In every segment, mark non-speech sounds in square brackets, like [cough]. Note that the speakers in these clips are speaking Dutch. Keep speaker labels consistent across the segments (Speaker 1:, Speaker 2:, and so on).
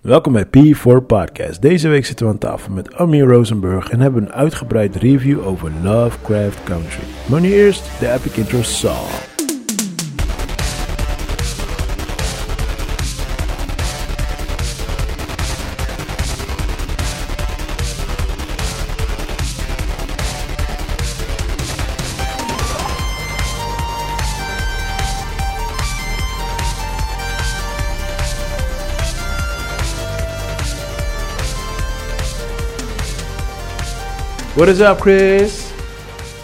Speaker 1: Welkom bij P4 Podcast. Deze week zitten we aan tafel met Amir Rosenberg en hebben een uitgebreid review over Lovecraft Country. Maar nu eerst de epic intro Saw. What is up Chris?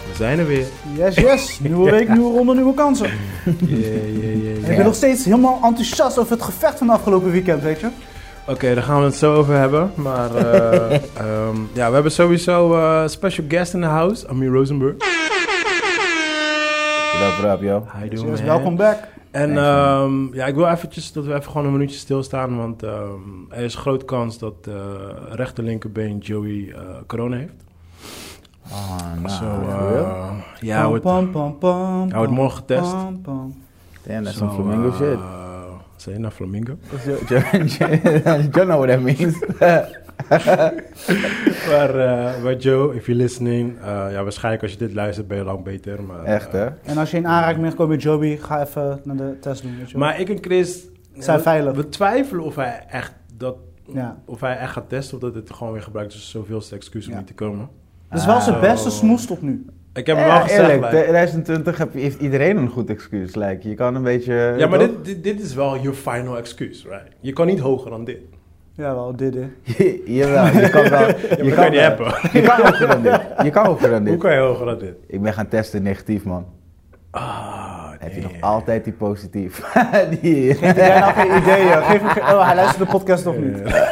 Speaker 1: We zijn er [laughs] weer.
Speaker 2: Yes, yes. Nieuwe week, nieuwe ronde, nieuwe kansen. En
Speaker 1: Yeah, yeah, yeah,
Speaker 2: ik ben nog steeds helemaal enthousiast over het gevecht van afgelopen weekend, weet je.
Speaker 1: Oké, daar gaan we het zo over hebben. Maar [laughs] eh, ehm, ja, we hebben sowieso eh special guest in the house, Amir Rosenberg.
Speaker 3: What up, what up,
Speaker 1: Hi
Speaker 2: Dus
Speaker 1: doing,
Speaker 2: yes,
Speaker 1: man?
Speaker 2: welkom back.
Speaker 1: En
Speaker 3: Thanks, man.
Speaker 1: ehm, ja, ik wil eventjes dat we even gewoon een minuutje stilstaan. Want ehm, er is groot kans dat eh rechter linkerbeen Joey eh, corona heeft.
Speaker 3: Oh, nah.
Speaker 1: Zo,
Speaker 3: for real?
Speaker 1: eh, ja, hij wordt, hij
Speaker 2: pam, pam,
Speaker 1: wordt morgen getest.
Speaker 2: pam, pam.
Speaker 3: Damn, that's
Speaker 1: Zo,
Speaker 3: some flamingo
Speaker 1: eh,
Speaker 3: shit.
Speaker 1: Zei je nou flamingo?
Speaker 3: [laughs] you don't know what that
Speaker 1: [laughs]
Speaker 3: means.
Speaker 1: maar, eh, maar Joe, if you're listening, eh, ja, waarschijnlijk als je dit luistert ben je lang beter. Maar,
Speaker 3: Echt,
Speaker 1: eh,
Speaker 3: hè?
Speaker 2: En als je in aanraking bent gekomen met Joby, ga even naar de test doen, weet je.
Speaker 1: maar ik en Chris
Speaker 2: Zijn
Speaker 1: we-
Speaker 2: veilig.
Speaker 1: We twijfelen of hij echt dat,
Speaker 2: Ja.
Speaker 1: of hij echt gaat testen of dat het gewoon weer gebruikt is. Dus zoveel is de excuus om
Speaker 2: Ja.
Speaker 1: niet te komen.
Speaker 2: Het is wel zijn
Speaker 1: Ah.
Speaker 2: beste smoes tot nu.
Speaker 1: Ik heb hem
Speaker 3: Ja,
Speaker 1: wel gezegd.
Speaker 3: eerlijk,
Speaker 1: like-
Speaker 3: 2020 heb, heeft iedereen een goed excuus. Like, je kan een beetje...
Speaker 1: Ja, maar
Speaker 3: toch?
Speaker 1: dit, dit, dit is wel je final excuse, right? Je kan niet hoger dan dit.
Speaker 2: Jawel, dit hè.
Speaker 3: [laughs] Jawel, je kan
Speaker 1: [laughs]
Speaker 3: wel...
Speaker 1: kan je niet
Speaker 3: wel-
Speaker 1: hebben.
Speaker 3: Je kan hoger dan dit. Je kan hoger dan
Speaker 1: [laughs] Hoe
Speaker 3: dit.
Speaker 1: kan je hoger dan dit?
Speaker 3: Ik ben gaan testen negatief, man.
Speaker 1: Ah,
Speaker 3: Heb je
Speaker 1: damn.
Speaker 3: nog altijd die positief? [laughs] die...
Speaker 2: Jij nou
Speaker 3: [laughs]
Speaker 2: geen idee, joh. Geef hem geen- Oh, hij luistert de podcast nog niet.
Speaker 1: [laughs]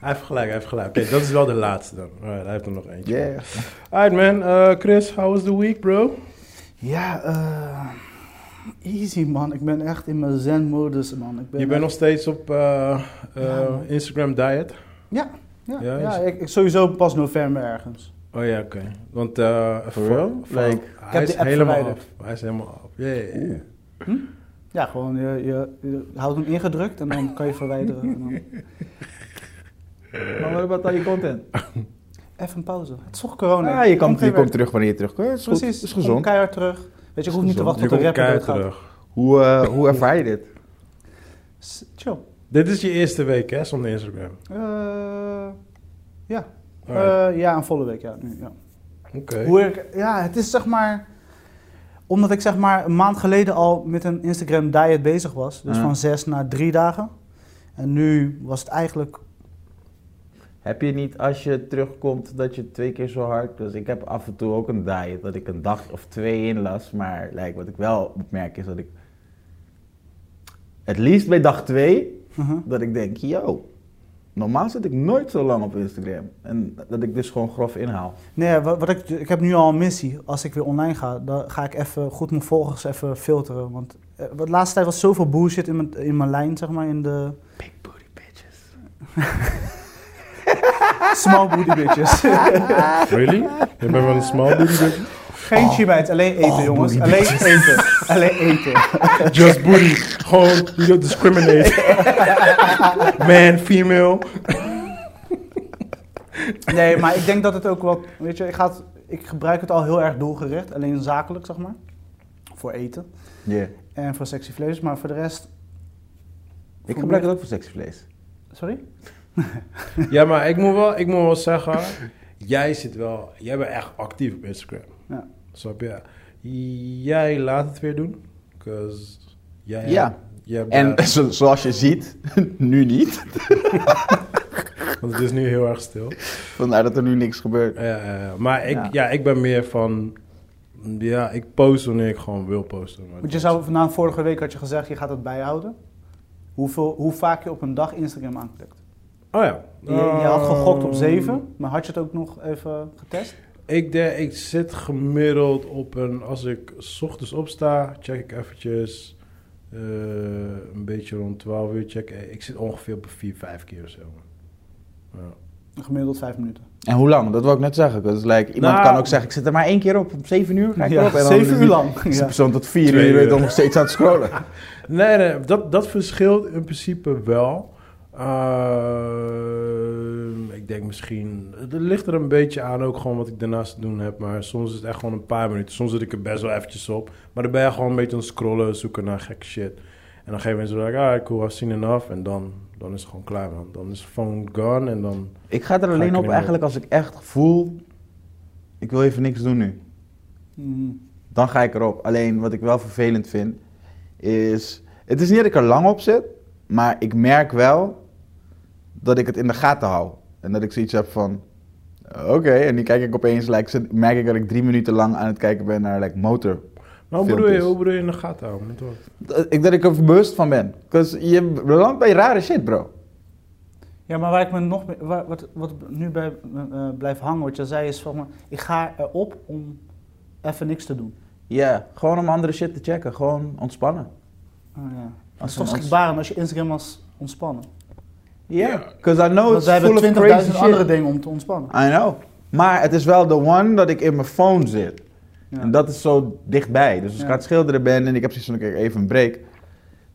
Speaker 1: Hij heeft gelijk, hij heeft gelijk. Oké, dat is wel de laatste dan. Alright, hij heeft er nog eentje.
Speaker 3: Yeah.
Speaker 1: Alright man, Eh, Chris, how was the week bro?
Speaker 2: Ja, eh... Easy, man. Ik ben echt in mijn zen-modus, man. Ik ben
Speaker 1: Je
Speaker 2: echt-
Speaker 1: bent nog steeds op eh, eh,
Speaker 2: man.
Speaker 1: Instagram diet.
Speaker 2: Ja, ja,
Speaker 1: Ja,
Speaker 2: ja,
Speaker 1: is-
Speaker 2: ik, ik sowieso pas november ergens.
Speaker 1: Oh ja, oké. Want eh
Speaker 3: For real? Like,
Speaker 2: heb
Speaker 1: hij
Speaker 2: die
Speaker 1: is
Speaker 2: app
Speaker 1: helemaal
Speaker 2: verwijderd.
Speaker 1: af. Hij is helemaal af. Yeah, yeah, yeah.
Speaker 2: Ja, gewoon je, je, je houdt hem ingedrukt en dan kan je verwijderen. en dan-
Speaker 3: Maar wat about al je content?
Speaker 2: Even een pauze. Het is toch corona.
Speaker 3: Ah, je komt,
Speaker 2: geen
Speaker 3: je komt
Speaker 2: werk.
Speaker 3: terug wanneer je terugkomt. Het is goed,
Speaker 2: Precies.
Speaker 3: is
Speaker 2: Kom
Speaker 3: gezond.
Speaker 2: keihard terug. Weet je, ik hoef niet te
Speaker 3: gezond.
Speaker 2: wachten
Speaker 1: Je
Speaker 2: tot de
Speaker 1: komt
Speaker 2: rapper
Speaker 1: keihard
Speaker 2: doodgaat.
Speaker 1: terug.
Speaker 3: Hoe, eh, hoe ervaar je dit?
Speaker 2: S- Chill.
Speaker 1: Dit is je eerste week hè, zonder Instagram.
Speaker 2: Eh, ja.
Speaker 1: Alright.
Speaker 2: Eh, ja, een volle week. Ja, nu, ja.
Speaker 1: Oké.
Speaker 2: Hoe ik, ja, het is zeg maar... Omdat ik zeg maar een maand geleden al met een Instagram diet bezig was. Dus
Speaker 3: Mm.
Speaker 2: van zes naar drie dagen. En nu was het eigenlijk...
Speaker 3: Heb je niet als je terugkomt dat je twee keer zo hard... Dus ik heb af en toe ook een diet dat ik een dag of twee inlas. Maar like, wat ik wel merk is dat ik... Het liefst bij dag twee,
Speaker 2: Mhm.
Speaker 3: dat ik denk, yo... Normaal zit ik nooit zo lang op Instagram. En dat ik dus gewoon grof inhaal.
Speaker 2: Nee, wat, wat ik, ik heb nu al een missie. Als ik weer online ga, dan ga ik even goed mijn volgers even filteren. Want eh, de laatste tijd was zoveel bullshit in mijn, in mijn lijn, zeg maar. In de
Speaker 3: Big booty bitches.
Speaker 2: small booty bitches.
Speaker 1: Really? Je bent wel een small booty bitch?
Speaker 2: Geen chibait, alleen eten, jongens.
Speaker 3: booty
Speaker 2: Alleen eten. alleen eten.
Speaker 1: Just booty. Gewoon, you don't
Speaker 2: [laughs]
Speaker 1: discriminate. Man, female.
Speaker 2: Nee, maar ik denk dat het ook wel... Weet je, ik, ga het- ik gebruik het al heel erg doelgericht. Alleen zakelijk, zeg maar. Voor eten.
Speaker 3: Yeah.
Speaker 2: En voor sexy vlees. Maar voor de rest...
Speaker 3: Ik gebruik het ook voor seksvlees.
Speaker 2: Sorry?
Speaker 1: Ja, maar ik moet wel, ik moet wel zeggen, jij zit wel, jij bent echt actief op Instagram.
Speaker 2: Ja.
Speaker 1: Snap je? Jij laat het weer doen. Cause jij,
Speaker 3: Ja.
Speaker 1: jij hebt
Speaker 3: En
Speaker 1: daar-
Speaker 3: zo- zoals je ziet, [laughs] nu niet.
Speaker 1: want het is nu heel erg stil.
Speaker 3: Vandaar dat er nu niks gebeurt.
Speaker 1: Eh, eh, maar ik, ja.
Speaker 3: Ja.
Speaker 1: ik ben meer van, ja, ik post wanneer ik gewoon wil posten. Maar
Speaker 2: Want je zou, na vorige week had je gezegd, je gaat het bijhouden. Hoeveel, hoe vaak je op een dag Instagram aanklikt.
Speaker 1: Oh ja.
Speaker 2: Je, je had gegokt op
Speaker 1: Ehm,
Speaker 2: 7, maar had je het ook nog even getest?
Speaker 1: Ik, denk, ik zit gemiddeld op een. Als ik 's ochtends opsta, check ik eventjes. eh, een beetje rond 12 uur check. eh, Ik zit ongeveer op 4, 5 keer of zo. Ja.
Speaker 2: Gemiddeld 5 minuten.
Speaker 3: En hoe lang? Dat wil ik net zeggen. Dus like, iemand
Speaker 1: Nou-
Speaker 3: kan ook zeggen, ik zit er maar één keer op, om zeven uur ga ik erop. En dan
Speaker 2: 7 uur
Speaker 3: Is
Speaker 2: [laughs] lang.
Speaker 3: de
Speaker 2: Ja.
Speaker 3: persoon tot vier
Speaker 1: Twee
Speaker 3: uur
Speaker 1: uur.
Speaker 3: dan nog steeds aan het scrollen.
Speaker 1: Nee, nee dat, dat verschilt in principe wel. Eh, Ehm, ik denk misschien... Het ligt er een beetje aan ook gewoon wat ik daarnaast te doen heb. Maar soms is het echt gewoon een paar minuten. Soms zit ik er best wel eventjes op. Maar dan ben je gewoon een beetje aan het scrollen, zoeken naar gekke shit. En dan geven mensen like, ah cool, I've seen enough. En dan, dan is het gewoon klaar man. Dan is phone gone en dan...
Speaker 3: [laughs] Ik ga er
Speaker 1: Ga ik
Speaker 3: alleen
Speaker 1: er
Speaker 3: op
Speaker 1: niet meer
Speaker 3: eigenlijk als ik echt voel, ik wil even niks doen nu.
Speaker 2: Mm.
Speaker 3: Dan ga ik erop. Alleen wat ik wel vervelend vind, is... Het is niet dat ik er lang op zit, maar ik merk wel dat ik het in de gaten hou. En dat ik zoiets heb van... Oké, en nu kijk ik opeens, like, zit- merk ik dat ik drie minuten lang aan het kijken ben naar like, motor.
Speaker 1: Maar hoe bedoel, je,
Speaker 3: Filmpjes.
Speaker 1: hoe bedoel je in de gaten houden? Met wat?
Speaker 3: Dat ik, dat ik er bewust van ben. 'Cause je belandt bij rare shit, bro.
Speaker 2: Ja, maar waar ik me nog mee- waar, wat, wat nu bij eh, eh, blijft hangen, wat je zei, is van me, ik ga erop om even niks te doen.
Speaker 3: Ja, gewoon om andere shit te checken. Gewoon ontspannen.
Speaker 2: Oh, ja. Dat
Speaker 3: Als
Speaker 2: is Oh, toch
Speaker 3: een- als-
Speaker 2: schrikbarend als je Instagram als ontspannen.
Speaker 3: Ja, because I know
Speaker 2: Want
Speaker 3: it's
Speaker 2: wij
Speaker 3: full of
Speaker 2: hebben 20.000
Speaker 3: crazy
Speaker 2: andere
Speaker 3: shit.
Speaker 2: dingen om te ontspannen.
Speaker 3: I know. Maar het is wel de one dat ik in mijn phone zit.
Speaker 2: Ja.
Speaker 3: En dat is zo dichtbij. Dus als
Speaker 2: Ja.
Speaker 3: ik aan het schilderen ben en ik heb zoiets van, oké, even een break.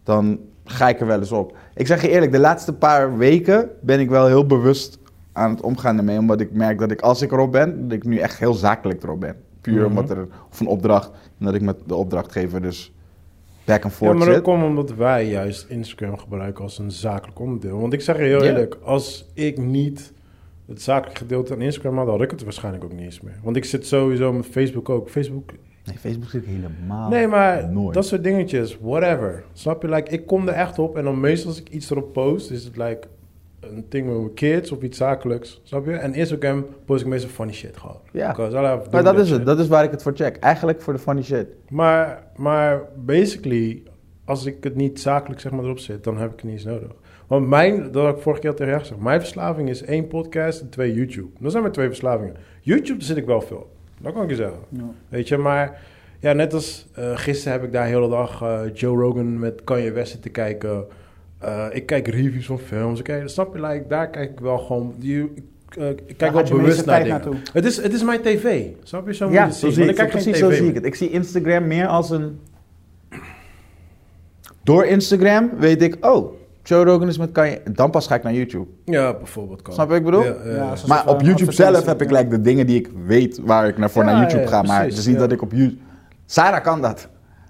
Speaker 3: Dan ga ik er wel eens op. Ik zeg je eerlijk, de laatste paar weken ben ik wel heel bewust aan het omgaan ermee. Omdat ik merk dat ik, als ik erop ben, dat ik nu echt heel zakelijk erop ben. Puur
Speaker 1: Mhm.
Speaker 3: omdat er, of een opdracht, en dat ik met de opdrachtgever dus back and
Speaker 1: Ja,
Speaker 3: forth
Speaker 1: maar dat
Speaker 3: zit.
Speaker 1: komt omdat wij juist Instagram gebruiken als een zakelijk onderdeel. Want ik zeg je heel
Speaker 3: Ja.
Speaker 1: eerlijk, als ik niet het zakelijk gedeelte aan Instagram had, had ik het waarschijnlijk ook niet eens meer. Want ik zit sowieso met Facebook ook. Facebook,
Speaker 3: Nee, Facebook zit ik helemaal
Speaker 1: nee, maar
Speaker 3: Ah, nooit.
Speaker 1: dat soort dingetjes, whatever. Snap je? Like, ik kom er echt op en dan meestal als ik iets erop post, is het like een ding met mijn kids of iets zakelijks. Snap je? En Instagram post ik meestal funny shit gewoon.
Speaker 3: Ja.
Speaker 1: Because I love
Speaker 3: Maar
Speaker 1: doing
Speaker 3: dat
Speaker 1: that
Speaker 3: is
Speaker 1: shit.
Speaker 3: het. Dat is waar ik het voor check. Eigenlijk voor de funny shit.
Speaker 1: Maar, maar basically, als ik het niet zakelijk zeg maar, erop zit, dan heb ik het niet eens nodig. Want mijn, dat had ik vorige keer al tegen jou gezegd, mijn verslaving is één podcast en twee YouTube. Dat zijn mijn twee verslavingen. YouTube daar zit ik wel veel op. Dat kan ik je zeggen.
Speaker 2: Ja.
Speaker 1: Weet je, maar ja, net als eh, gisteren heb ik daar heel de dag eh, Joe Rogan met Kanye West zitten kijken. Eh, ik kijk reviews van films. Ik kijk, snap je, like, daar kijk ik wel gewoon. Die, ik, eh, ik
Speaker 2: Daar
Speaker 1: kijk wel
Speaker 2: gaat je meeste
Speaker 1: bewust naar
Speaker 2: tijd
Speaker 1: dingen.
Speaker 2: naartoe.
Speaker 1: Het is, het is mijn tv. Snap je? Zo
Speaker 3: ja,
Speaker 1: moet je het zien. Want
Speaker 3: zo zie ik,
Speaker 1: ik kijk geen
Speaker 3: precies
Speaker 1: tv
Speaker 3: zo zie
Speaker 1: meer.
Speaker 3: ik het. Ik zie Instagram meer als een... Door Instagram weet ik, oh, Joe Rogan is met Kanye. Dan pas ga ik naar YouTube.
Speaker 1: Ja, bijvoorbeeld kan.
Speaker 3: Snap je wat ik bedoel?
Speaker 1: Ja, ja,
Speaker 2: Ja,
Speaker 1: ja.
Speaker 2: zo-
Speaker 3: maar
Speaker 2: soort
Speaker 3: op
Speaker 2: van
Speaker 3: YouTube zelf
Speaker 2: advertentie,
Speaker 3: heb ik
Speaker 2: ja.
Speaker 3: like, de dingen die ik weet waar ik naar, voor
Speaker 1: Ja,
Speaker 3: naar YouTube
Speaker 1: ja,
Speaker 3: ga. Maar
Speaker 1: precies,
Speaker 3: het is niet
Speaker 1: ja.
Speaker 3: dat ik op YouTube... Sarah kan dat.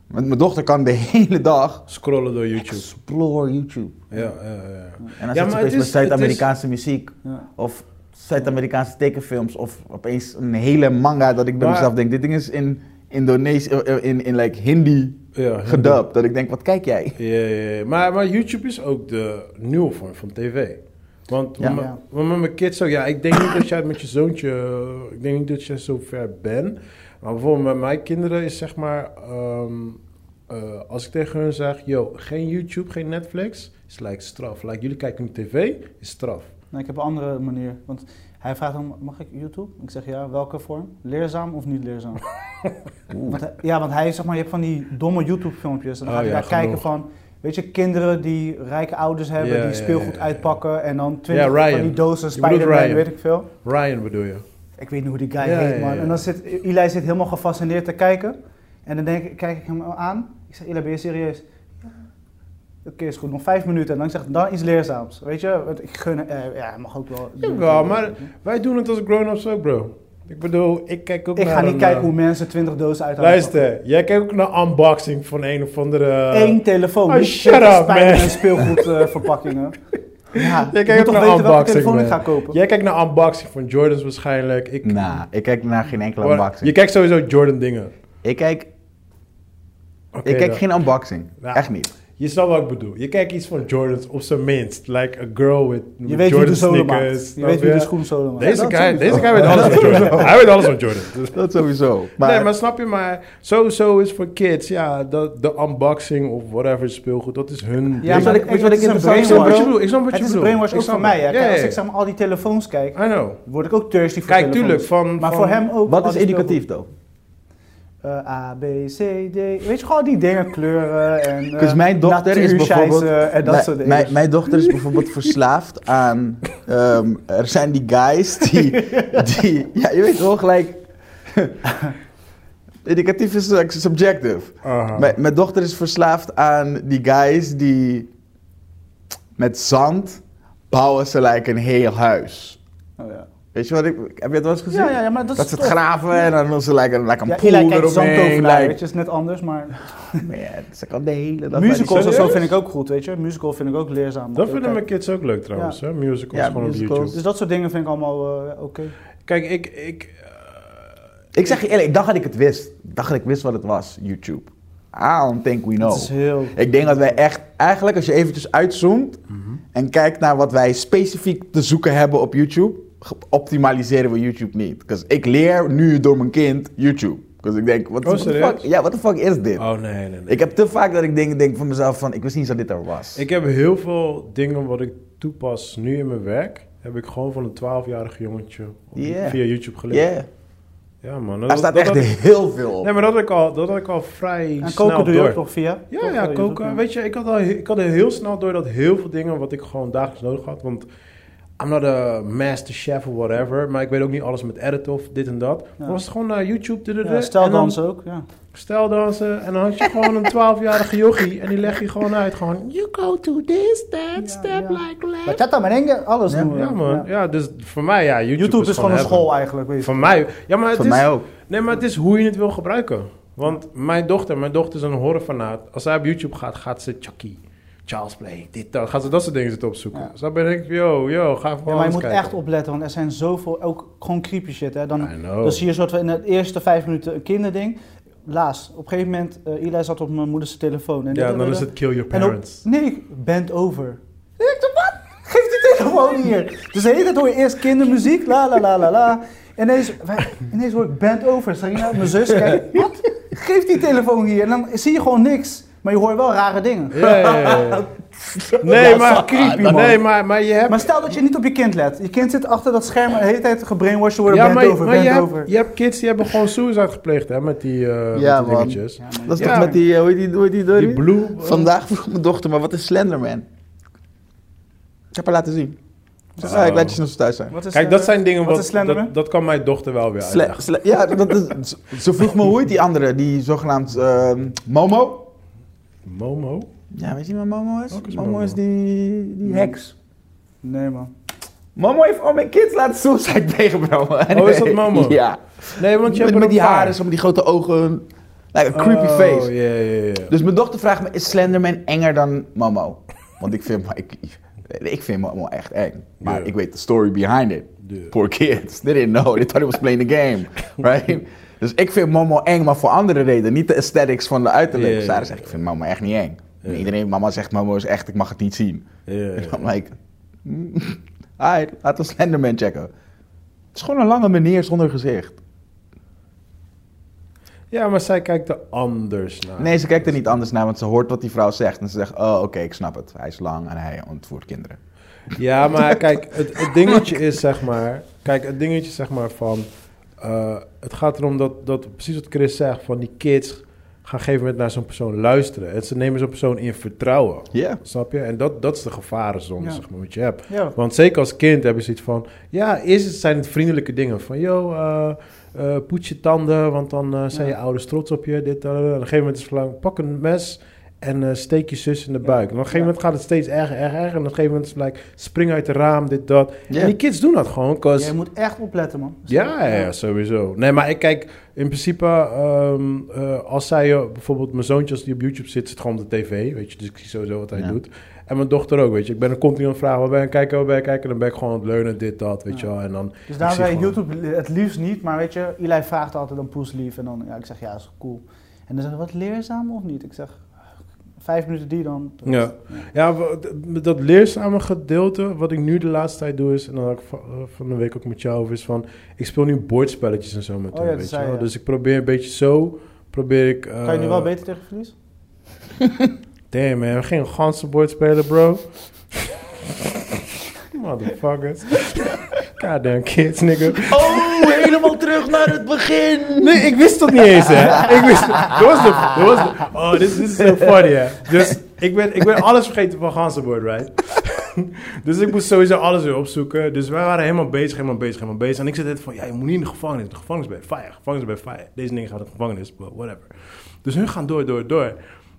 Speaker 3: Met mijn dochter kan de [laughs] hele dag...
Speaker 1: Scrollen door YouTube.
Speaker 3: Explore YouTube.
Speaker 1: Ja, ja, ja.
Speaker 3: En dan
Speaker 1: Ja,
Speaker 3: zit
Speaker 1: maar
Speaker 3: ze opeens
Speaker 1: het
Speaker 3: met
Speaker 1: is- het is-
Speaker 3: Zuid-Amerikaanse muziek.
Speaker 2: Ja.
Speaker 3: Of Zuid-Amerikaanse tekenfilms. Of opeens een hele manga dat ik bij
Speaker 1: Maar-
Speaker 3: mezelf denk. Dit ding is in Indonesië, eh, eh, in, in like Hindi
Speaker 1: ja
Speaker 3: gedubt. Dat ik denk, wat kijk jij?
Speaker 1: Ja, ja, ja. Maar, maar YouTube is ook de nieuwe vorm van tv. Want
Speaker 3: Ja.
Speaker 1: met-
Speaker 2: Ja.
Speaker 1: want met mijn kids zo, ja, ik denk niet dat jij het met je zoontje, eh, ik denk niet dat jij zo ver bent. Maar bijvoorbeeld met mijn kinderen is zeg maar, ehm, eh, als ik tegen hun zeg, yo, geen YouTube, geen Netflix, is like straf. Like jullie kijken nu tv, is straf.
Speaker 2: Nee, ik heb een andere manier. Want hij vraagt dan, mag ik YouTube? Ik zeg ja, welke vorm? Leerzaam of niet
Speaker 1: [laughs]
Speaker 2: leerzaam? Want hij- ja, want hij, zeg maar, je hebt van die domme YouTube filmpjes. En dan
Speaker 1: Oh
Speaker 2: ga je
Speaker 1: ja,
Speaker 2: daar
Speaker 1: genoeg.
Speaker 2: kijken van, weet je, kinderen die rijke ouders hebben,
Speaker 1: Ja,
Speaker 2: die
Speaker 1: ja,
Speaker 2: speelgoed
Speaker 1: ja, ja.
Speaker 2: uitpakken. En dan twintig
Speaker 1: Ryan.
Speaker 2: van die dozen,
Speaker 1: Je bedoelt
Speaker 2: Spider-Man,
Speaker 1: Ryan.
Speaker 2: weet ik veel.
Speaker 1: Ryan bedoel je?
Speaker 2: Ik weet niet hoe die guy
Speaker 1: Ja,
Speaker 2: heet,
Speaker 1: ja,
Speaker 2: man.
Speaker 1: ja.
Speaker 2: En dan zit, Eli zit helemaal gefascineerd te kijken. En dan denk, ik- kijk ik hem aan. Ik zeg, Eli, ben je serieus? Ja. Oké, is goed. Nog vijf minuten. En dan zeg ik, dan iets leerzaams. Weet je, want ik gun... eh, ja, hij mag ook wel...
Speaker 1: Jawel, maar wij doen het als grown-ups ook, bro. Ik bedoel, ik kijk ook
Speaker 2: Ik
Speaker 1: naar
Speaker 2: ga niet
Speaker 1: een,
Speaker 2: kijken
Speaker 1: eh,
Speaker 2: hoe mensen 20 dozen uithalen.
Speaker 1: Luister, jij kijkt ook naar unboxing van een of andere...
Speaker 2: Eén telefoon.
Speaker 1: oh,
Speaker 2: niet
Speaker 1: shut
Speaker 2: 20
Speaker 1: up, man.
Speaker 2: Spider-Man
Speaker 1: [laughs]
Speaker 2: speelgoedverpakkingen. ja,
Speaker 1: Jij kijkt
Speaker 2: ik moet
Speaker 1: ook
Speaker 2: toch
Speaker 1: naar
Speaker 2: weten welke
Speaker 1: unboxing,
Speaker 2: telefoon ik
Speaker 1: man.
Speaker 2: ga kopen.
Speaker 1: Jij kijkt naar unboxing van Jordans waarschijnlijk. Ik,
Speaker 3: Nou, ik kijk naar geen enkele
Speaker 1: Maar-
Speaker 3: unboxing.
Speaker 1: Je kijkt sowieso Jordan dingen.
Speaker 3: Ik kijk,
Speaker 1: Oké,
Speaker 3: ik kijk
Speaker 1: dan.
Speaker 3: geen unboxing.
Speaker 1: Ja.
Speaker 3: Echt niet.
Speaker 1: Je snapt wat ik bedoel. Je kijkt iets van Jordans op zijn minst. Like a girl with
Speaker 2: Je weet wie de
Speaker 1: Jordan
Speaker 2: solo
Speaker 1: sneakers.
Speaker 2: maakt. Je
Speaker 1: snap
Speaker 2: weet wie de schoenzolen maakt.
Speaker 1: Deze
Speaker 3: dat
Speaker 1: guy,
Speaker 3: sowieso.
Speaker 1: deze guy weet alles
Speaker 2: [laughs]
Speaker 1: van Jordan. Hij weet alles van Jordan. Dus-
Speaker 3: Dat sowieso. Maar,
Speaker 1: nee, maar snap je maar, sowieso is voor kids, ja, dat- de unboxing of whatever speelgoed, dat is hun...
Speaker 2: Ja,
Speaker 3: Weet
Speaker 2: maar
Speaker 3: je wat ik-
Speaker 2: ik-
Speaker 3: weet je wat
Speaker 2: het is
Speaker 3: ik
Speaker 2: een
Speaker 3: interessant
Speaker 1: ik snap wat je
Speaker 2: brainwash.
Speaker 1: bedoelt, ik snap wat je
Speaker 2: Het is een
Speaker 1: bedoelt.
Speaker 2: brainwash
Speaker 1: Ik
Speaker 2: ook
Speaker 1: snap
Speaker 2: voor mij.
Speaker 1: het.
Speaker 2: Ja.
Speaker 1: Ja,
Speaker 2: Kijk,
Speaker 1: ja,
Speaker 2: Als ik
Speaker 1: ja.
Speaker 2: zeg maar al die telefoons kijk,
Speaker 1: I know.
Speaker 2: word ik ook thirsty voor
Speaker 1: Kijk,
Speaker 2: telefoons.
Speaker 1: tuurlijk, van...
Speaker 2: Maar
Speaker 1: van-
Speaker 2: voor hem ook.
Speaker 3: wat
Speaker 2: al
Speaker 3: is
Speaker 2: die speelgoed.
Speaker 3: educatief, though?
Speaker 2: Eh, A, B, C, D. Weet je, gewoon die dingen, kleuren en
Speaker 1: [laughs]
Speaker 2: eh,
Speaker 3: Dus mijn dochter is
Speaker 2: natuurscheids,
Speaker 3: bijvoorbeeld.
Speaker 2: eh, en dat
Speaker 3: mijn,
Speaker 2: soort
Speaker 3: mijn,
Speaker 2: dingen.
Speaker 3: mijn dochter is bijvoorbeeld verslaafd aan. ehm, er zijn die
Speaker 2: [laughs]
Speaker 3: guys die. die ja, je weet wel gelijk. [laughs] Educatief is like, subjective.
Speaker 2: Ah.
Speaker 1: Aha.
Speaker 3: Mijn, mijn dochter is verslaafd aan die guys die. met zand bouwen ze like een heel huis.
Speaker 2: Oh, ja.
Speaker 3: Weet je wat ik... Heb je het wel eens gezien?
Speaker 2: Ja, ja, ja, maar dat,
Speaker 3: Dat
Speaker 2: is
Speaker 3: ze het
Speaker 2: tof.
Speaker 3: graven en dan doen ze like een, like een
Speaker 2: Ja,
Speaker 3: pool
Speaker 2: Eli kijkt
Speaker 3: eromheen.
Speaker 2: zandtovenaar,
Speaker 3: Like,
Speaker 2: weet je, is net anders,
Speaker 3: [laughs]
Speaker 2: maar...
Speaker 3: Maar ja, ze kan de hele dag...
Speaker 2: Musicals
Speaker 3: naar
Speaker 2: of
Speaker 3: die-
Speaker 2: zo vind ik ook goed, weet je. Musical vind ik ook leerzaam.
Speaker 1: Dat
Speaker 2: Oké,
Speaker 1: vinden mijn
Speaker 2: kijk.
Speaker 1: kids ook leuk trouwens, hè? Musicals
Speaker 3: Ja,
Speaker 1: gewoon
Speaker 3: musicals.
Speaker 1: op
Speaker 2: Dus
Speaker 1: YouTube. Nou.
Speaker 2: dat soort dingen vind ik allemaal eh, oké.
Speaker 1: Kijk, ik... ik
Speaker 3: Ik zeg je eerlijk, ik dacht dat ik het wist. Ik dacht dat ik wist wat het was, YouTube. I don't think we know.
Speaker 2: Dat is heel...
Speaker 3: Ik denk dat wij echt, eigenlijk als je eventjes uitzoomt
Speaker 1: Mhm.
Speaker 3: en kijkt naar wat wij specifiek te zoeken hebben op YouTube, ge- optimaliseren we YouTube niet. Dus ik leer nu door mijn kind YouTube. Dus ik denk, wat
Speaker 1: Oh,
Speaker 3: what the
Speaker 1: serieus?
Speaker 3: fuck? Ja, what the fuck is dit?
Speaker 1: oh, nee, nee, nee.
Speaker 3: Ik heb te vaak dat ik dingen denk van mezelf van, ik wist niet eens dat dit er was.
Speaker 1: Ik heb heel veel dingen wat ik toepas nu in mijn werk, heb ik gewoon van een 12-jarig jongetje op-
Speaker 3: Yeah.
Speaker 1: via YouTube geleerd.
Speaker 3: yeah.
Speaker 1: Ja, man. Dat,
Speaker 3: Daar staat
Speaker 1: dat-
Speaker 3: echt
Speaker 1: dat-
Speaker 3: heel veel op.
Speaker 1: Nee, maar dat had ik al, dat had ik al vrij
Speaker 2: En
Speaker 1: snel
Speaker 2: koken doe je
Speaker 1: door.
Speaker 2: ook toch via?
Speaker 1: Ja,
Speaker 2: Toch,
Speaker 1: ja,
Speaker 2: eh, YouTube,
Speaker 1: koken.
Speaker 2: ja.
Speaker 1: Weet je, ik had, al, ik had er heel snel door dat heel veel dingen wat ik gewoon dagelijks nodig had. Want I'm not a master chef of whatever. Maar ik weet ook niet alles met edit of dit en dat. Dan was het gewoon naar YouTube. dudede,
Speaker 2: Ja,
Speaker 1: en dan-
Speaker 2: Steldansen ook, ja.
Speaker 1: Steldansen. En dan had je gewoon een 12-jarige jochie. En die leg je gewoon uit. Gewoon, you go to this, that, step
Speaker 2: ja.
Speaker 1: like that.
Speaker 2: Bachata, merengue, alles
Speaker 3: Ja,
Speaker 2: doen we.
Speaker 1: Ja, man. Ja. dus voor mij, ja, YouTube,
Speaker 2: YouTube is, gewoon een
Speaker 1: heaven.
Speaker 2: school eigenlijk, weet je.
Speaker 1: Voor mij, ja, maar het
Speaker 3: Voor
Speaker 1: is,
Speaker 3: mij ook.
Speaker 1: Nee, maar het is hoe je het wil gebruiken. Want mijn dochter, mijn dochter is een horrorfanaat. Als zij op YouTube gaat, gaat ze Chucky, Charles Play, dit, dat. Gaat ze dat soort dingen zitten opzoeken.
Speaker 2: Ja.
Speaker 1: Dus dan ben ik, yo, yo, ga
Speaker 2: Ja,
Speaker 1: gewoon
Speaker 2: maar je
Speaker 1: eens
Speaker 2: moet
Speaker 1: kijken.
Speaker 2: echt opletten, want er zijn zoveel, ook gewoon creepy shit. Hè. Dan,
Speaker 1: I know.
Speaker 2: dan zie je soort van in de eerste vijf minuten een kinderding. Laatst, op een gegeven moment, eh Eli zat op mijn moeders telefoon. En
Speaker 1: ja,
Speaker 2: dit-
Speaker 1: dan is het kill your
Speaker 2: En op,
Speaker 1: parents.
Speaker 2: nee, ik bent over. En ik dacht, wat? Geef die telefoon hier. Dus de hele tijd hoor je eerst kindermuziek, la la la la la. En ineens, wij- ineens hoor ik bent over. Sarina, mijn zus, kijk, wat? Geef die telefoon hier. En dan zie je gewoon niks. Maar je hoort wel rare dingen.
Speaker 1: Ja, ja,
Speaker 2: [laughs]
Speaker 1: ja. Nee,
Speaker 2: Ja,
Speaker 1: maar,
Speaker 2: zo creepy, man.
Speaker 1: nee maar, maar je hebt...
Speaker 2: Maar stel dat je niet op je kind let. Je kind zit achter dat scherm en de hele tijd gebrainwashed worden.
Speaker 1: ja,
Speaker 2: bent
Speaker 1: maar,
Speaker 2: over,
Speaker 1: maar je,
Speaker 2: bent
Speaker 1: hebt,
Speaker 2: over.
Speaker 1: je hebt kids die hebben gewoon suicide gepleegd, hè, met die, eh
Speaker 3: Ja,
Speaker 1: met die
Speaker 3: man.
Speaker 1: dingetjes.
Speaker 2: Ja, maar-
Speaker 3: Dat is
Speaker 1: Ja.
Speaker 3: toch met die, eh, hoe heet die, hoe heet die, door
Speaker 1: Die blue... eh,
Speaker 3: Vandaag vroeg mijn dochter, maar wat is Slenderman? Ik heb haar laten zien. Ze zei,
Speaker 1: Oh.
Speaker 3: ik laat je snel thuis zijn.
Speaker 2: Wat is,
Speaker 1: Kijk,
Speaker 2: eh,
Speaker 1: dat zijn dingen
Speaker 2: wat
Speaker 1: wat...
Speaker 2: is Slenderman?
Speaker 1: dat, dat kan mijn dochter wel weer
Speaker 3: Sle-
Speaker 1: uitleggen.
Speaker 3: sle- ja, dat is, ze- ze vroeg me hoe heet die andere, die zogenaamd ehm, Momo.
Speaker 1: Momo?
Speaker 3: Ja, weet je wat Momo is?
Speaker 1: Ook is
Speaker 3: Momo,
Speaker 1: Momo.
Speaker 3: is die, die heks.
Speaker 2: Nee man.
Speaker 3: Momo heeft al mijn kids laten suicide plegen, bro.
Speaker 1: Oh, is dat Momo?
Speaker 3: Ja.
Speaker 1: Nee, want je
Speaker 3: Met,
Speaker 1: hebt er
Speaker 3: met
Speaker 1: ook
Speaker 3: die
Speaker 1: paar.
Speaker 3: haren, zo met die grote ogen. Like a creepy
Speaker 1: Oh,
Speaker 3: face.
Speaker 1: ja, ja, ja.
Speaker 3: Dus mijn dochter vraagt me, is Slenderman enger dan Momo? Want ik vind, ik, ik vind Momo echt eng. Maar
Speaker 1: Ja.
Speaker 3: ik weet de story behind it.
Speaker 1: Ja.
Speaker 3: Poor kids. They didn't know. They thought it was playing the game. Right? Dus ik vind Momo eng, maar voor andere redenen. Niet de aesthetics van de uiterlijk.
Speaker 1: Ja, ja,
Speaker 3: Sarah
Speaker 1: ja.
Speaker 3: zegt, ik vind Momo echt niet eng. En
Speaker 1: Ja.
Speaker 3: Iedereen, mama zegt, Momo is echt, ik mag het niet zien.
Speaker 1: Ja, ja.
Speaker 3: En [laughs] I'm like, mm, [laughs] alright, laten we Slenderman checken. Het is gewoon een lange meneer zonder gezicht.
Speaker 1: Ja, maar zij kijkt er anders naar.
Speaker 3: Nee, ze kijkt er niet anders naar, want ze hoort wat die vrouw zegt. En ze zegt, oh, oké, ik snap het. Hij is lang en hij ontvoert kinderen.
Speaker 1: Ja, maar kijk, het, het dingetje is zeg maar... Kijk, het dingetje is zeg maar van... eh, het gaat erom dat, dat, precies wat Chris zegt, van die kids gaan op een gegeven moment naar zo'n persoon luisteren. En ze nemen zo'n persoon in vertrouwen.
Speaker 3: Ja.
Speaker 1: Snap je? En dat, dat is de gevarenzone,
Speaker 2: Ja.
Speaker 1: zeg maar, wat je hebt.
Speaker 2: Ja.
Speaker 1: Want zeker als kind heb je zoiets van... Ja, eerst zijn het vriendelijke dingen. Van, yo, eh, eh, poets je tanden, want dan eh, zijn
Speaker 2: Ja.
Speaker 1: je ouders trots op je. Dit, dat, dat. En op een gegeven moment is het verlang, pak een mes en eh, steek je zus in de buik. En op een gegeven
Speaker 2: Ja.
Speaker 1: moment gaat het steeds erger, erger, erger. En op een gegeven moment is het like, spring uit het raam, dit, dat.
Speaker 3: Ja.
Speaker 1: En die kids doen dat gewoon, 'cause-
Speaker 2: Jij moet echt opletten man.
Speaker 1: ja, ja, ja, sowieso. Nee, maar ik kijk, in principe, ehm, eh, als zij eh, bijvoorbeeld mijn zoontje, als die op YouTube zit, zit gewoon op de tv, weet je. Dus ik zie sowieso wat hij
Speaker 3: Ja.
Speaker 1: doet. En mijn dochter ook, weet je. Ik ben een continu aan het vragen, waar ben je aan het kijken, waar ben je aan het kijken? Dan ben ik gewoon aan het leunen, dit, dat, weet je wel. En dan,
Speaker 2: Dus daarom
Speaker 1: ik zie
Speaker 2: zei ik
Speaker 1: gewoon-
Speaker 2: YouTube li- het liefst niet, maar weet je, Eli vraagt altijd een poeslief en dan, ja, ik zeg ja, is cool. En dan zeggen wat leerzaam of niet? Ik zeg, vijf minuten die dan.
Speaker 1: Ja. Ja, wa- d- dat leerzame gedeelte, wat ik nu de laatste tijd doe is, en dan had ik va- eh, van de week ook met jou over, is van, ik speel nu bordspelletjes en zo met
Speaker 2: Oh
Speaker 1: hem,
Speaker 2: ja, dat
Speaker 1: weet je
Speaker 2: zei
Speaker 1: wel.
Speaker 2: je.
Speaker 1: Dus ik probeer een beetje zo, probeer ik...
Speaker 2: Kan je nu wel
Speaker 1: eh,
Speaker 2: beter tegen verlies?
Speaker 1: Damn man, we gingen ganse bord spelen, bro. [laughs] Motherfuckers. [laughs] Goddamn kids, nigga.
Speaker 3: Oh, helemaal terug naar het begin!
Speaker 1: Nee, ik wist dat niet eens, hè. Ik wist... Dat was de... Dat was de oh, dit dit is so funny, hè. Dus ik ben, ik ben alles vergeten van ganzenbord, right? [laughs] dus ik moest sowieso alles weer opzoeken. Dus wij waren helemaal bezig, helemaal bezig, helemaal bezig. En ik zat net van, ja, je moet niet in de gevangenis. De gevangenis bij fire, gevangenis bij fire. Deze dingen gaan naar de gevangenis, but whatever. Dus hun gaan door, door, door.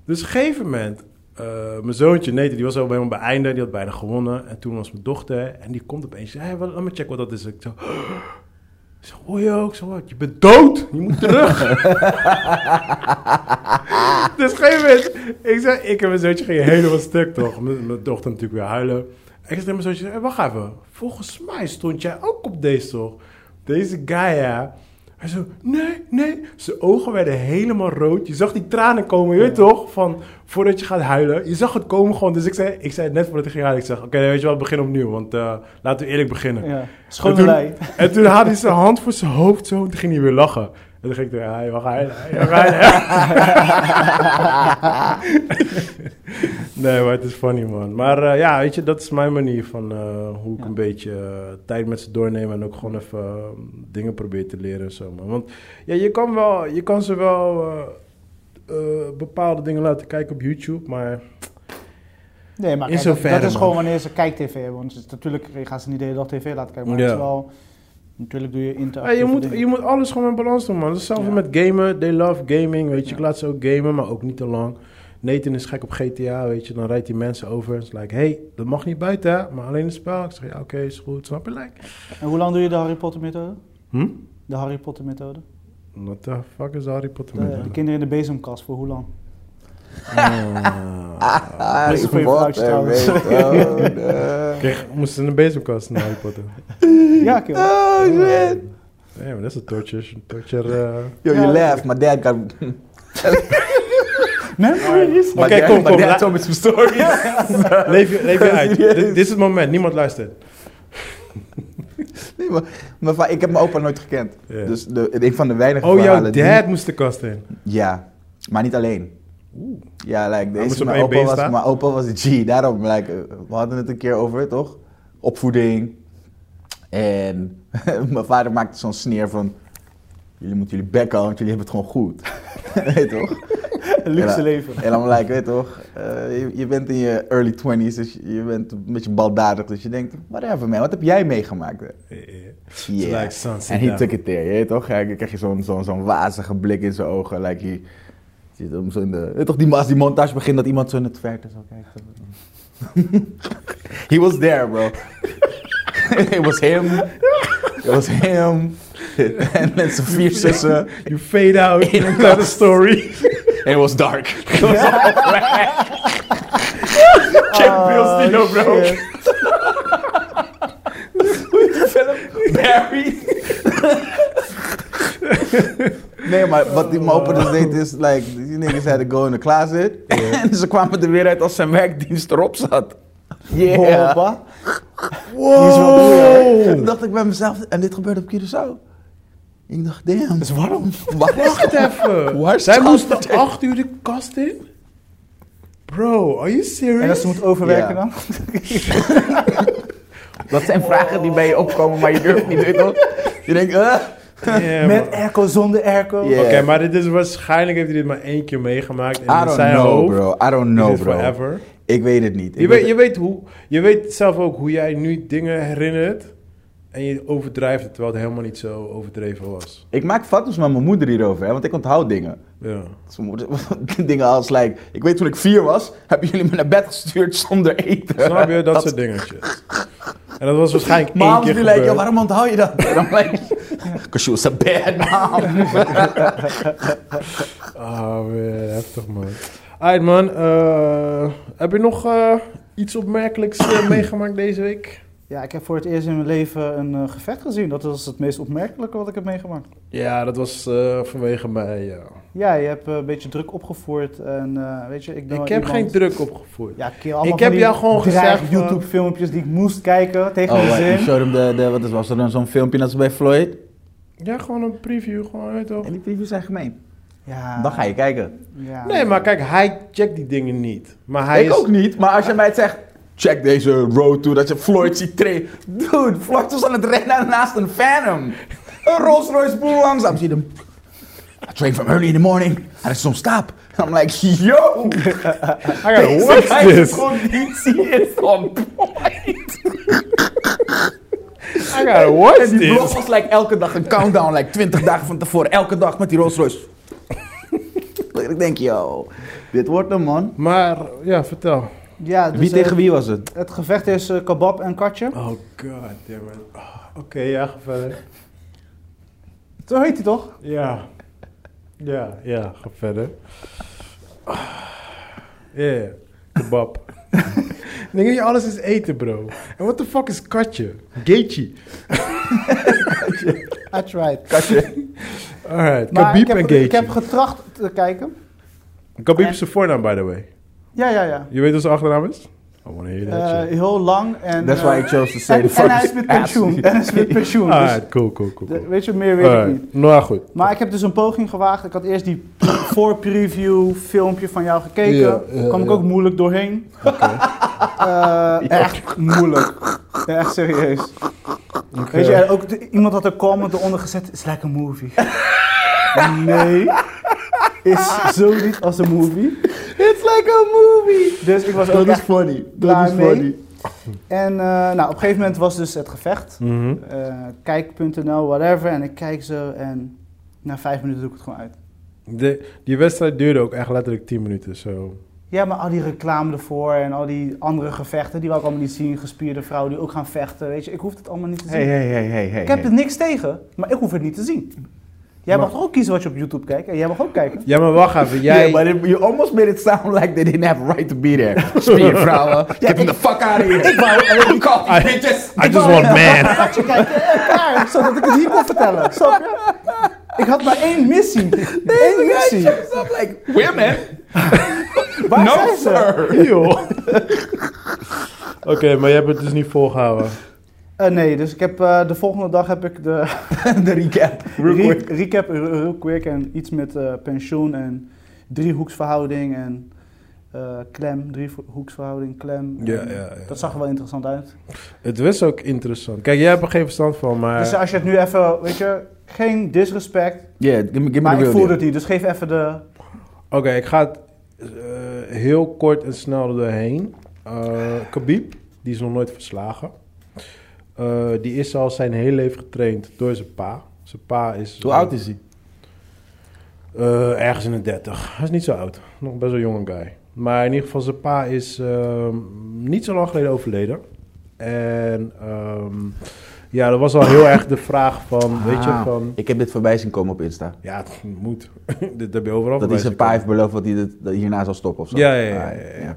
Speaker 1: Dus op een gegeven moment eh, mijn zoontje, Nathan, die was al helemaal bij einde. Die had bijna gewonnen. En toen was mijn dochter. En die komt opeens. Hé, hey, wat- laat me checken wat dat is. Ik zo... Ik zo, hoor je ook? Ik zo, wat? Je bent dood! Je moet terug! dus op een gegeven moment, ik zeg, ik en mijn zoontje gingen helemaal stuk, toch? Mijn, mijn dochter natuurlijk weer huilen. Ik zeg tegen mijn zoontje, hey, wacht even. Volgens mij stond jij ook op deze, toch? Deze Gaia. Hij zo, nee, nee. Zijn ogen werden helemaal rood. Je zag die tranen komen, je weet toch? Van, voordat je gaat huilen. Je zag het komen gewoon. Dus ik zei, ik zei het net voordat ik ging huilen. Ik zeg, oké, weet je wat, begin opnieuw. Want eh, laten we eerlijk beginnen.
Speaker 2: Ja.
Speaker 1: En
Speaker 2: Schone
Speaker 1: toen-
Speaker 2: lei.
Speaker 1: En toen haalde hij zijn hand voor zijn hoofd zo en toen ging hij weer lachen. En toen ging ik tegen hij mag hij, hij mag [laughs] hij." [laughs] Nee, maar het is funny, man. Maar eh, ja, weet je, dat is mijn manier van eh, hoe ik
Speaker 2: Ja.
Speaker 1: een beetje eh, tijd met ze doorneem en ook gewoon even eh, dingen probeer te leren en zo, man. Want ja, je kan, wel, je kan ze wel eh, eh, bepaalde dingen laten kijken op YouTube, maar
Speaker 2: Nee, maar
Speaker 1: In
Speaker 2: kijk, dat-
Speaker 1: zoverre,
Speaker 2: dat is
Speaker 1: man.
Speaker 2: gewoon wanneer ze kijktv hebben. Want ze- natuurlijk je gaat ze niet de hele dag tv laten kijken. Maar
Speaker 1: Ja.
Speaker 2: het is wel... Natuurlijk doe je
Speaker 1: Ja,
Speaker 2: interactieve
Speaker 1: je, moet,
Speaker 2: dingen.
Speaker 1: je moet alles gewoon in balans doen, man. Hetzelfde
Speaker 2: Ja.
Speaker 1: met gamen. They love gaming, weet je. Ik
Speaker 2: Ja.
Speaker 1: laat ze ook gamen, maar ook niet te lang. Nathan is gek op GTA, weet je. Dan rijdt hij mensen over. Het is like, hey, dat mag niet buiten, hè, maar alleen het spel. Ik zeg, ja, oké, is goed. Snap je? Like,
Speaker 2: En hoe lang doe je de Harry Potter methode?
Speaker 1: hm?
Speaker 2: De Harry Potter methode?
Speaker 1: What the fuck is Harry Potter?
Speaker 2: De, de kinderen in de bezemkast, voor hoe lang?
Speaker 3: Ah,
Speaker 2: Dat is een goeie
Speaker 3: wat
Speaker 2: vrouwtje
Speaker 3: een
Speaker 2: trouwens.
Speaker 3: [laughs] methode.
Speaker 1: Kijk, moesten in de bezemkast naar Harry Potter.
Speaker 2: Ja, kill.
Speaker 1: [laughs]
Speaker 3: Oh shit.
Speaker 1: Nee, maar dat is een torture. torture
Speaker 3: [laughs]
Speaker 1: eh.
Speaker 3: Yo,
Speaker 2: Ja,
Speaker 3: you
Speaker 2: dat-
Speaker 3: laugh. My dad got...
Speaker 2: Memories?
Speaker 3: my
Speaker 1: Oké,
Speaker 3: dad-
Speaker 1: kom, kom,
Speaker 3: My
Speaker 1: laat-
Speaker 3: dad told me some stories.
Speaker 1: leef, je, leef je uit.
Speaker 3: Serieus?
Speaker 1: Dit, dit is het moment. Niemand luistert.
Speaker 3: [laughs] Nee, maar, maar va- ik heb mijn opa nooit gekend.
Speaker 1: Ja.
Speaker 3: Dus de, een van de weinige
Speaker 1: Oh, jouw
Speaker 3: verhalen... die-
Speaker 1: dad moest de kast in.
Speaker 3: Ja, maar niet alleen.
Speaker 1: Oeh.
Speaker 3: Ja, like,
Speaker 1: moest
Speaker 3: deze,
Speaker 1: op
Speaker 3: mijn,
Speaker 1: één
Speaker 3: opa
Speaker 1: been
Speaker 3: was,
Speaker 1: staan?
Speaker 3: mijn opa was een G. Daarom, like, eh, we hadden het een keer over, toch? Opvoeding. En [laughs] mijn vader maakte zo'n sneer van... Jullie moeten jullie bek houden, want jullie hebben het gewoon goed. [laughs] weet je toch?
Speaker 2: Een luxe
Speaker 3: Ja.
Speaker 2: leven.
Speaker 3: En dan like, weet je toch? eh, je, je bent in je early 20s, dus je, je bent een beetje baldadig. Dus je denkt, whatever man, wat heb jij meegemaakt? hè?
Speaker 1: Eh, eh.
Speaker 3: Yeah.
Speaker 1: like, son, sit
Speaker 3: En hij
Speaker 1: down.
Speaker 3: took it there, je weet toch? Ja, dan krijg je zo'n zo'n zo'n wazige blik in zijn ogen. Like je zit hem zo in de... weet toch, die, als die montage begint, dat iemand zo in het verte zo kijkt. zo. [laughs] He was there, bro. [laughs] It was him. It was him. [laughs] En met zijn vier zussen.
Speaker 1: You fade out.
Speaker 3: In een
Speaker 1: Not a story.
Speaker 3: [laughs]
Speaker 1: [laughs]
Speaker 3: En it was dark. It was all black. Check Bill's Dino, bro. Barry. nee, maar wat die moppen dus deed is, like, die niggas had to go in the closet. [laughs] en ze kwamen er weer uit als zijn werkdienst erop zat. Yeah.
Speaker 2: Hoppa.
Speaker 1: Oh. [laughs]
Speaker 3: Toen dacht ik bij mezelf, en dit gebeurde op Curaçao. Ik dacht, damn. Dus waarom? [laughs]
Speaker 1: Wacht even.
Speaker 3: Waar
Speaker 1: Zij
Speaker 3: staat
Speaker 1: moesten
Speaker 3: het?
Speaker 1: 8 uur de kast in? Bro, are you serious?
Speaker 2: En als ze moet overwerken
Speaker 3: Ja.
Speaker 2: dan?
Speaker 3: Dat zijn vragen die bij je opkomen, maar je durft niet, weet je wel. Je denkt, eh.
Speaker 1: [laughs] Yeah,
Speaker 2: Met
Speaker 1: man.
Speaker 2: airco, zonder airco.
Speaker 3: Ja.
Speaker 1: Oké, maar dit is waarschijnlijk heeft hij dit maar één keer meegemaakt. En
Speaker 3: I
Speaker 1: in
Speaker 3: don't
Speaker 1: zijn
Speaker 3: know,
Speaker 1: hoofd
Speaker 3: bro. I don't
Speaker 1: is
Speaker 3: know,
Speaker 1: het
Speaker 3: bro.
Speaker 1: forever.
Speaker 3: Ik weet het niet.
Speaker 1: Je weet, je, weet hoe, je weet zelf ook hoe jij nu dingen herinnert. En je overdrijft het, terwijl het helemaal niet zo overdreven was.
Speaker 3: Ik maak foto's met mijn moeder hierover, hè, want ik onthoud dingen.
Speaker 1: Ja.
Speaker 3: Dus mijn moeder- [laughs] dingen als, like, ik weet toen ik vier was, hebben jullie me naar bed gestuurd zonder eten.
Speaker 1: Snap
Speaker 3: [laughs]
Speaker 1: je? Dat soort dingetjes. En dat was waarschijnlijk één
Speaker 3: Mom
Speaker 1: keer
Speaker 3: die like,
Speaker 1: gebeurd.
Speaker 3: "Yo, waarom onthoud je dat? En dan like, [laughs] because she was a bad mom.
Speaker 1: Ah, man, heftig man. Alright man, eh, heb je nog eh, iets opmerkelijks [clears throat] eh, meegemaakt deze week?
Speaker 2: Ja, ik heb voor het eerst in mijn leven een eh, gevecht gezien. Dat was het meest opmerkelijke wat ik heb meegemaakt.
Speaker 1: Ja, dat was eh, vanwege mij, ja.
Speaker 2: Ja, je hebt eh, een beetje druk opgevoerd en eh, weet je, ik ben
Speaker 1: Ik
Speaker 2: wel
Speaker 1: heb
Speaker 2: iemand-
Speaker 1: geen druk opgevoerd.
Speaker 2: Ja, kill, allemaal
Speaker 1: Ik
Speaker 2: van
Speaker 1: heb
Speaker 2: die
Speaker 1: jou gewoon
Speaker 2: dreig
Speaker 1: gezegd, eh,
Speaker 2: YouTube filmpjes die ik moest kijken tegen
Speaker 3: [laughs] Oh,
Speaker 2: mijn
Speaker 3: wait,
Speaker 2: zin.
Speaker 3: you showed hem de, de, wat is, was er dan zo'n filmpje net als bij Floyd?
Speaker 1: Ja, gewoon een preview, gewoon uit toch?
Speaker 3: En die previews zijn gemeen.
Speaker 2: Ja.
Speaker 3: Dan ga je kijken.
Speaker 2: Ja.
Speaker 1: Nee, maar kijk, hij checkt die dingen niet. Maar hij
Speaker 3: ik
Speaker 1: is...
Speaker 3: ook niet, maar als je mij het zegt, check deze road to, dat je Floyd ziet trainen. Dude, Floyd was aan het rennen naast een Phantom. Een Rolls Royce boel langzaam. Zie je hem. I train from early in the morning, I just don't stop. I'm like, yo!
Speaker 1: I [laughs] gotta watch this.
Speaker 3: conditie is on point.
Speaker 1: I gotta watch
Speaker 3: Die blog
Speaker 1: this.
Speaker 3: was like elke dag een countdown, like 20 dagen van tevoren, elke dag met die Rolls Royce. ik denk, yo.
Speaker 4: Dit wordt hem, man.
Speaker 1: Maar ja, vertel.
Speaker 2: Ja, dus
Speaker 4: wie
Speaker 2: eh,
Speaker 4: tegen wie was het?
Speaker 2: Het gevecht is eh, kebab en katje.
Speaker 1: Oh god damn it. Ah, Oké, ja, ga verder.
Speaker 2: Zo heet hij toch?
Speaker 1: Ja. Ja, ja, ga verder. Ah, Yeah, [laughs] kebab. Ik Denk je alles is eten, bro? En what the fuck is katje? Gaethje.
Speaker 2: That's right.
Speaker 4: Katje.
Speaker 1: Alright,
Speaker 2: Maar ik
Speaker 1: Khabib
Speaker 2: heb,
Speaker 1: en
Speaker 2: ge- ik heb
Speaker 1: Gaethje.
Speaker 2: getracht te kijken.
Speaker 1: Khabib
Speaker 2: en-
Speaker 1: is zijn voornaam, by the way.
Speaker 2: Ja, ja, ja.
Speaker 1: Je weet wat zijn achternaam is? I wanna hear that
Speaker 2: Eh,
Speaker 1: shit.
Speaker 2: heel lang en...
Speaker 4: That's why I
Speaker 2: eh,
Speaker 4: chose to say
Speaker 2: en,
Speaker 4: the
Speaker 2: en hij is
Speaker 4: fucking ass.
Speaker 2: met pensioen. [laughs] En hij is met pensioen. dus
Speaker 1: Alright, cool, cool, cool.
Speaker 2: de-
Speaker 1: cool.
Speaker 2: weet je, meer weet ik
Speaker 1: Alright,
Speaker 2: niet.
Speaker 1: Nou, goed.
Speaker 2: Maar ik heb dus een poging gewaagd. Ik had eerst die [coughs] voorpreview filmpje van jou gekeken.
Speaker 1: Ja, ja,
Speaker 2: Daar kwam ik
Speaker 1: ja.
Speaker 2: ook moeilijk doorheen. [laughs] Eh, Echt moeilijk. Ja, echt serieus.
Speaker 1: Oké.
Speaker 2: Weet je, en ook de- iemand had een comment eronder gezet, it's like a movie. [laughs] nee, is zo niet als een movie.
Speaker 4: [laughs] It's like a movie.
Speaker 2: Dus ik was
Speaker 4: Dat
Speaker 2: ook
Speaker 4: is
Speaker 2: echt...
Speaker 4: funny. Dat
Speaker 2: klaar
Speaker 4: is
Speaker 2: mee.
Speaker 4: funny.
Speaker 2: En eh, nou, op een gegeven moment was dus het gevecht.
Speaker 1: Mhm.
Speaker 2: Eh, Kijk.nl, whatever. En ik kijk zo en na vijf minuten doe ik het gewoon uit.
Speaker 1: De, die wedstrijd duurde ook echt letterlijk 10 minuten. zo.
Speaker 2: Ja, maar al die reclame ervoor en al die andere gevechten, die wil ik allemaal niet zien. Gespierde vrouwen die ook gaan vechten, weet je. Ik hoef het allemaal niet te zien.
Speaker 4: Hey, hey, hey, hey, hey.
Speaker 2: ik heb
Speaker 4: hey.
Speaker 2: er niks tegen, maar ik hoef het niet te zien. Jij
Speaker 1: Maar-
Speaker 2: mag toch ook kiezen wat je op YouTube kijkt? En jij mag ook kijken.
Speaker 1: Ja, maar wacht even. Jij,
Speaker 4: Yeah, but it, you almost made it sound like they didn't have a right to be there. [laughs] Spiervrouwen, get them the fuck out of here. [laughs] Ik wou,
Speaker 1: I-
Speaker 4: bitches.
Speaker 1: I just want
Speaker 4: [laughs]
Speaker 1: man.
Speaker 2: Had je kijken eh, klaar, zodat ik het hier kon vertellen. Snap je? Ik had maar één missie. Eén missie.
Speaker 4: up like, women?
Speaker 2: Waar zijn ze?
Speaker 4: [laughs]
Speaker 1: Joh. Oké, maar je hebt het dus niet volgehouden.
Speaker 2: Eh, nee, dus ik heb, eh, de volgende dag heb ik de
Speaker 4: De recap.
Speaker 2: re-
Speaker 4: Real quick.
Speaker 2: recap eh, real quick en iets met eh, pensioen en driehoeksverhouding en eh, klem, driehoeksverhouding, klem.
Speaker 1: Ja,
Speaker 2: En
Speaker 1: ja, ja.
Speaker 2: Dat zag er wel interessant uit.
Speaker 1: Het was ook interessant. Kijk, jij hebt er geen verstand van, maar...
Speaker 2: Dus als je het nu even, weet je, geen disrespect,
Speaker 4: Yeah, give me, give me
Speaker 2: maar
Speaker 4: the
Speaker 2: ik
Speaker 4: real
Speaker 2: voelde
Speaker 4: deal.
Speaker 2: het niet, dus geef even de...
Speaker 1: Oké, ik ga het eh, heel kort en snel er doorheen. Eh Khabib, die is nog nooit verslagen. Eh, die is al zijn hele leven getraind door zijn pa. Zijn pa is...
Speaker 4: Hoe oud is hij?
Speaker 1: Eh, ergens in de 30. Hij is niet zo oud. Nog best wel jonge guy. Maar in ieder geval, zijn pa is ehm, niet zo lang geleden overleden. En ehm, ja, dat was al heel erg de vraag van, weet je,
Speaker 4: Ah,
Speaker 1: van...
Speaker 4: Ik heb dit voorbij zien komen op Insta.
Speaker 1: Ja, het moet. [laughs] Dit heb je overal
Speaker 4: Dat hij
Speaker 1: een
Speaker 4: zijn pa heeft beloofd dat hij dit, dat hierna zal stoppen of zo.
Speaker 1: Ja, ja, ja,
Speaker 4: Ah,
Speaker 1: ja, ja.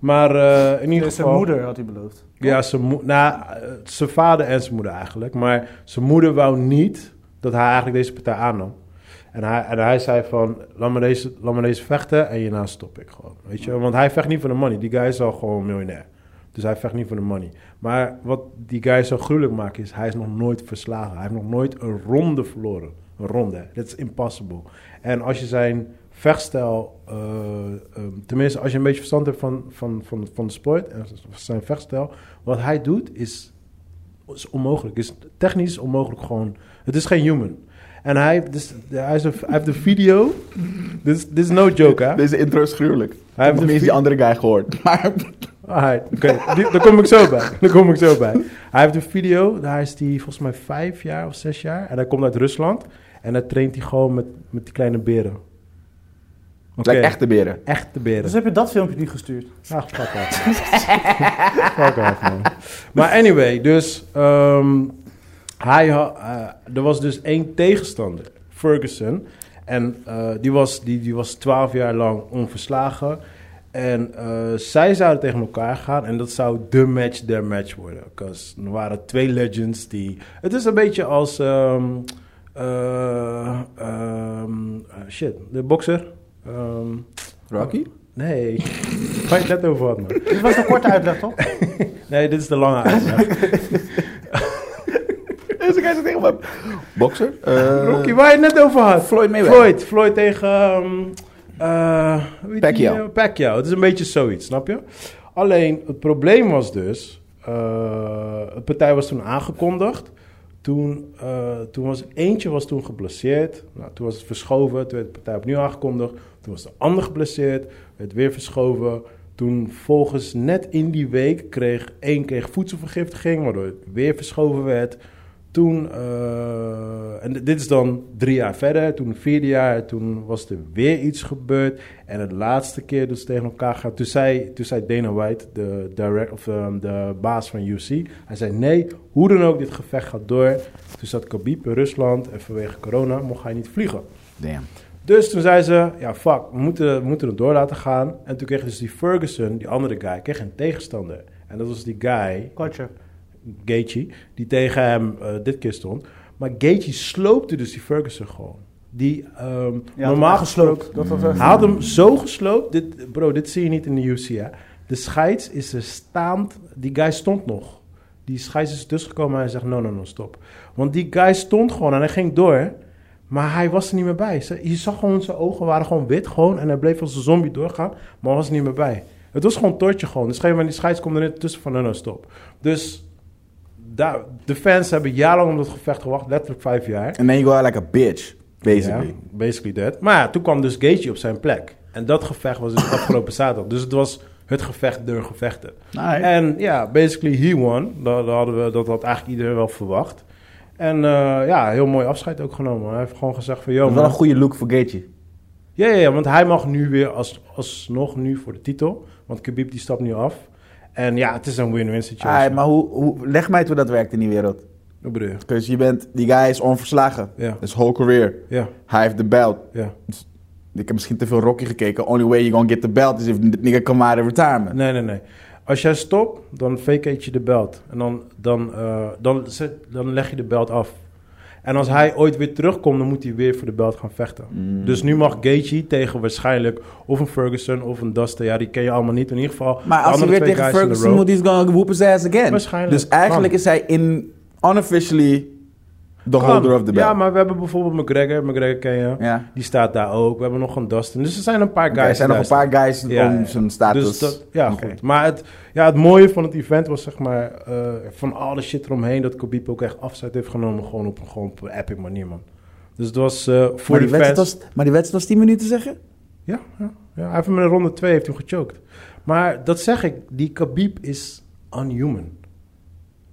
Speaker 1: Maar eh, in ieder
Speaker 2: Dus
Speaker 1: geval...
Speaker 2: zijn moeder had hij beloofd.
Speaker 1: Ja, zijn, mo- nou, eh, zijn vader en zijn moeder eigenlijk. Maar zijn moeder wou niet dat hij eigenlijk deze partij aannam. En hij, en hij zei van, laat me, deze, laat me deze vechten en hierna stop ik gewoon. Weet je? Want hij vecht niet voor de money. Die guy is al gewoon miljonair. Dus hij vecht niet voor de money. Maar wat die guy zo gruwelijk maakt is, hij is nog nooit verslagen. Hij heeft nog nooit een ronde verloren. Een ronde. Dat is impossible. En als je zijn vechtstijl, eh, ehm, tenminste als je een beetje verstand hebt van, van, van, van de sport en zijn vechtstijl, wat hij doet is, is onmogelijk. Is technisch onmogelijk gewoon. Het is geen human. En hij, heeft dus, hij, is een, hij heeft een video. Dit is- dit is no joke, hè?
Speaker 4: Deze intro is gruwelijk. Ik
Speaker 1: heeft
Speaker 4: heb nog
Speaker 1: een
Speaker 4: niet eens
Speaker 1: vi-
Speaker 4: die andere guy
Speaker 3: [laughs]
Speaker 4: gehoord. Maar
Speaker 1: Alright, oké. Die- daar kom ik zo bij. [laughs] Daar kom ik zo bij. Hij heeft een video, daar is hij volgens mij vijf jaar of zes jaar. En hij komt uit Rusland. En daar traint hij gewoon met, met die kleine beren. Oké.
Speaker 4: Lijkt echt te beren.
Speaker 1: Echte beren.
Speaker 2: Dus heb je dat filmpje niet gestuurd?
Speaker 1: Ach, Nou, fuck off. [laughs] fuck off, man. Maar anyway, dus... ehm, hij ha- eh, er was dus één tegenstander, Ferguson. En eh, die, was, die, die was 12 jaar lang onverslagen. En eh, zij zouden tegen elkaar gaan. En dat zou de match der match worden. Because er waren twee legends die... Het is een beetje als... ehm, eh, ehm, eh, shit, de bokser. Ehm,
Speaker 4: Rocky?
Speaker 1: Nee. Waar je het net over had, man.
Speaker 2: Dit was een korte uitleg, toch?
Speaker 1: Nee, dit is de lange [laughs] uitleg.
Speaker 4: Deze guy zit tegen me. Boxer?
Speaker 3: Eh,
Speaker 1: Rocky, waar je het net over had.
Speaker 4: Floyd Mayweather.
Speaker 1: Floyd, Floyd tegen... ehm, eh, hoe heet die,
Speaker 4: Pacquiao.
Speaker 1: eh, Pacquiao. Het is een beetje zoiets, snap je? Alleen, het probleem was dus... eh de partij was toen aangekondigd. Toen, eh, toen was eentje was toen geblesseerd. Nou, toen was het verschoven. Toen werd de partij opnieuw aangekondigd. Toen was de ander geblesseerd. Werd weer verschoven. Toen volgens net in die week kreeg één kreeg voedselvergiftiging. Waardoor het weer verschoven werd. Toen, eh, en dit is dan drie jaar verder, toen vierde jaar, toen was er weer iets gebeurd. En het laatste keer dat ze tegen elkaar gaan, toen zei, toen zei Dana White, de, direct, of, ehm, de baas van UC, hij zei nee, hoe dan ook, dit gevecht gaat door. Toen zat Khabib in Rusland en vanwege corona mocht hij niet vliegen.
Speaker 4: Damn.
Speaker 1: Dus toen zei ze, ja fuck, we moeten, we moeten het door laten gaan. En toen kreeg dus die Ferguson, die andere guy, kreeg een tegenstander. En dat was die guy,
Speaker 2: Kotje.
Speaker 1: Gaethje, die tegen hem eh, dit keer stond. Maar Gaethje sloopte dus die Ferguson gewoon. Die ehm, normaal gesproken...
Speaker 2: Dat was echt-
Speaker 1: Hij had hem zo gesloopt. Dit, bro, dit zie je niet in de UC, hè. De scheids is er staand. Die guy stond nog. Die scheids is dus gekomen en hij zegt, no, no, no, stop. Want die guy stond gewoon en hij ging door. Maar hij was er niet meer bij. Ze- Je zag gewoon, zijn ogen waren gewoon wit gewoon. En hij bleef als een zombie doorgaan, maar hij was er niet meer bij. Het was gewoon tortje gewoon. Dus op een gegeven moment, die scheids komt er net tussen van, no, no, stop. Dus daar, de fans hebben jarenlang om dat gevecht gewacht. Letterlijk vijf jaar.
Speaker 3: And then you go out like a bitch, basically.
Speaker 1: Ja, basically that. Maar ja, toen kwam dus Gaethje op zijn plek. En dat gevecht was dus afgelopen zaterdag. Dus het was het gevecht der gevechten.
Speaker 4: Alright.
Speaker 1: En ja, basically he won. Dat, dat hadden we, dat had eigenlijk iedereen wel verwacht. En eh, ja, heel mooi afscheid ook genomen. Hij heeft gewoon gezegd van...
Speaker 4: Dat
Speaker 1: Yo,
Speaker 4: is wel een
Speaker 1: man.
Speaker 4: goede look voor Gaethje.
Speaker 1: Ja, ja, ja, want hij mag nu weer als, alsnog nu voor de titel. Want Khabib die stapt nu af. En ja, het is een win-win situatie.
Speaker 4: Ah, maar hoe, hoe, leg mij uit hoe dat werkt in die wereld.
Speaker 1: Wat bedoel je?
Speaker 3: Dus je bent, die guy is onverslagen.
Speaker 1: Ja.
Speaker 3: His whole career.
Speaker 1: Ja,
Speaker 3: Hij heeft de belt.
Speaker 1: ja.
Speaker 3: Ik heb misschien te veel Rocky gekeken. Only way you're gonna get the belt is if the nigga come out of retirement.
Speaker 1: Nee, nee, nee. Als jij stopt, dan vacate je de belt. En dan, dan, eh, dan, zet- dan leg je de belt af. En als hij ooit weer terugkomt, dan moet hij weer voor de belt gaan vechten.
Speaker 3: Mm.
Speaker 1: Dus nu mag Gaethje tegen waarschijnlijk of een Ferguson of een Dustin. Ja, die ken je allemaal niet. In ieder geval
Speaker 3: Maar
Speaker 1: de
Speaker 3: als hij
Speaker 1: andere
Speaker 3: weer
Speaker 1: twee
Speaker 3: tegen
Speaker 1: guys in the
Speaker 3: Ferguson
Speaker 1: row.
Speaker 3: moet, he's gonna whoop his ass again.
Speaker 1: Waarschijnlijk.
Speaker 3: Dus eigenlijk
Speaker 1: Kan.
Speaker 3: is hij in, unofficially, the
Speaker 1: Kan.
Speaker 3: holder of the belt.
Speaker 1: Ja, maar we hebben bijvoorbeeld McGregor. McGregor ken je.
Speaker 3: Ja.
Speaker 1: Die staat daar ook. We hebben nog een Dustin. Dus er zijn een paar guys.
Speaker 3: er zijn
Speaker 1: die
Speaker 3: nog een
Speaker 1: daar
Speaker 3: paar guys
Speaker 1: Ja,
Speaker 3: om
Speaker 1: ja.
Speaker 3: zijn status.
Speaker 1: Dus dat, ja,
Speaker 3: Oké.
Speaker 1: goed. Maar het, ja, het mooie van het event was zeg maar eh, van alle shit eromheen dat Khabib ook echt afscheid heeft genomen gewoon op, gewoon op een epic manier man. Dus het was eh, voor
Speaker 3: maar,
Speaker 1: de
Speaker 3: die
Speaker 1: fans.
Speaker 3: wedstrijd was, maar die wedstrijd was 10 minuten zeggen?
Speaker 1: Ja, ja, ja, hij heeft hem in ronde 2 heeft hem gechoked. Maar dat zeg ik, die Khabib is unhuman.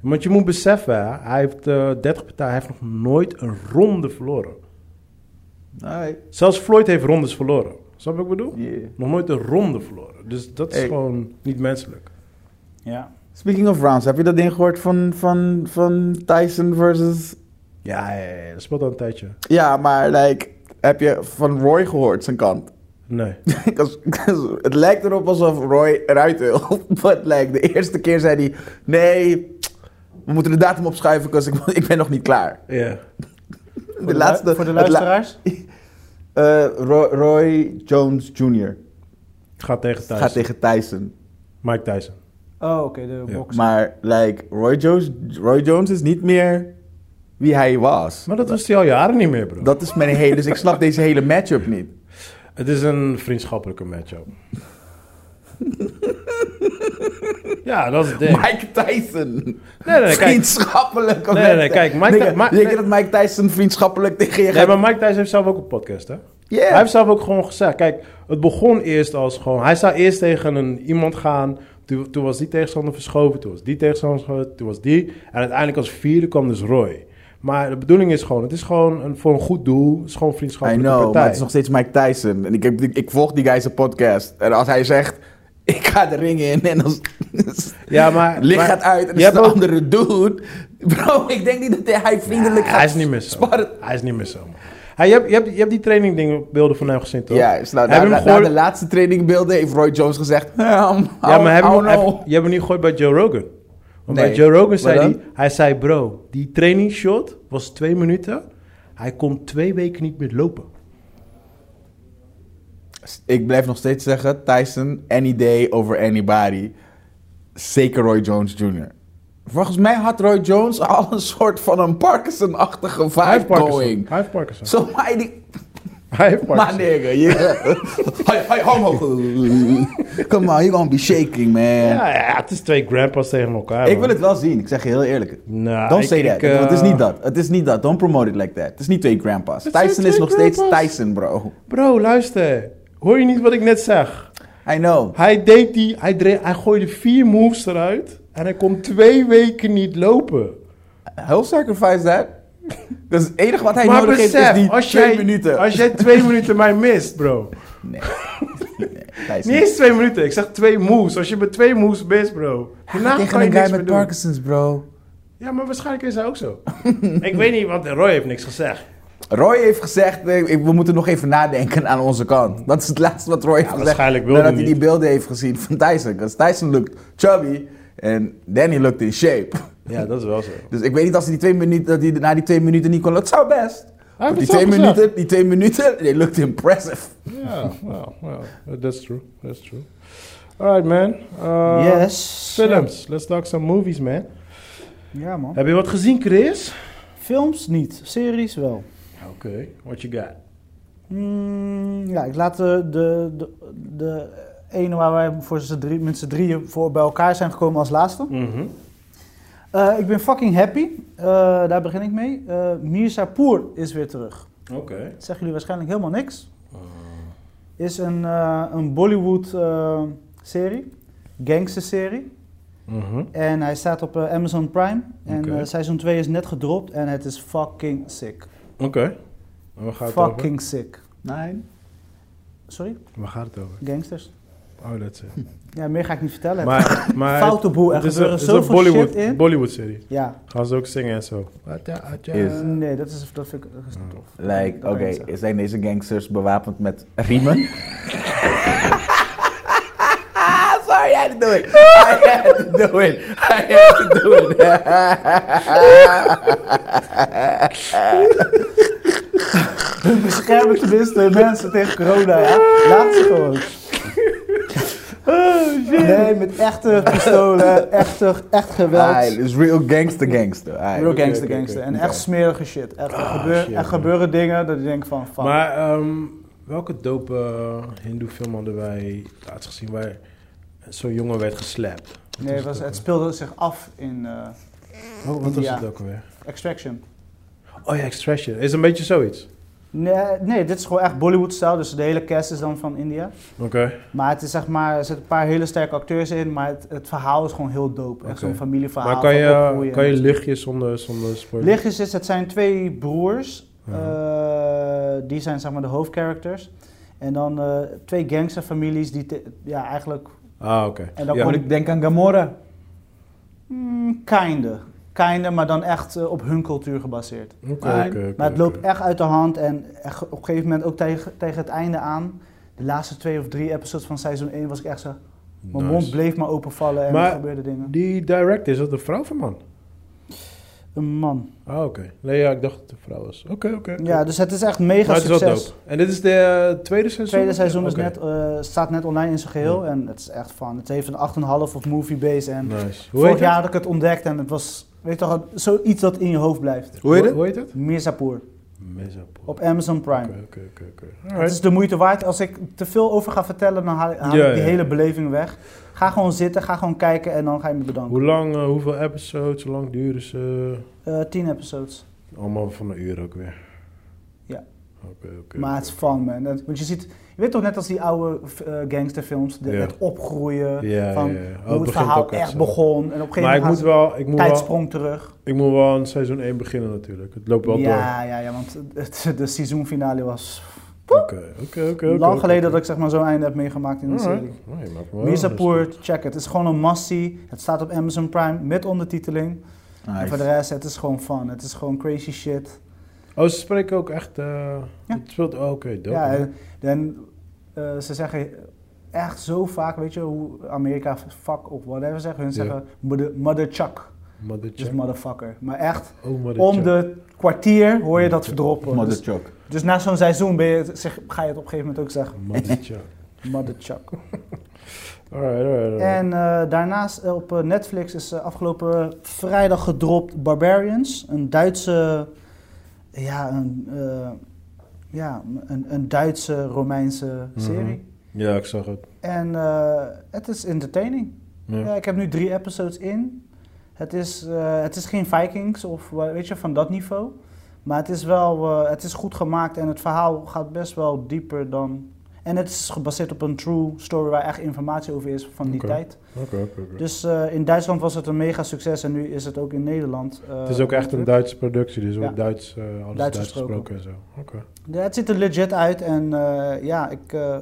Speaker 1: Want je moet beseffen, hè, hij heeft eh 30 partijen, hij heeft nog nooit een ronde verloren.
Speaker 4: Alright.
Speaker 1: Zelfs Floyd heeft rondes verloren. Snap je wat ik bedoel?
Speaker 4: Yeah.
Speaker 1: Nog nooit een ronde verloren. Dus dat is
Speaker 4: Hey.
Speaker 1: gewoon niet menselijk.
Speaker 2: Ja.
Speaker 3: Speaking of rounds, heb je dat ding gehoord van, van, van Tyson versus...
Speaker 1: Ja, ja, ja, dat speelt al een tijdje.
Speaker 3: Ja, maar like, heb je van Roy gehoord, zijn kant? [laughs]
Speaker 1: Nee.
Speaker 3: 'Cause- 'cause het lijkt erop alsof Roy eruit wil. [laughs] But like, de eerste keer zei hij... Nee, we moeten de datum opschuiven, want ik, [laughs] ik ben nog niet klaar.
Speaker 1: Ja.
Speaker 3: De
Speaker 2: Voor de, laatste, voor de
Speaker 3: het la-
Speaker 2: luisteraars.
Speaker 3: Eh, Roy, Roy Jones Jr.
Speaker 1: Gaat tegen Tyson.
Speaker 3: gaat tegen Tyson.
Speaker 1: Mike Tyson.
Speaker 2: Oh, oké, de
Speaker 1: Ja.
Speaker 2: box.
Speaker 3: Maar like, Roy, Jones, Roy Jones is niet meer wie hij was.
Speaker 1: Maar dat was hij al jaren niet meer, bro.
Speaker 3: Dat is mijn hele... Dus ik snap deze hele matchup niet.
Speaker 1: Het is een vriendschappelijke
Speaker 3: [laughs]
Speaker 1: matchup. ja, dat is het ding.
Speaker 3: Mike Tyson.
Speaker 1: Nee, nee, nee, kijk.
Speaker 3: vriendschappelijk.
Speaker 1: Nee, nee, nee, kijk, Mike-
Speaker 3: Nigga,
Speaker 1: Mike-
Speaker 3: Denk je dat Mike Tyson vriendschappelijk tegen je
Speaker 1: Nee,
Speaker 3: gaat?
Speaker 1: maar Mike Tyson heeft zelf ook een podcast, hè?
Speaker 3: Yeah.
Speaker 1: Hij heeft zelf ook gewoon gezegd. Kijk, het begon eerst als gewoon... Hij zou eerst tegen een, iemand gaan. Toen, toen was die tegenstander verschoven. Toen was die tegenstander verschoven. Toen was die. En uiteindelijk als vierde kwam dus Roy. Maar de bedoeling is gewoon... Het is gewoon een, voor een goed doel. Het is gewoon een
Speaker 3: I
Speaker 1: vriendschappelijke
Speaker 3: know,
Speaker 1: partij.
Speaker 3: maar het is nog steeds Mike Tyson. En ik, heb, ik, ik volg die guy zijn podcast. En als hij zegt, [laughs] ik ga de ring in en [laughs] als...
Speaker 1: Ja, maar-
Speaker 3: Licht
Speaker 1: maar-
Speaker 3: gaat uit en
Speaker 1: je
Speaker 3: er is een
Speaker 1: hebt ook-
Speaker 3: andere dude. [laughs] Bro, ik denk niet dat hij vriendelijk
Speaker 1: Ja,
Speaker 3: gaat
Speaker 1: hij is niet meer zo.
Speaker 3: sparren.
Speaker 1: Hij is niet meer zo. Hij, je, hebt, je, hebt, je hebt die training dingen, beelden van hem gezien, toch?
Speaker 3: Ja, is nou,
Speaker 1: Heb
Speaker 3: na,
Speaker 1: je
Speaker 3: na-
Speaker 1: hem
Speaker 3: na
Speaker 1: gehoord-
Speaker 3: de laatste trainingbeelden heeft Roy Jones gezegd... [laughs] Um,
Speaker 1: Ja, maar heb je,
Speaker 3: oh,
Speaker 1: hem, heb-
Speaker 3: no.
Speaker 1: je hebt hem niet gehoord bij Joe Rogan. Want bij
Speaker 3: Nee.
Speaker 1: Joe Rogan zei
Speaker 3: Wat
Speaker 1: hij,
Speaker 3: dan?
Speaker 1: hij zei, bro, die training shot was twee minuten. Hij kon twee weken niet meer lopen.
Speaker 3: Ik blijf nog steeds zeggen, Tyson, any day over anybody. Zeker Roy Jones Jr. Volgens mij had Roy Jones al een soort van een Parkinson-achtige
Speaker 1: Hij
Speaker 3: vibe
Speaker 1: heeft Parkinson.
Speaker 3: going.
Speaker 1: Hij heeft Parkinson.
Speaker 3: Zo, maar die...
Speaker 1: Hij heeft
Speaker 3: Maar
Speaker 1: Parkinson.
Speaker 3: nigga,
Speaker 1: [laughs]
Speaker 3: yeah. Hoi, hoi, homo. Come on, you're gonna be shaking, man.
Speaker 1: Ja, ja, het is twee grandpas tegen elkaar.
Speaker 3: Ik
Speaker 1: man.
Speaker 3: wil het wel zien, ik zeg je heel eerlijk.
Speaker 1: Nou,
Speaker 3: Don't
Speaker 1: ik-
Speaker 3: say
Speaker 1: ik,
Speaker 3: that.
Speaker 1: eh,
Speaker 3: Het is niet dat. Het is niet dat. Don't promote it like that. Het is niet twee grandpas.
Speaker 1: Het zijn
Speaker 3: Tyson is
Speaker 1: twee
Speaker 3: nog steeds
Speaker 1: grandpas.
Speaker 3: Tyson, bro.
Speaker 1: Bro, luister. Hoor je niet wat ik net zeg?
Speaker 3: I know.
Speaker 1: Hij deed die, hij, dre- hij gooide vier moves eruit. En hij kon twee weken niet lopen.
Speaker 3: He'll sacrifice that. [laughs] Dat is het enige wat hij
Speaker 1: maar
Speaker 3: nodig heeft,
Speaker 1: besef,
Speaker 3: is die
Speaker 1: als
Speaker 3: twee
Speaker 1: jij,
Speaker 3: minuten.
Speaker 1: Als jij twee minuten mij mist, bro.
Speaker 3: Nee. nee Thijs,
Speaker 1: Niet
Speaker 3: nee.
Speaker 1: eens twee minuten, ik zeg twee moves. Als je met twee moves mist, bro.
Speaker 3: Hij
Speaker 1: Daarna
Speaker 3: gaat
Speaker 1: kan
Speaker 3: tegen
Speaker 1: je
Speaker 3: een guy
Speaker 1: niks
Speaker 3: met
Speaker 1: meer doen.
Speaker 3: Parkinson's, bro.
Speaker 1: Ja, maar waarschijnlijk is hij ook
Speaker 3: [laughs]
Speaker 1: zo. ik weet niet, want Roy heeft niks gezegd.
Speaker 3: Roy heeft gezegd, nee, ik- we moeten nog even nadenken aan onze kant. Dat is het laatste wat Roy heeft gezegd.
Speaker 1: waarschijnlijk wilde
Speaker 3: Nadat hij
Speaker 1: hij
Speaker 3: die beelden heeft gezien van Tyson. Want Tyson lukt chubby en Danny lukt in shape.
Speaker 1: Ja, dat is wel zo.
Speaker 3: Dus ik weet niet als hij die twee minuten, dat hij na die twee minuten niet kon. Dat zou best. Want
Speaker 1: het
Speaker 3: die
Speaker 1: zelf
Speaker 3: twee,
Speaker 1: gezegd.
Speaker 3: minuten, die twee minuten, [laughs] die lukt impressive.
Speaker 1: Ja, well, well, that's true. That's true. Alright, man.
Speaker 2: Oh.
Speaker 1: Uh,
Speaker 2: yes.
Speaker 1: Films. Let's talk some movies, man.
Speaker 2: Ja, man.
Speaker 1: Heb je wat gezien, Chris?
Speaker 2: Films niet, series wel.
Speaker 1: Oké, what you got?
Speaker 2: Mm, ja, ik laat de, de, de, de ene waar wij voor z'n drie, met z'n drieën voor bij elkaar zijn gekomen als laatste.
Speaker 1: Mhm.
Speaker 2: Eh, ik ben fucking happy. Eh, daar begin ik mee. Eh Mirzapur is weer terug.
Speaker 1: Oké.
Speaker 2: Dat zeggen jullie waarschijnlijk helemaal niks.
Speaker 1: Eh.
Speaker 2: Is een, eh, een Bollywood eh, serie. Gangster serie.
Speaker 1: Mhm.
Speaker 2: En hij staat op eh, Amazon Prime. En
Speaker 1: Oké.
Speaker 2: eh, seizoen 2 is net gedropt. En het is fucking sick.
Speaker 1: Oké. En waar gaat het over?
Speaker 2: Fucking sick.
Speaker 3: Nee.
Speaker 2: Sorry?
Speaker 1: Waar gaat het over?
Speaker 2: Gangsters.
Speaker 1: Oh, that's it.
Speaker 2: Ja, meer ga ik niet vertellen.
Speaker 1: Maar,
Speaker 2: [laughs]
Speaker 1: maar
Speaker 2: Foute boel, er
Speaker 1: het is
Speaker 2: gebeuren
Speaker 1: een- het is
Speaker 2: zoveel
Speaker 1: een Bollywood,
Speaker 2: shit in.
Speaker 1: Bollywood serie.
Speaker 2: Ja.
Speaker 1: Gaan ze ook zingen en zo. Wat ja, wat ja.
Speaker 3: Is.
Speaker 2: Nee, dat, is, dat vind ik dat is niet tof.
Speaker 3: Like,
Speaker 2: Dat
Speaker 3: oké,
Speaker 2: kan ik zeggen.
Speaker 3: zijn deze gangsters bewapend met
Speaker 1: [laughs]
Speaker 3: riemen? [laughs] Sorry, I had to do it. I had to do it. I had to do it.
Speaker 2: We [laughs] beschermen tenminste de mensen tegen corona. Ja? Laat ze
Speaker 1: [laughs]
Speaker 2: gewoon.
Speaker 1: Oh,
Speaker 2: Nee, met echte pistolen, echte, echt geweld.
Speaker 3: Ah, het is real gangster gangster. Ah,
Speaker 2: Real gangster
Speaker 1: oké,
Speaker 2: gangster.
Speaker 1: oké.
Speaker 2: En echt smerige shit. Echt, er, gebeur-
Speaker 1: shit,
Speaker 2: er
Speaker 1: man.
Speaker 2: gebeuren dingen dat je denkt van, fuck.
Speaker 1: Maar ehm, welke dope eh, hindoe film hadden wij laatst gezien waar zo'n jongen werd geslapt? Wat
Speaker 2: nee, het, was,
Speaker 1: ook
Speaker 2: het speelde zich af in eh,
Speaker 1: alweer? Oh, wat was
Speaker 2: Ja.
Speaker 1: het ook alweer?
Speaker 2: Extraction.
Speaker 1: Oh ja, Extraction. Is een beetje zoiets.
Speaker 2: Nee, nee, dit is gewoon echt Bollywood-stijl. Dus de hele cast is dan van India.
Speaker 1: Oké.
Speaker 2: Maar het is zeg maar, er zitten een paar hele sterke acteurs in. Maar het, het verhaal is gewoon heel dope. Echt
Speaker 1: Oké.
Speaker 2: zo'n familieverhaal.
Speaker 1: Maar kan
Speaker 2: van
Speaker 1: je,
Speaker 2: opgroeien.
Speaker 1: kan je lichtjes zonder, zonder spoiler?
Speaker 2: Lichtjes is, het zijn twee broers.
Speaker 1: Mhm.
Speaker 2: eh, die zijn zeg maar de hoofdcharacters. En dan eh, twee gangsterfamilies die, te- ja eigenlijk,
Speaker 1: Ah, oké.
Speaker 2: En dan
Speaker 1: Ja.
Speaker 2: kon
Speaker 4: ik denk aan Gamora.
Speaker 2: mm, kinder. Kinder, maar dan echt eh, op hun cultuur gebaseerd.
Speaker 1: Oké,
Speaker 4: Maar-
Speaker 1: oké, oké,
Speaker 2: Maar het
Speaker 1: oké.
Speaker 2: loopt echt uit de hand en echt op een gegeven moment ook tegen, tegen het einde aan. De laatste twee of drie episodes van seizoen 1 was ik echt zo... Mijn
Speaker 1: Nice.
Speaker 2: mond bleef maar openvallen en
Speaker 1: Maar-
Speaker 2: er gebeurden dingen.
Speaker 1: Die director, is dat een vrouw of een man?
Speaker 2: Een man.
Speaker 1: Ah, oké. Nee, ja, ik dacht dat het een vrouw was. Oké, oké.
Speaker 2: Ja, dus het is echt mega
Speaker 1: Maar Nou, het is wel
Speaker 2: succes.
Speaker 1: dope. En dit is de eh, tweede seizoen?
Speaker 2: Het tweede seizoen is
Speaker 1: Oké.
Speaker 2: net, eh, staat net online in zijn geheel en het is echt van. Het heeft een 8,5 op Moviebase en
Speaker 1: Nice. Hoe
Speaker 2: vorig
Speaker 1: heet
Speaker 2: jaar
Speaker 1: het?
Speaker 2: had ik het ontdekt en het was, weet je toch, zoiets dat in je hoofd blijft.
Speaker 3: Hoe heet het?
Speaker 1: Hoe heet het?
Speaker 2: Mirzapur
Speaker 1: Mesopotamia.
Speaker 2: op Amazon Prime.
Speaker 1: Oké, oké, oké, oké.
Speaker 2: Het is de moeite waard. Als ik te veel over ga vertellen, dan haal, haal
Speaker 1: Ja,
Speaker 2: ik die
Speaker 1: ja.
Speaker 2: hele beleving weg. Ga gewoon zitten, ga gewoon kijken en dan ga je me bedanken.
Speaker 1: Hoe lang, eh, hoeveel episodes, hoe lang duren ze?
Speaker 2: Eh 10 episodes.
Speaker 1: Allemaal van een uur ook weer.
Speaker 2: Ja.
Speaker 1: Oké, oké.
Speaker 2: Maar het is fun, man. Dat- want je ziet, je weet toch net als die oude eh, gangsterfilms, de,
Speaker 1: Ja.
Speaker 2: het opgroeien,
Speaker 1: Ja,
Speaker 2: eh, van
Speaker 1: ja, ja. Oh, het
Speaker 2: hoe het,
Speaker 1: begint
Speaker 2: verhaal
Speaker 1: ook echt
Speaker 2: echt
Speaker 1: zo.
Speaker 2: begon. En op een gegeven
Speaker 1: Maar ik
Speaker 2: moment
Speaker 1: moet
Speaker 2: gaan
Speaker 1: wel, ik moet
Speaker 2: ze-
Speaker 1: wel,
Speaker 2: tijdsprong terug.
Speaker 1: ik moet wel aan seizoen 1 beginnen natuurlijk. Het loopt wel door.
Speaker 2: ja, ja, ja, want het, de seizoenfinale was
Speaker 1: Oké, oké, oké.
Speaker 2: lang geleden dat ik zeg maar zo'n einde heb meegemaakt in de serie. Mirzapur, check het. Het is gewoon een massie. Het staat op Amazon Prime met ondertiteling. En voor de rest, het is gewoon fun. Het is gewoon crazy shit.
Speaker 1: Oh, ze spreken ook echt... eh,
Speaker 2: Ja.
Speaker 1: Het speelt... oh, oké, dope.
Speaker 2: ja,
Speaker 1: man.
Speaker 2: en, en, eh, ze zeggen echt zo vaak, weet je, hoe Amerika fuck of whatever zeggen. Hun
Speaker 1: Ja.
Speaker 2: zeggen mother, mother chuck,
Speaker 1: Mother
Speaker 2: dus
Speaker 1: Chuck.
Speaker 2: motherfucker. Maar echt,
Speaker 1: Oh, Mother
Speaker 2: om
Speaker 1: Chuck.
Speaker 2: de kwartier hoor je dat verdroppen.
Speaker 3: Mother
Speaker 2: Dus,
Speaker 3: choke.
Speaker 2: dus na zo'n seizoen ben je, het- zeg, ga je het op een gegeven moment ook zeggen,
Speaker 1: Mother Chuck.
Speaker 2: mother chuck.
Speaker 1: Alright, alright, alright.
Speaker 2: En eh, daarnaast eh, op eh, Netflix is eh, afgelopen vrijdag gedropt Barbarians. Een Duitse, ja, een, eh, ja, een, een Duitse Romeinse
Speaker 1: Mhm.
Speaker 2: serie.
Speaker 1: Ja, ik zag het.
Speaker 2: En eh, het is entertaining.
Speaker 1: Ja.
Speaker 2: Ja, ik heb nu drie episodes in. Het is, eh, het is geen Vikings of eh, weet je, van dat niveau. Maar het is wel eh, het is goed gemaakt en het verhaal gaat best wel dieper dan. En het is gebaseerd op een true story waar echt informatie over is van die
Speaker 1: Oké.
Speaker 2: tijd.
Speaker 1: Oké, oké, oké.
Speaker 2: Dus eh, in Duitsland was het een mega succes en nu is het ook in Nederland. eh,
Speaker 1: Het is ook echt een
Speaker 2: natuurlijk.
Speaker 1: Duitse productie, dus
Speaker 2: Ja.
Speaker 1: ook Duits, eh, alles
Speaker 2: Duits
Speaker 1: Duits, gesproken.
Speaker 2: gesproken.
Speaker 1: en zo. Oké.
Speaker 2: Ja, het ziet er legit uit en eh, ja, ik, eh,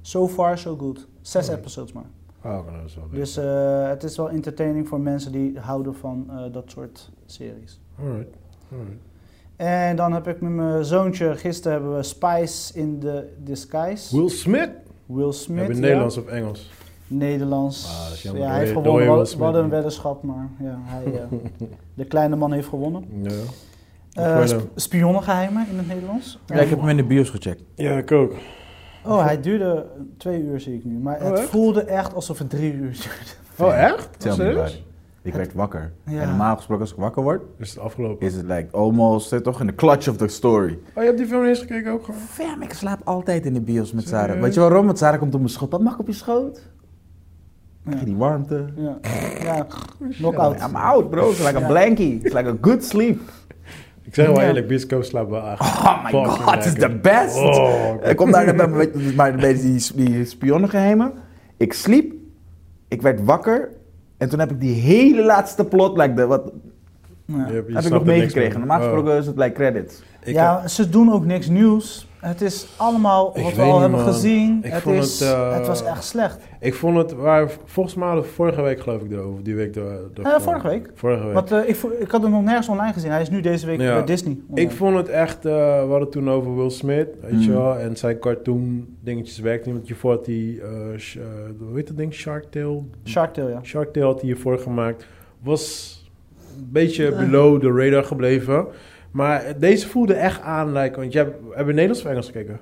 Speaker 2: so far so good. Zes
Speaker 1: Oké.
Speaker 2: episodes maar.
Speaker 1: Ah, oké, dat is wel leuk.
Speaker 2: Dus eh, het is wel entertaining voor mensen die houden van eh, dat soort series.
Speaker 1: Alright, alright.
Speaker 2: En dan heb ik met mijn zoontje, gisteren hebben we Spice in the Disguise.
Speaker 1: Will Smith?
Speaker 2: Will Smith.
Speaker 1: Hebben
Speaker 2: ja.
Speaker 1: we Nederlands of Engels?
Speaker 2: Nederlands.
Speaker 1: Ah, dat is
Speaker 2: ja,
Speaker 1: jammer.
Speaker 2: hij
Speaker 1: Door
Speaker 2: heeft
Speaker 1: je-
Speaker 2: gewonnen.
Speaker 1: door je
Speaker 2: We-
Speaker 1: Will
Speaker 2: We hadden een
Speaker 1: Smith.
Speaker 2: weddenschap, maar ja, hij,
Speaker 1: [laughs]
Speaker 2: eh, de kleine man heeft gewonnen.
Speaker 1: Ja.
Speaker 2: Eh
Speaker 1: wel,
Speaker 2: sp-
Speaker 1: ja.
Speaker 2: spionnengeheimen in het Nederlands.
Speaker 3: Ja, ik heb hem in de bios gecheckt.
Speaker 1: ja, ik ook.
Speaker 2: Oh, hij duurde twee uur, zie ik nu. Maar
Speaker 1: Oh,
Speaker 2: het
Speaker 1: echt?
Speaker 2: voelde echt alsof het drie uur duurde.
Speaker 1: Oh, echt?
Speaker 3: Tell me about
Speaker 1: Serieus?
Speaker 3: it. Ik werd wakker.
Speaker 2: Ja.
Speaker 3: En normaal gesproken als ik wakker word,
Speaker 1: Is het afgelopen?
Speaker 3: is het like almost, zit toch, in de clutch of the story.
Speaker 1: Oh, je hebt die film eens gekeken ook gewoon?
Speaker 3: Fam, ik slaap altijd in de bios met
Speaker 1: Serieus?
Speaker 3: Sarah. Weet je waarom? Want Sarah komt op mijn schoot. Wat mag ik op je schoot? Krijg je
Speaker 2: Ja.
Speaker 3: die warmte?
Speaker 2: Ja, ja. knock-out.
Speaker 3: I'm out, bro. It's like a blankie. It's like a good sleep.
Speaker 1: Ik zeg wel
Speaker 2: Ja.
Speaker 1: eerlijk, Bisco slaapt wel echt.
Speaker 3: Oh my
Speaker 1: fucking
Speaker 3: god, it's
Speaker 1: lekker.
Speaker 3: the best.
Speaker 1: Oh,
Speaker 3: Ik kom daar net bij maar bij die, die spionnengeheimen. Ik sliep, ik werd wakker. En toen heb ik die hele laatste plot, like de, wat,
Speaker 2: Ja.
Speaker 1: Je hebt- je
Speaker 3: heb ik
Speaker 1: snapt
Speaker 3: nog
Speaker 1: er niks
Speaker 3: meegekregen.
Speaker 1: van.
Speaker 3: Normaal
Speaker 1: Oh.
Speaker 3: gesproken is het like credits.
Speaker 1: Ik
Speaker 2: ja,
Speaker 1: heb-
Speaker 2: ze doen ook niks nieuws. Het is allemaal
Speaker 1: Ik
Speaker 2: wat we
Speaker 1: weet
Speaker 2: al
Speaker 1: niet,
Speaker 2: hebben
Speaker 1: man.
Speaker 2: gezien.
Speaker 1: Ik
Speaker 2: het,
Speaker 1: vond
Speaker 2: is,
Speaker 1: het, eh,
Speaker 2: het was echt slecht.
Speaker 1: ik vond het, waar, volgens mij hadden we vorige week geloof ik erover, die week daar- daarvoor.
Speaker 2: Eh, vorige week.
Speaker 1: Vorige week.
Speaker 2: Want eh, ik, vo- ik had hem nog nergens online gezien. Hij is nu deze week
Speaker 1: Ja.
Speaker 2: bij Disney.
Speaker 1: Ik
Speaker 2: online.
Speaker 1: vond het echt, eh, we hadden het toen over Will Smith, weet je
Speaker 3: Mm.
Speaker 1: wel, en zijn cartoon dingetjes werkten niet, want je voordat die, eh sh- eh, hoe heet dat ding, Shark Tale?
Speaker 2: Shark Tale, ja.
Speaker 1: Shark Tale had hij hiervoor gemaakt, was een beetje below the radar gebleven, maar deze voelde echt aan, like, want jij hebt, hebben we Nederlands of Engels gekeken?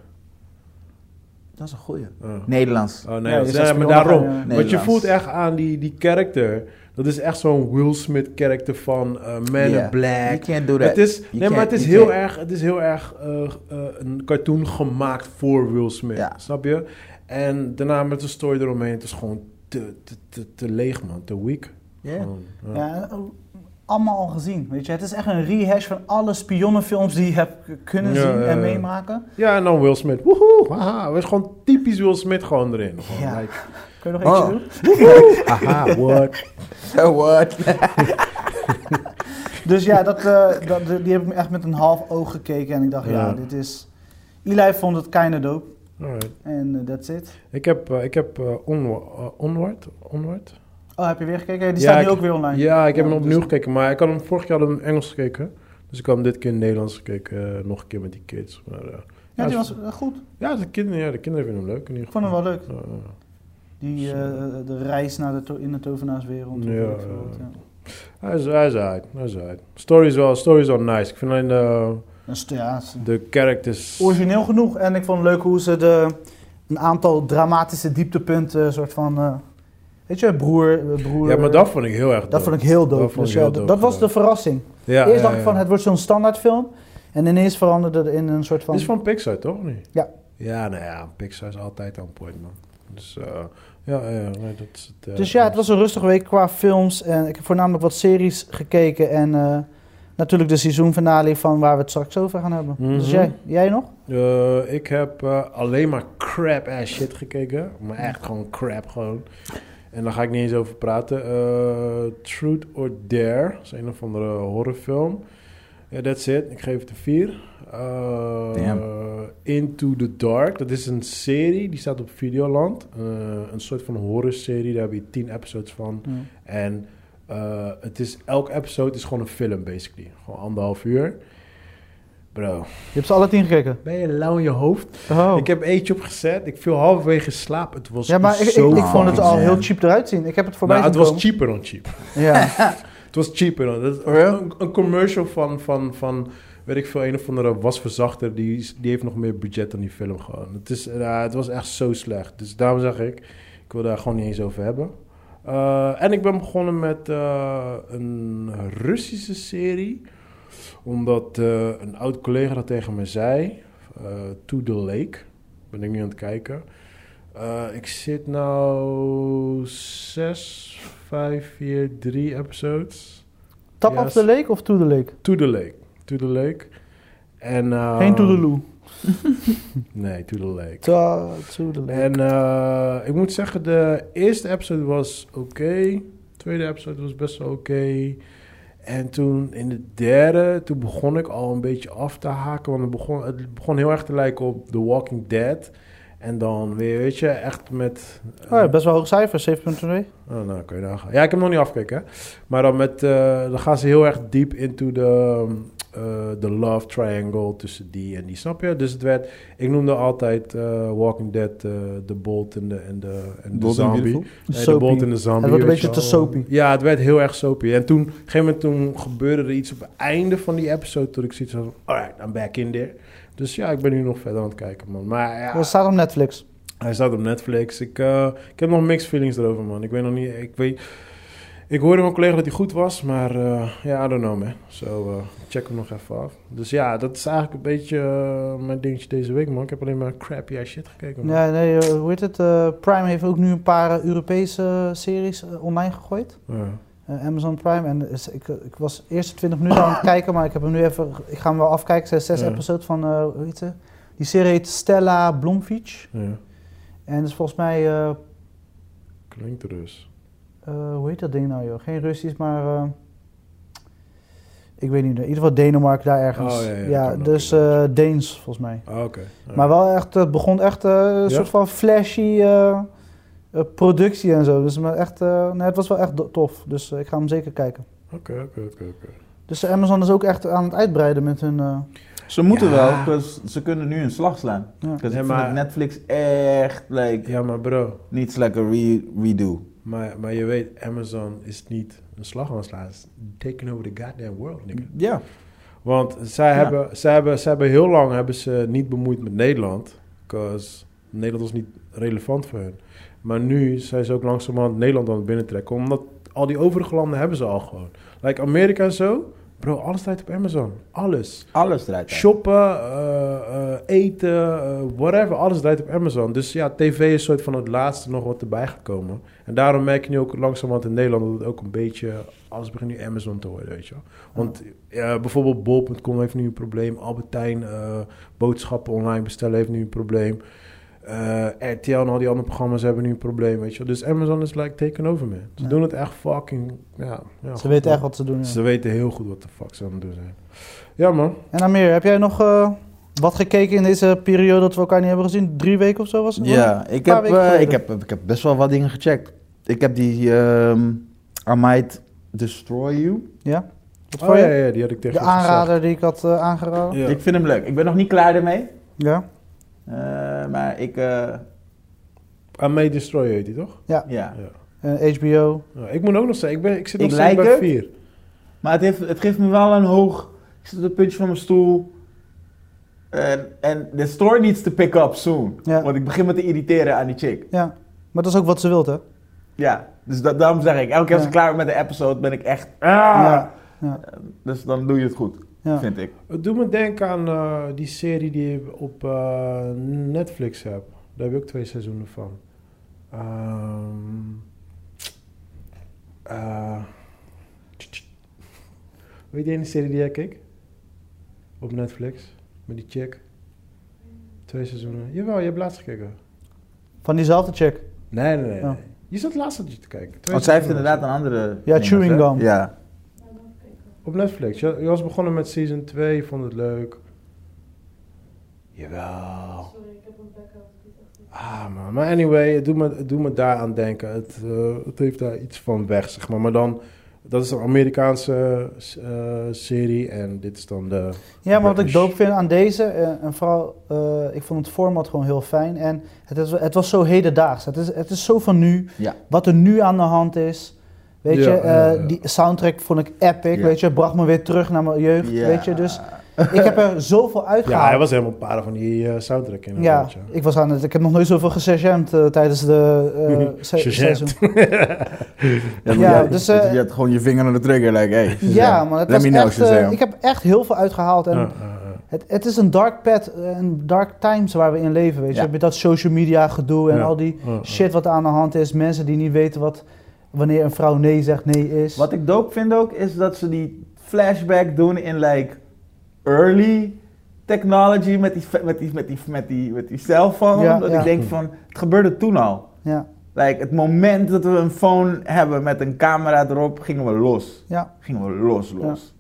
Speaker 3: Dat is een goeie.
Speaker 1: Oh.
Speaker 3: Nederlands.
Speaker 1: Oh,
Speaker 2: Ja, je
Speaker 1: Nederlands,
Speaker 2: zei
Speaker 1: ja, maar
Speaker 2: Spionnen
Speaker 1: daarom,
Speaker 2: gaan, ja.
Speaker 1: want je
Speaker 3: Nederlands.
Speaker 1: voelt echt aan die, die character, dat is echt zo'n Will Smith character van eh, Man
Speaker 3: Yeah.
Speaker 1: in Black,
Speaker 3: You can't do that.
Speaker 1: Het is, nee,
Speaker 3: can't-
Speaker 1: maar het is
Speaker 3: you
Speaker 1: heel
Speaker 3: can't.
Speaker 1: erg, het is heel erg eh, eh, een cartoon gemaakt voor Will Smith.
Speaker 3: Ja.
Speaker 1: Snap je? En daarna met de story eromheen, het is gewoon te, te, te, te leeg, man. Te weak.
Speaker 3: Ja.
Speaker 1: Gewoon, ja.
Speaker 2: Ja, en, oh, allemaal al gezien. Weet je, het is echt een rehash van alle spionnenfilms die je hebt k- kunnen
Speaker 1: Ja,
Speaker 2: zien
Speaker 1: ja,
Speaker 2: en
Speaker 1: ja.
Speaker 2: meemaken.
Speaker 1: Ja, en dan Will Smith. Woehoe! Haha, was gewoon typisch Will Smith gewoon erin. Gewoon,
Speaker 2: Ja.
Speaker 1: like,
Speaker 2: Kun
Speaker 1: Ah.
Speaker 2: je nog eentje
Speaker 3: Oh. [laughs]
Speaker 2: doen?
Speaker 1: haha, what?
Speaker 3: What?
Speaker 2: Dus ja, dat, eh, dat, die heb ik echt met een half oog gekeken en ik dacht, ja,
Speaker 1: Ja.
Speaker 2: dit is... Eli vond het kinda dope
Speaker 1: Alright.
Speaker 2: en eh, that's it.
Speaker 1: Ik heb, eh, ik heb eh, onwa- eh, Onward. Onward?
Speaker 2: Oh, heb je weer gekeken? Ja, Die
Speaker 1: Ja,
Speaker 2: staat nu
Speaker 1: ik-
Speaker 2: ook weer online.
Speaker 1: Ja, ik heb hem
Speaker 2: dus-
Speaker 1: opnieuw gekeken, maar ik had hem vorig jaar in het Engels gekeken. Dus ik had hem dit keer in het Nederlands gekeken, eh, nog een keer met die kids. Maar, eh,
Speaker 2: Ja, die
Speaker 1: is-
Speaker 2: was eh, goed.
Speaker 1: Ja, de kinderen, ja, de kinderen vinden hem leuk in ieder
Speaker 2: Ik
Speaker 1: geval.
Speaker 2: vond hem wel leuk.
Speaker 1: Ja, ja.
Speaker 2: Die, eh, de reis naar de to- in de tovenaarswereld. of
Speaker 1: Ja,
Speaker 2: weet ik veel wat,
Speaker 1: ja.
Speaker 2: ja.
Speaker 1: Hij is, hij is uit, hij is uit. Story is wel, story is wel nice. Ik vind alleen de,
Speaker 2: Dat is- ja, dat is-
Speaker 1: de characters...
Speaker 2: origineel genoeg. En ik vond het leuk hoe ze de, een aantal dramatische dieptepunten, soort van. eh, weet je, broer, eh, broer.
Speaker 1: Ja, maar dat vond ik heel erg
Speaker 2: dat vond ik heel dope.
Speaker 1: Dat vond
Speaker 2: Dus
Speaker 1: ik
Speaker 2: ja,
Speaker 1: heel
Speaker 2: d-
Speaker 1: dope,
Speaker 2: dat was
Speaker 1: ja.
Speaker 2: de verrassing.
Speaker 1: Ja,
Speaker 2: Eerst
Speaker 1: ja,
Speaker 2: dacht ik
Speaker 1: ja.
Speaker 2: van het wordt zo'n standaardfilm. En ineens veranderde het in een soort van.
Speaker 1: Het is van Pixar, toch? of Niet?
Speaker 2: Ja.
Speaker 1: Ja, nou ja, Pixar is altijd aan point, man. Dus eh, ja, ja, nee, dat is het... eh,
Speaker 2: Dus ja, het was een rustige week qua films. En ik heb voornamelijk wat series gekeken. En eh, natuurlijk de seizoenfinale van waar we het straks over gaan hebben.
Speaker 1: Mhm.
Speaker 2: Dus jij, jij nog?
Speaker 1: Eh, ik heb eh, alleen maar crap ass shit gekeken. Maar echt gewoon crap gewoon. En daar ga ik niet eens over praten. Eh, Truth or Dare. Dat is een of andere horrorfilm. Ja, that's it. Ik geef het een 4. Into the Dark. Dat is een serie. Die staat op Videoland. Eh, een soort van horrorserie. Daar heb je 10 episodes van. En eh, het is, elk episode is gewoon een film, basically. Gewoon anderhalf uur. Bro,
Speaker 2: Je hebt ze alle tien gekeken.
Speaker 1: ben je lauw in je hoofd?
Speaker 2: Oh.
Speaker 1: Ik heb eentje opgezet. Ik viel halverwege in slaap. Het was
Speaker 2: ja, maar ik, ik,
Speaker 1: zo
Speaker 2: ik vond het
Speaker 1: fucking
Speaker 2: al
Speaker 1: sick.
Speaker 2: heel cheap eruit zien. Ik heb het voorbij
Speaker 1: Nou, het
Speaker 2: zien
Speaker 1: was
Speaker 2: komen.
Speaker 1: cheaper dan cheap.
Speaker 2: Ja.
Speaker 1: [laughs] Het was cheaper dan. Dat is
Speaker 3: Oh ja?
Speaker 1: een, een commercial van, van, van, weet ik veel, een of andere wasverzachter. Die, is- die heeft nog meer budget dan die film gewoon. Het, is, ja, het was echt zo slecht. Dus daarom zeg ik, ik wil daar gewoon niet eens over hebben. Eh, en ik ben begonnen met eh, een Russische serie. Omdat eh, een oud collega dat tegen me zei. eh, to the Lake. Ben ik nu aan het kijken. Eh, ik zit nou 6, 5, 4, 3 episodes.
Speaker 2: Tap
Speaker 1: Ja,
Speaker 2: of the lake of to the lake?
Speaker 1: To the Lake. To the Lake. En, eh,
Speaker 2: Geen to the loo.
Speaker 1: Nee, toedeleek.
Speaker 2: To, to the left.
Speaker 1: En eh, ik moet zeggen, de eerste episode was oké. tweede episode was best wel oké. En toen in de derde, toen begon ik al een beetje af te haken. Want het begon, het begon heel erg te lijken op The Walking Dead. En dan weer, weet je, echt met... eh,
Speaker 2: Oh ja, best wel hoog cijfer, 7.2.
Speaker 1: Oh, nou, kun je daar gaan. Ja, ik heb hem nog niet afgekeken. hè. Maar dan, met, eh, dan gaan ze heel erg diep into de eh, de love triangle tussen die en die, snap je? Dus het werd, ik noemde altijd eh, Walking Dead eh, de Bolt en de, en de, en de
Speaker 5: Bold and
Speaker 1: Zombie.
Speaker 5: Beautiful.
Speaker 1: Nee, de
Speaker 2: Soapy.
Speaker 1: Bolt en de Zombie.
Speaker 2: Het wordt een
Speaker 1: weet
Speaker 2: beetje
Speaker 1: je
Speaker 2: te
Speaker 1: wel.
Speaker 2: soapy.
Speaker 1: Ja, het werd heel erg soapy. En toen, op een gegeven moment toen gebeurde er iets op het einde van die episode. Toen ik zoiets had van, alright, I'm back in there. Dus ja, ik ben nu nog verder aan het kijken, man. Maar ja,
Speaker 2: Dat staat op Netflix.
Speaker 1: hij staat op Netflix. Ik, eh, ik heb nog mixed feelings erover, man. Ik weet nog niet. Ik, weet, ik hoorde mijn collega dat hij goed was, maar eh, ja, I don't know, man. Zo, eh, check hem nog even af. Dus ja, dat is eigenlijk een beetje eh, mijn dingetje deze week, man. Ik heb alleen maar crappy ass shit gekeken, man.
Speaker 2: Ja, nee, eh, hoe heet het? Eh, Prime heeft ook nu een paar eh, Europese eh, series eh, online gegooid.
Speaker 1: Ja.
Speaker 2: Eh, Amazon Prime. En is- ik, eh, ik was eerst 20 minuten aan het kijken, maar ik heb hem nu even. Ik ga hem wel afkijken. Er zijn zes
Speaker 1: Ja.
Speaker 2: episodes van. eh, hoe heet ze? Die serie heet Stella Blomfiets.
Speaker 1: ja.
Speaker 2: En dat is volgens mij. eh,
Speaker 1: Klinkt dus.
Speaker 2: eh, hoe heet dat ding nou, joh? Geen Russisch, maar. eh, ik weet niet. In ieder geval Denemarken daar ergens.
Speaker 1: Oh, ja, ja, dat kan ook
Speaker 2: dus eh,
Speaker 1: inderdaad.
Speaker 2: Deens volgens mij.
Speaker 1: Ah, oké. Ja.
Speaker 2: Maar wel echt, het begon echt eh, een soort van flashy eh, eh, productie en zo. Dus maar echt, eh, nee, het was wel echt do- tof. Dus eh, ik ga hem zeker kijken.
Speaker 1: Oké, oké, oké, oké.
Speaker 2: Dus eh, Amazon is ook echt aan het uitbreiden met hun. eh,
Speaker 3: Ze moeten
Speaker 1: Ja.
Speaker 3: wel, 'cause ze kunnen nu een slag slaan.
Speaker 2: Ja.
Speaker 3: 'Cause
Speaker 1: Nee,
Speaker 3: ik
Speaker 1: maar-
Speaker 3: vind dat Netflix echt like,
Speaker 1: Ja, maar bro.
Speaker 3: niets lekker re redo.
Speaker 1: Maar, maar je weet, Amazon is niet een slag aan het slaan. Het is Taking over the goddamn world, nigga.
Speaker 3: Ja.
Speaker 1: Want zij,
Speaker 3: Ja.
Speaker 1: hebben, zij, hebben, zij hebben heel lang hebben ze niet bemoeid met Nederland. Because Nederland was niet relevant voor hen. Maar nu zijn ze ook langzamerhand Nederland aan het binnentrekken. Omdat al die overige landen hebben ze al gewoon. Like Amerika en zo. Bro, alles staat op Amazon. Alles.
Speaker 3: Alles eruit.
Speaker 1: Shoppen, eh, eh, eten, eh, whatever. Alles draait op Amazon. Dus ja, tv is soort van het laatste nog wat erbij gekomen. En daarom merk je nu ook langzamerhand in Nederland... dat het ook een beetje... alles begint nu Amazon te worden, weet je wel. Want eh, bijvoorbeeld bol.com heeft nu een probleem. Albertijn eh, boodschappen online bestellen heeft nu een probleem. Eh, RTL en al die andere programma's hebben nu een probleem, weet je wel. Dus Amazon is like taken over, man. Ze
Speaker 2: Ja.
Speaker 1: doen het echt fucking... Ja, ja,
Speaker 2: Ze
Speaker 1: goed,
Speaker 2: weten
Speaker 1: man.
Speaker 2: echt wat ze doen. ja.
Speaker 1: Ze weten heel goed wat de fuck ze aan het doen zijn. Ja, man.
Speaker 2: En Amir, heb jij nog eh, wat gekeken in deze periode dat we elkaar niet hebben gezien? Drie weken of zo was het?
Speaker 3: Ja, ik
Speaker 2: paar
Speaker 3: heb,
Speaker 2: weken
Speaker 3: eh,
Speaker 2: geleden.
Speaker 3: ik, heb, ik heb best wel wat dingen gecheckt. Ik heb die ehm I Might Destroy You.
Speaker 2: Ja? Wat
Speaker 1: Oh
Speaker 2: vond
Speaker 1: ja,
Speaker 2: je?
Speaker 1: ja, die had ik tegen
Speaker 2: De
Speaker 1: je gezegd.
Speaker 2: aanrader die ik had eh, aangeraden? Ja.
Speaker 1: Ja.
Speaker 3: Ik vind hem leuk. Ik ben nog niet klaar ermee.
Speaker 2: ja?
Speaker 3: Eh, maar ik, eh,
Speaker 1: Aan Ah, May Destroy heet die toch?
Speaker 3: ja.
Speaker 2: En HBO.
Speaker 1: Ja, ik moet ook nog zeggen, ik, ben, ik zit nog
Speaker 3: Ik
Speaker 1: steeds
Speaker 3: like
Speaker 1: bij
Speaker 3: het.
Speaker 1: 4.
Speaker 3: Maar het, heeft, het geeft me wel een hoog... Ik zit op het puntje van mijn stoel. En en the story needs to pick up soon.
Speaker 2: Ja.
Speaker 3: Want ik begin me te irriteren aan die chick.
Speaker 2: Ja. Maar dat is ook wat ze wilt,
Speaker 3: Ah.
Speaker 2: hè?
Speaker 3: Ja, dus dat, daarom zeg ik. Elke keer als
Speaker 2: Ja.
Speaker 3: ik klaar ben met de episode ben ik echt... Ah!
Speaker 2: Ja. Ja.
Speaker 3: Dus dan doe je het goed,
Speaker 2: Ja.
Speaker 3: vind ik.
Speaker 1: Het doet me denken aan eh, die serie die je op eh, Netflix hebt. Daar heb je ook twee seizoenen van. Ehm, eh, weet je die ene serie die jij keek? Op Netflix, met die chick. Twee seizoenen. Jawel, je hebt laatst gekeken.
Speaker 2: Van diezelfde chick.
Speaker 1: Nee, nee, nee.
Speaker 2: Ja.
Speaker 1: nee. Je zat laatst aan je te kijken. Twee
Speaker 3: Want zij heeft
Speaker 1: seizoenen.
Speaker 3: inderdaad een andere...
Speaker 2: Ja,
Speaker 3: ding,
Speaker 2: chewing
Speaker 3: hè?
Speaker 2: gum.
Speaker 3: Ja.
Speaker 1: Op Netflix. Je, je was begonnen met season 2, je vond het leuk. Jawel. Ah man, maar anyway, het doet me, het doet me daaraan denken. Het, eh, het heeft daar iets van weg, zeg maar. Maar dan, dat is een Amerikaanse eh, serie en dit is dan de...
Speaker 2: Ja, maar wat ik
Speaker 1: British.
Speaker 2: doop vind aan deze, eh, en vooral, eh, ik vond het format gewoon heel fijn. En het, is, het was zo hedendaags. Het is, het is zo van nu,
Speaker 3: Ja.
Speaker 2: wat er nu aan de hand is. Weet
Speaker 1: Ja,
Speaker 2: je,
Speaker 1: ja,
Speaker 2: eh,
Speaker 1: ja.
Speaker 2: die soundtrack vond ik epic,
Speaker 3: Ja.
Speaker 2: weet je. bracht me weer terug naar mijn jeugd,
Speaker 3: Ja.
Speaker 2: weet je. Dus ik heb er zoveel
Speaker 1: Ja, hij
Speaker 2: uitgehaald.
Speaker 1: was helemaal para van die eh, soundtrack in.
Speaker 2: Ja, ik was aan het, ik heb nog nooit zoveel gesesjamd eh, tijdens
Speaker 1: [laughs]
Speaker 2: de eh, se-
Speaker 1: Gesesjamd.
Speaker 2: seizoen.
Speaker 5: Ja,
Speaker 2: Ja,
Speaker 5: ja,
Speaker 2: dus,
Speaker 5: dus...
Speaker 2: eh,
Speaker 5: je had gewoon je vinger aan de trigger, like, hey.
Speaker 2: [laughs] Ja, maar het
Speaker 5: Let
Speaker 2: was
Speaker 5: me know,
Speaker 2: echt, eh,
Speaker 5: Shazam.
Speaker 2: ik heb echt heel veel uitgehaald. En Het, het is een dark pad, een dark times waar we in leven, weet je.
Speaker 3: Ja.
Speaker 2: Met dat social media gedoe en
Speaker 1: Ja.
Speaker 2: al die
Speaker 1: Ja, ja.
Speaker 2: shit wat aan de hand is. Mensen die niet weten wat, wanneer een vrouw nee zegt, nee is.
Speaker 3: Wat ik dope vind ook, is dat ze die flashback doen in like early
Speaker 6: technology met die, fe- met die, met die, met die, met die cellphone.
Speaker 2: Ja,
Speaker 6: dat
Speaker 2: ja.
Speaker 6: ik denk van, het gebeurde toen al.
Speaker 2: Ja.
Speaker 6: Like, het moment dat we een phone hebben met een camera erop, gingen we los.
Speaker 2: Ja.
Speaker 6: Gingen we los, los.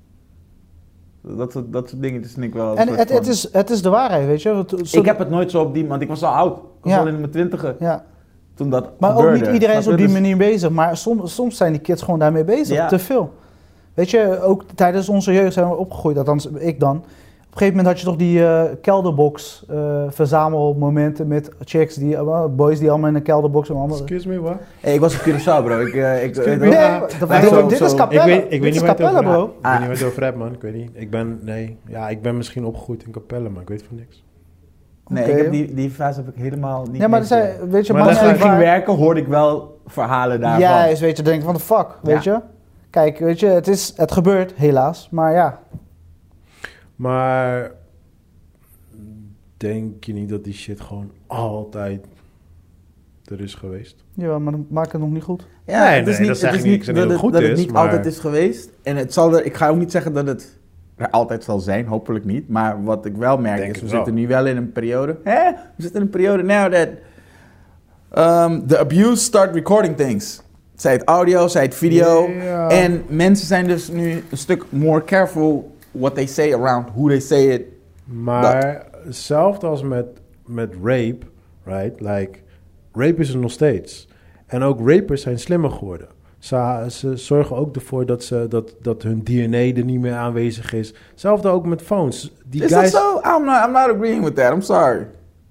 Speaker 6: Dat, soort, dat soort dingetjes vind ik wel... een
Speaker 2: En
Speaker 6: soort
Speaker 2: het, het,
Speaker 6: van-
Speaker 2: is, het is de waarheid, weet je. Want, eh, zo-
Speaker 6: Ik heb het nooit zo op die... Want ik was al oud. Ik was
Speaker 2: Ja.
Speaker 6: al in mijn twintiger
Speaker 2: ja.
Speaker 6: toen dat
Speaker 2: Maar ook
Speaker 6: gebeurde.
Speaker 2: niet iedereen is
Speaker 6: Snap
Speaker 2: op
Speaker 6: je?
Speaker 2: die
Speaker 6: Dus-
Speaker 2: manier bezig. Maar soms, soms zijn die kids gewoon daarmee bezig.
Speaker 6: Ja.
Speaker 2: Te veel. Weet je, ook tijdens onze jeugd zijn we opgegroeid. Althans, ik dan. Op een gegeven moment had je toch die eh, kelderbox eh, verzamelmomenten met chicks, die, eh, boys die allemaal in een kelderbox en allemaal.
Speaker 1: Excuse me, wat?
Speaker 6: Hey, ik was op Curaçao, bro. Ik, eh, ik,
Speaker 1: Excuse
Speaker 6: ik-
Speaker 1: me.
Speaker 2: Nee,
Speaker 1: Ja.
Speaker 2: maar dat-
Speaker 6: Nee,
Speaker 2: dit-
Speaker 6: zo-
Speaker 2: dit
Speaker 6: zo.
Speaker 2: is
Speaker 6: Ik
Speaker 1: Ik
Speaker 2: Capella.
Speaker 1: weet, ik weet
Speaker 2: dit
Speaker 1: niet
Speaker 2: is
Speaker 1: waar je het
Speaker 2: Capella,
Speaker 1: over-
Speaker 2: bro.
Speaker 1: Ik weet niet waar je het over hebt, man. Ik weet niet. Ik ben, nee. Ja, ik ben misschien opgegroeid in Capelle, maar ik weet van niks.
Speaker 6: Nee,
Speaker 2: Oké.
Speaker 6: ik heb die, die fase heb ik helemaal niet
Speaker 2: Ja, maar er
Speaker 6: meegemaakt.
Speaker 2: zijn, weet je,
Speaker 1: Maar
Speaker 2: mannen
Speaker 1: dat
Speaker 6: Toen
Speaker 1: zijn
Speaker 2: zijn
Speaker 6: ik ging
Speaker 2: waar-
Speaker 6: werken, hoorde ik wel verhalen daarvan.
Speaker 2: Juist, weet je, denk ik van de fuck, weet je. Kijk, weet je, het, is, het gebeurt helaas, maar ja.
Speaker 1: Maar denk je niet dat die shit gewoon altijd er is geweest?
Speaker 2: Jawel, maar dan maak ik het nog niet goed.
Speaker 6: Ja,
Speaker 1: Nee,
Speaker 6: het is
Speaker 1: nee,
Speaker 6: niet,
Speaker 1: dat zeg
Speaker 6: het is
Speaker 1: ik niet.
Speaker 6: niet dat,
Speaker 1: Ik zeg niet dat
Speaker 6: het,
Speaker 1: het
Speaker 6: dat
Speaker 1: goed
Speaker 6: het
Speaker 1: is,
Speaker 6: niet
Speaker 1: maar-
Speaker 6: altijd is geweest.
Speaker 3: En het zal er, ik ga ook niet zeggen dat het er altijd zal zijn, hopelijk niet. Maar wat ik wel merk
Speaker 1: Denk
Speaker 3: is,
Speaker 1: het
Speaker 3: we
Speaker 1: wel.
Speaker 3: zitten nu wel in een periode. Hè? We zitten in een periode now that um, the abuse start recording things. Zij het audio, zij het video.
Speaker 1: Ja.
Speaker 3: En mensen zijn dus nu een stuk more careful what they say around who they say it.
Speaker 1: Maar
Speaker 3: Nou,
Speaker 1: hetzelfde als met, met rape, right? Like, rape is er nog steeds. En ook rapers zijn slimmer geworden. Ze, ze zorgen ook ervoor dat, ze, dat, dat hun DNA er niet meer aanwezig is. Hetzelfde ook met phones. Die
Speaker 3: is
Speaker 1: guys...
Speaker 3: dat zo? I'm not, I'm not agreeing with that. I'm sorry.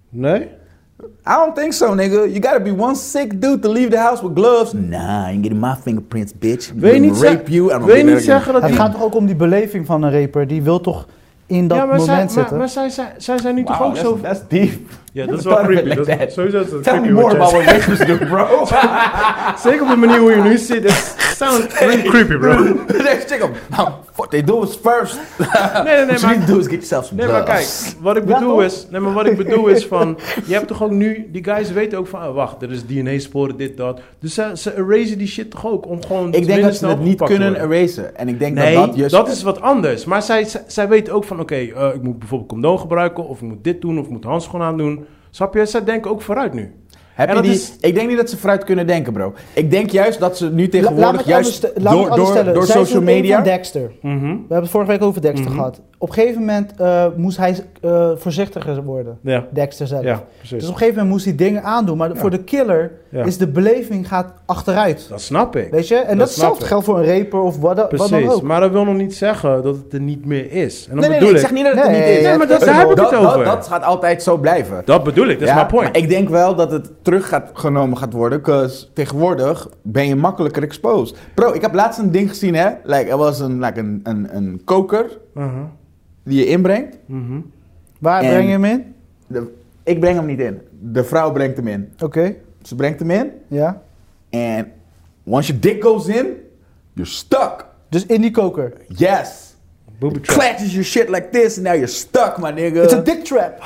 Speaker 1: Nee?
Speaker 3: I don't think so, nigga. You gotta be one sick dude to leave the house with gloves. Nah, I ain't getting my fingerprints, bitch. I'm
Speaker 1: Wil je
Speaker 3: gonna
Speaker 1: niet, ze-
Speaker 3: rape you. I'm
Speaker 1: wil je
Speaker 3: gonna-
Speaker 1: niet zeggen dat
Speaker 2: Het
Speaker 1: die...
Speaker 2: gaat toch ook om die beleving van een raper, die wil toch in dat
Speaker 1: ja, maar,
Speaker 2: moment
Speaker 1: zij, maar,
Speaker 2: zitten.
Speaker 1: maar zij, zij, zij zijn nu toch
Speaker 6: Wauw,
Speaker 1: ook zo...
Speaker 6: that's, that's deep.
Speaker 1: Ja,
Speaker 3: [laughs]
Speaker 1: dat is
Speaker 6: Don't
Speaker 1: wel
Speaker 6: do it
Speaker 1: creepy.
Speaker 6: like
Speaker 1: Dat is-
Speaker 6: that.
Speaker 1: sowieso is dat
Speaker 6: Tell me
Speaker 1: creepy.
Speaker 6: more
Speaker 1: wat jij
Speaker 6: about what rappers do, bro.
Speaker 1: [laughs]
Speaker 3: [laughs]
Speaker 1: zegt. Zeker op de manier hoe je nu zit. Het sounds
Speaker 3: [laughs]
Speaker 1: creepy, bro. Nee,
Speaker 3: Next chick, um, what they do is first.
Speaker 1: [laughs] nee, nee,
Speaker 3: What you
Speaker 1: maar...
Speaker 3: need to do is get yourself some
Speaker 1: Nee, maar
Speaker 3: gloves.
Speaker 1: kijk, wat ik bedoel is, nee, maar wat ik bedoel is
Speaker 3: [laughs]
Speaker 1: van, je hebt toch ook nu, die guys weten ook van, ah, wacht, er is DNA-sporen, dit, dat. Dus ze, ze erasen die shit toch ook om gewoon
Speaker 3: Ik denk dat
Speaker 1: tenminste
Speaker 3: ze het niet
Speaker 1: opgepakt te
Speaker 3: kunnen
Speaker 1: worden.
Speaker 3: erasen. En ik denk
Speaker 1: Nee,
Speaker 3: dat dat juist...
Speaker 1: is wat anders. Maar zij, zij, zij weten ook van, oké, eh, ik moet bijvoorbeeld condoom gebruiken, of ik moet dit doen, of ik moet handschoenen aandoen. Snap je? Zij denken ook vooruit nu.
Speaker 3: Heb
Speaker 1: en
Speaker 3: je
Speaker 1: dat
Speaker 3: die,
Speaker 1: is-
Speaker 3: Ik denk niet dat ze vooruit kunnen denken, bro. Ik denk juist dat ze nu
Speaker 2: La- laat me
Speaker 3: tegenwoordig
Speaker 2: het
Speaker 3: juist
Speaker 2: anders- laat me het
Speaker 3: door,
Speaker 2: anders
Speaker 3: door,
Speaker 2: stellen.
Speaker 3: door
Speaker 2: Zij
Speaker 3: social
Speaker 2: is een van
Speaker 3: media...
Speaker 2: Dexter.
Speaker 1: Mhm.
Speaker 2: We hebben het vorige week over Dexter
Speaker 1: Mhm.
Speaker 2: gehad. Op een gegeven moment eh, moest hij eh, voorzichtiger worden,
Speaker 1: Ja,
Speaker 2: Dexter zelf.
Speaker 1: ja,
Speaker 2: Dus
Speaker 1: precies.
Speaker 2: op een gegeven moment moest hij dingen aandoen, maar voor de killer
Speaker 1: Ja.
Speaker 2: is de beleving gaat achteruit.
Speaker 1: Dat snap ik.
Speaker 2: Weet je? En dat,
Speaker 1: dat
Speaker 2: is
Speaker 1: snap
Speaker 2: hetzelfde
Speaker 1: ik.
Speaker 2: geldt voor een raper of wat, wat dan
Speaker 1: Precies,
Speaker 2: ook.
Speaker 1: maar dat wil nog niet zeggen dat het er niet meer is. En dan
Speaker 3: Nee, nee, nee,
Speaker 1: bedoel
Speaker 3: ik
Speaker 1: ik,
Speaker 3: zeg niet dat het er
Speaker 2: Nee,
Speaker 3: niet is.
Speaker 2: nee, maar
Speaker 1: dat- daar heb ik het
Speaker 3: Dat-
Speaker 1: over.
Speaker 3: Dat, dat gaat altijd zo blijven.
Speaker 1: dat bedoel ik, dat is
Speaker 3: Ja,
Speaker 1: mijn point.
Speaker 3: maar ik denk wel dat het terug gaat genomen gaat worden. 'cause tegenwoordig ben je makkelijker exposed. Bro, ik heb laatst een ding gezien, hè. Like, er was een, like, een, een, een koker
Speaker 1: Mhm,
Speaker 3: die je inbrengt.
Speaker 1: mhm.
Speaker 2: Waar
Speaker 3: En-
Speaker 2: breng je hem in?
Speaker 3: De- ik breng hem niet in. De vrouw brengt hem in.
Speaker 2: Oké,
Speaker 3: Ze brengt hem in.
Speaker 2: ja.
Speaker 3: En once your dick goes in, you're stuck.
Speaker 2: Dus in die koker.
Speaker 3: Yes.
Speaker 1: Booby trap.
Speaker 3: Clatches your shit like this and now you're stuck, my nigga.
Speaker 2: It's a dick
Speaker 3: [laughs]
Speaker 2: trap.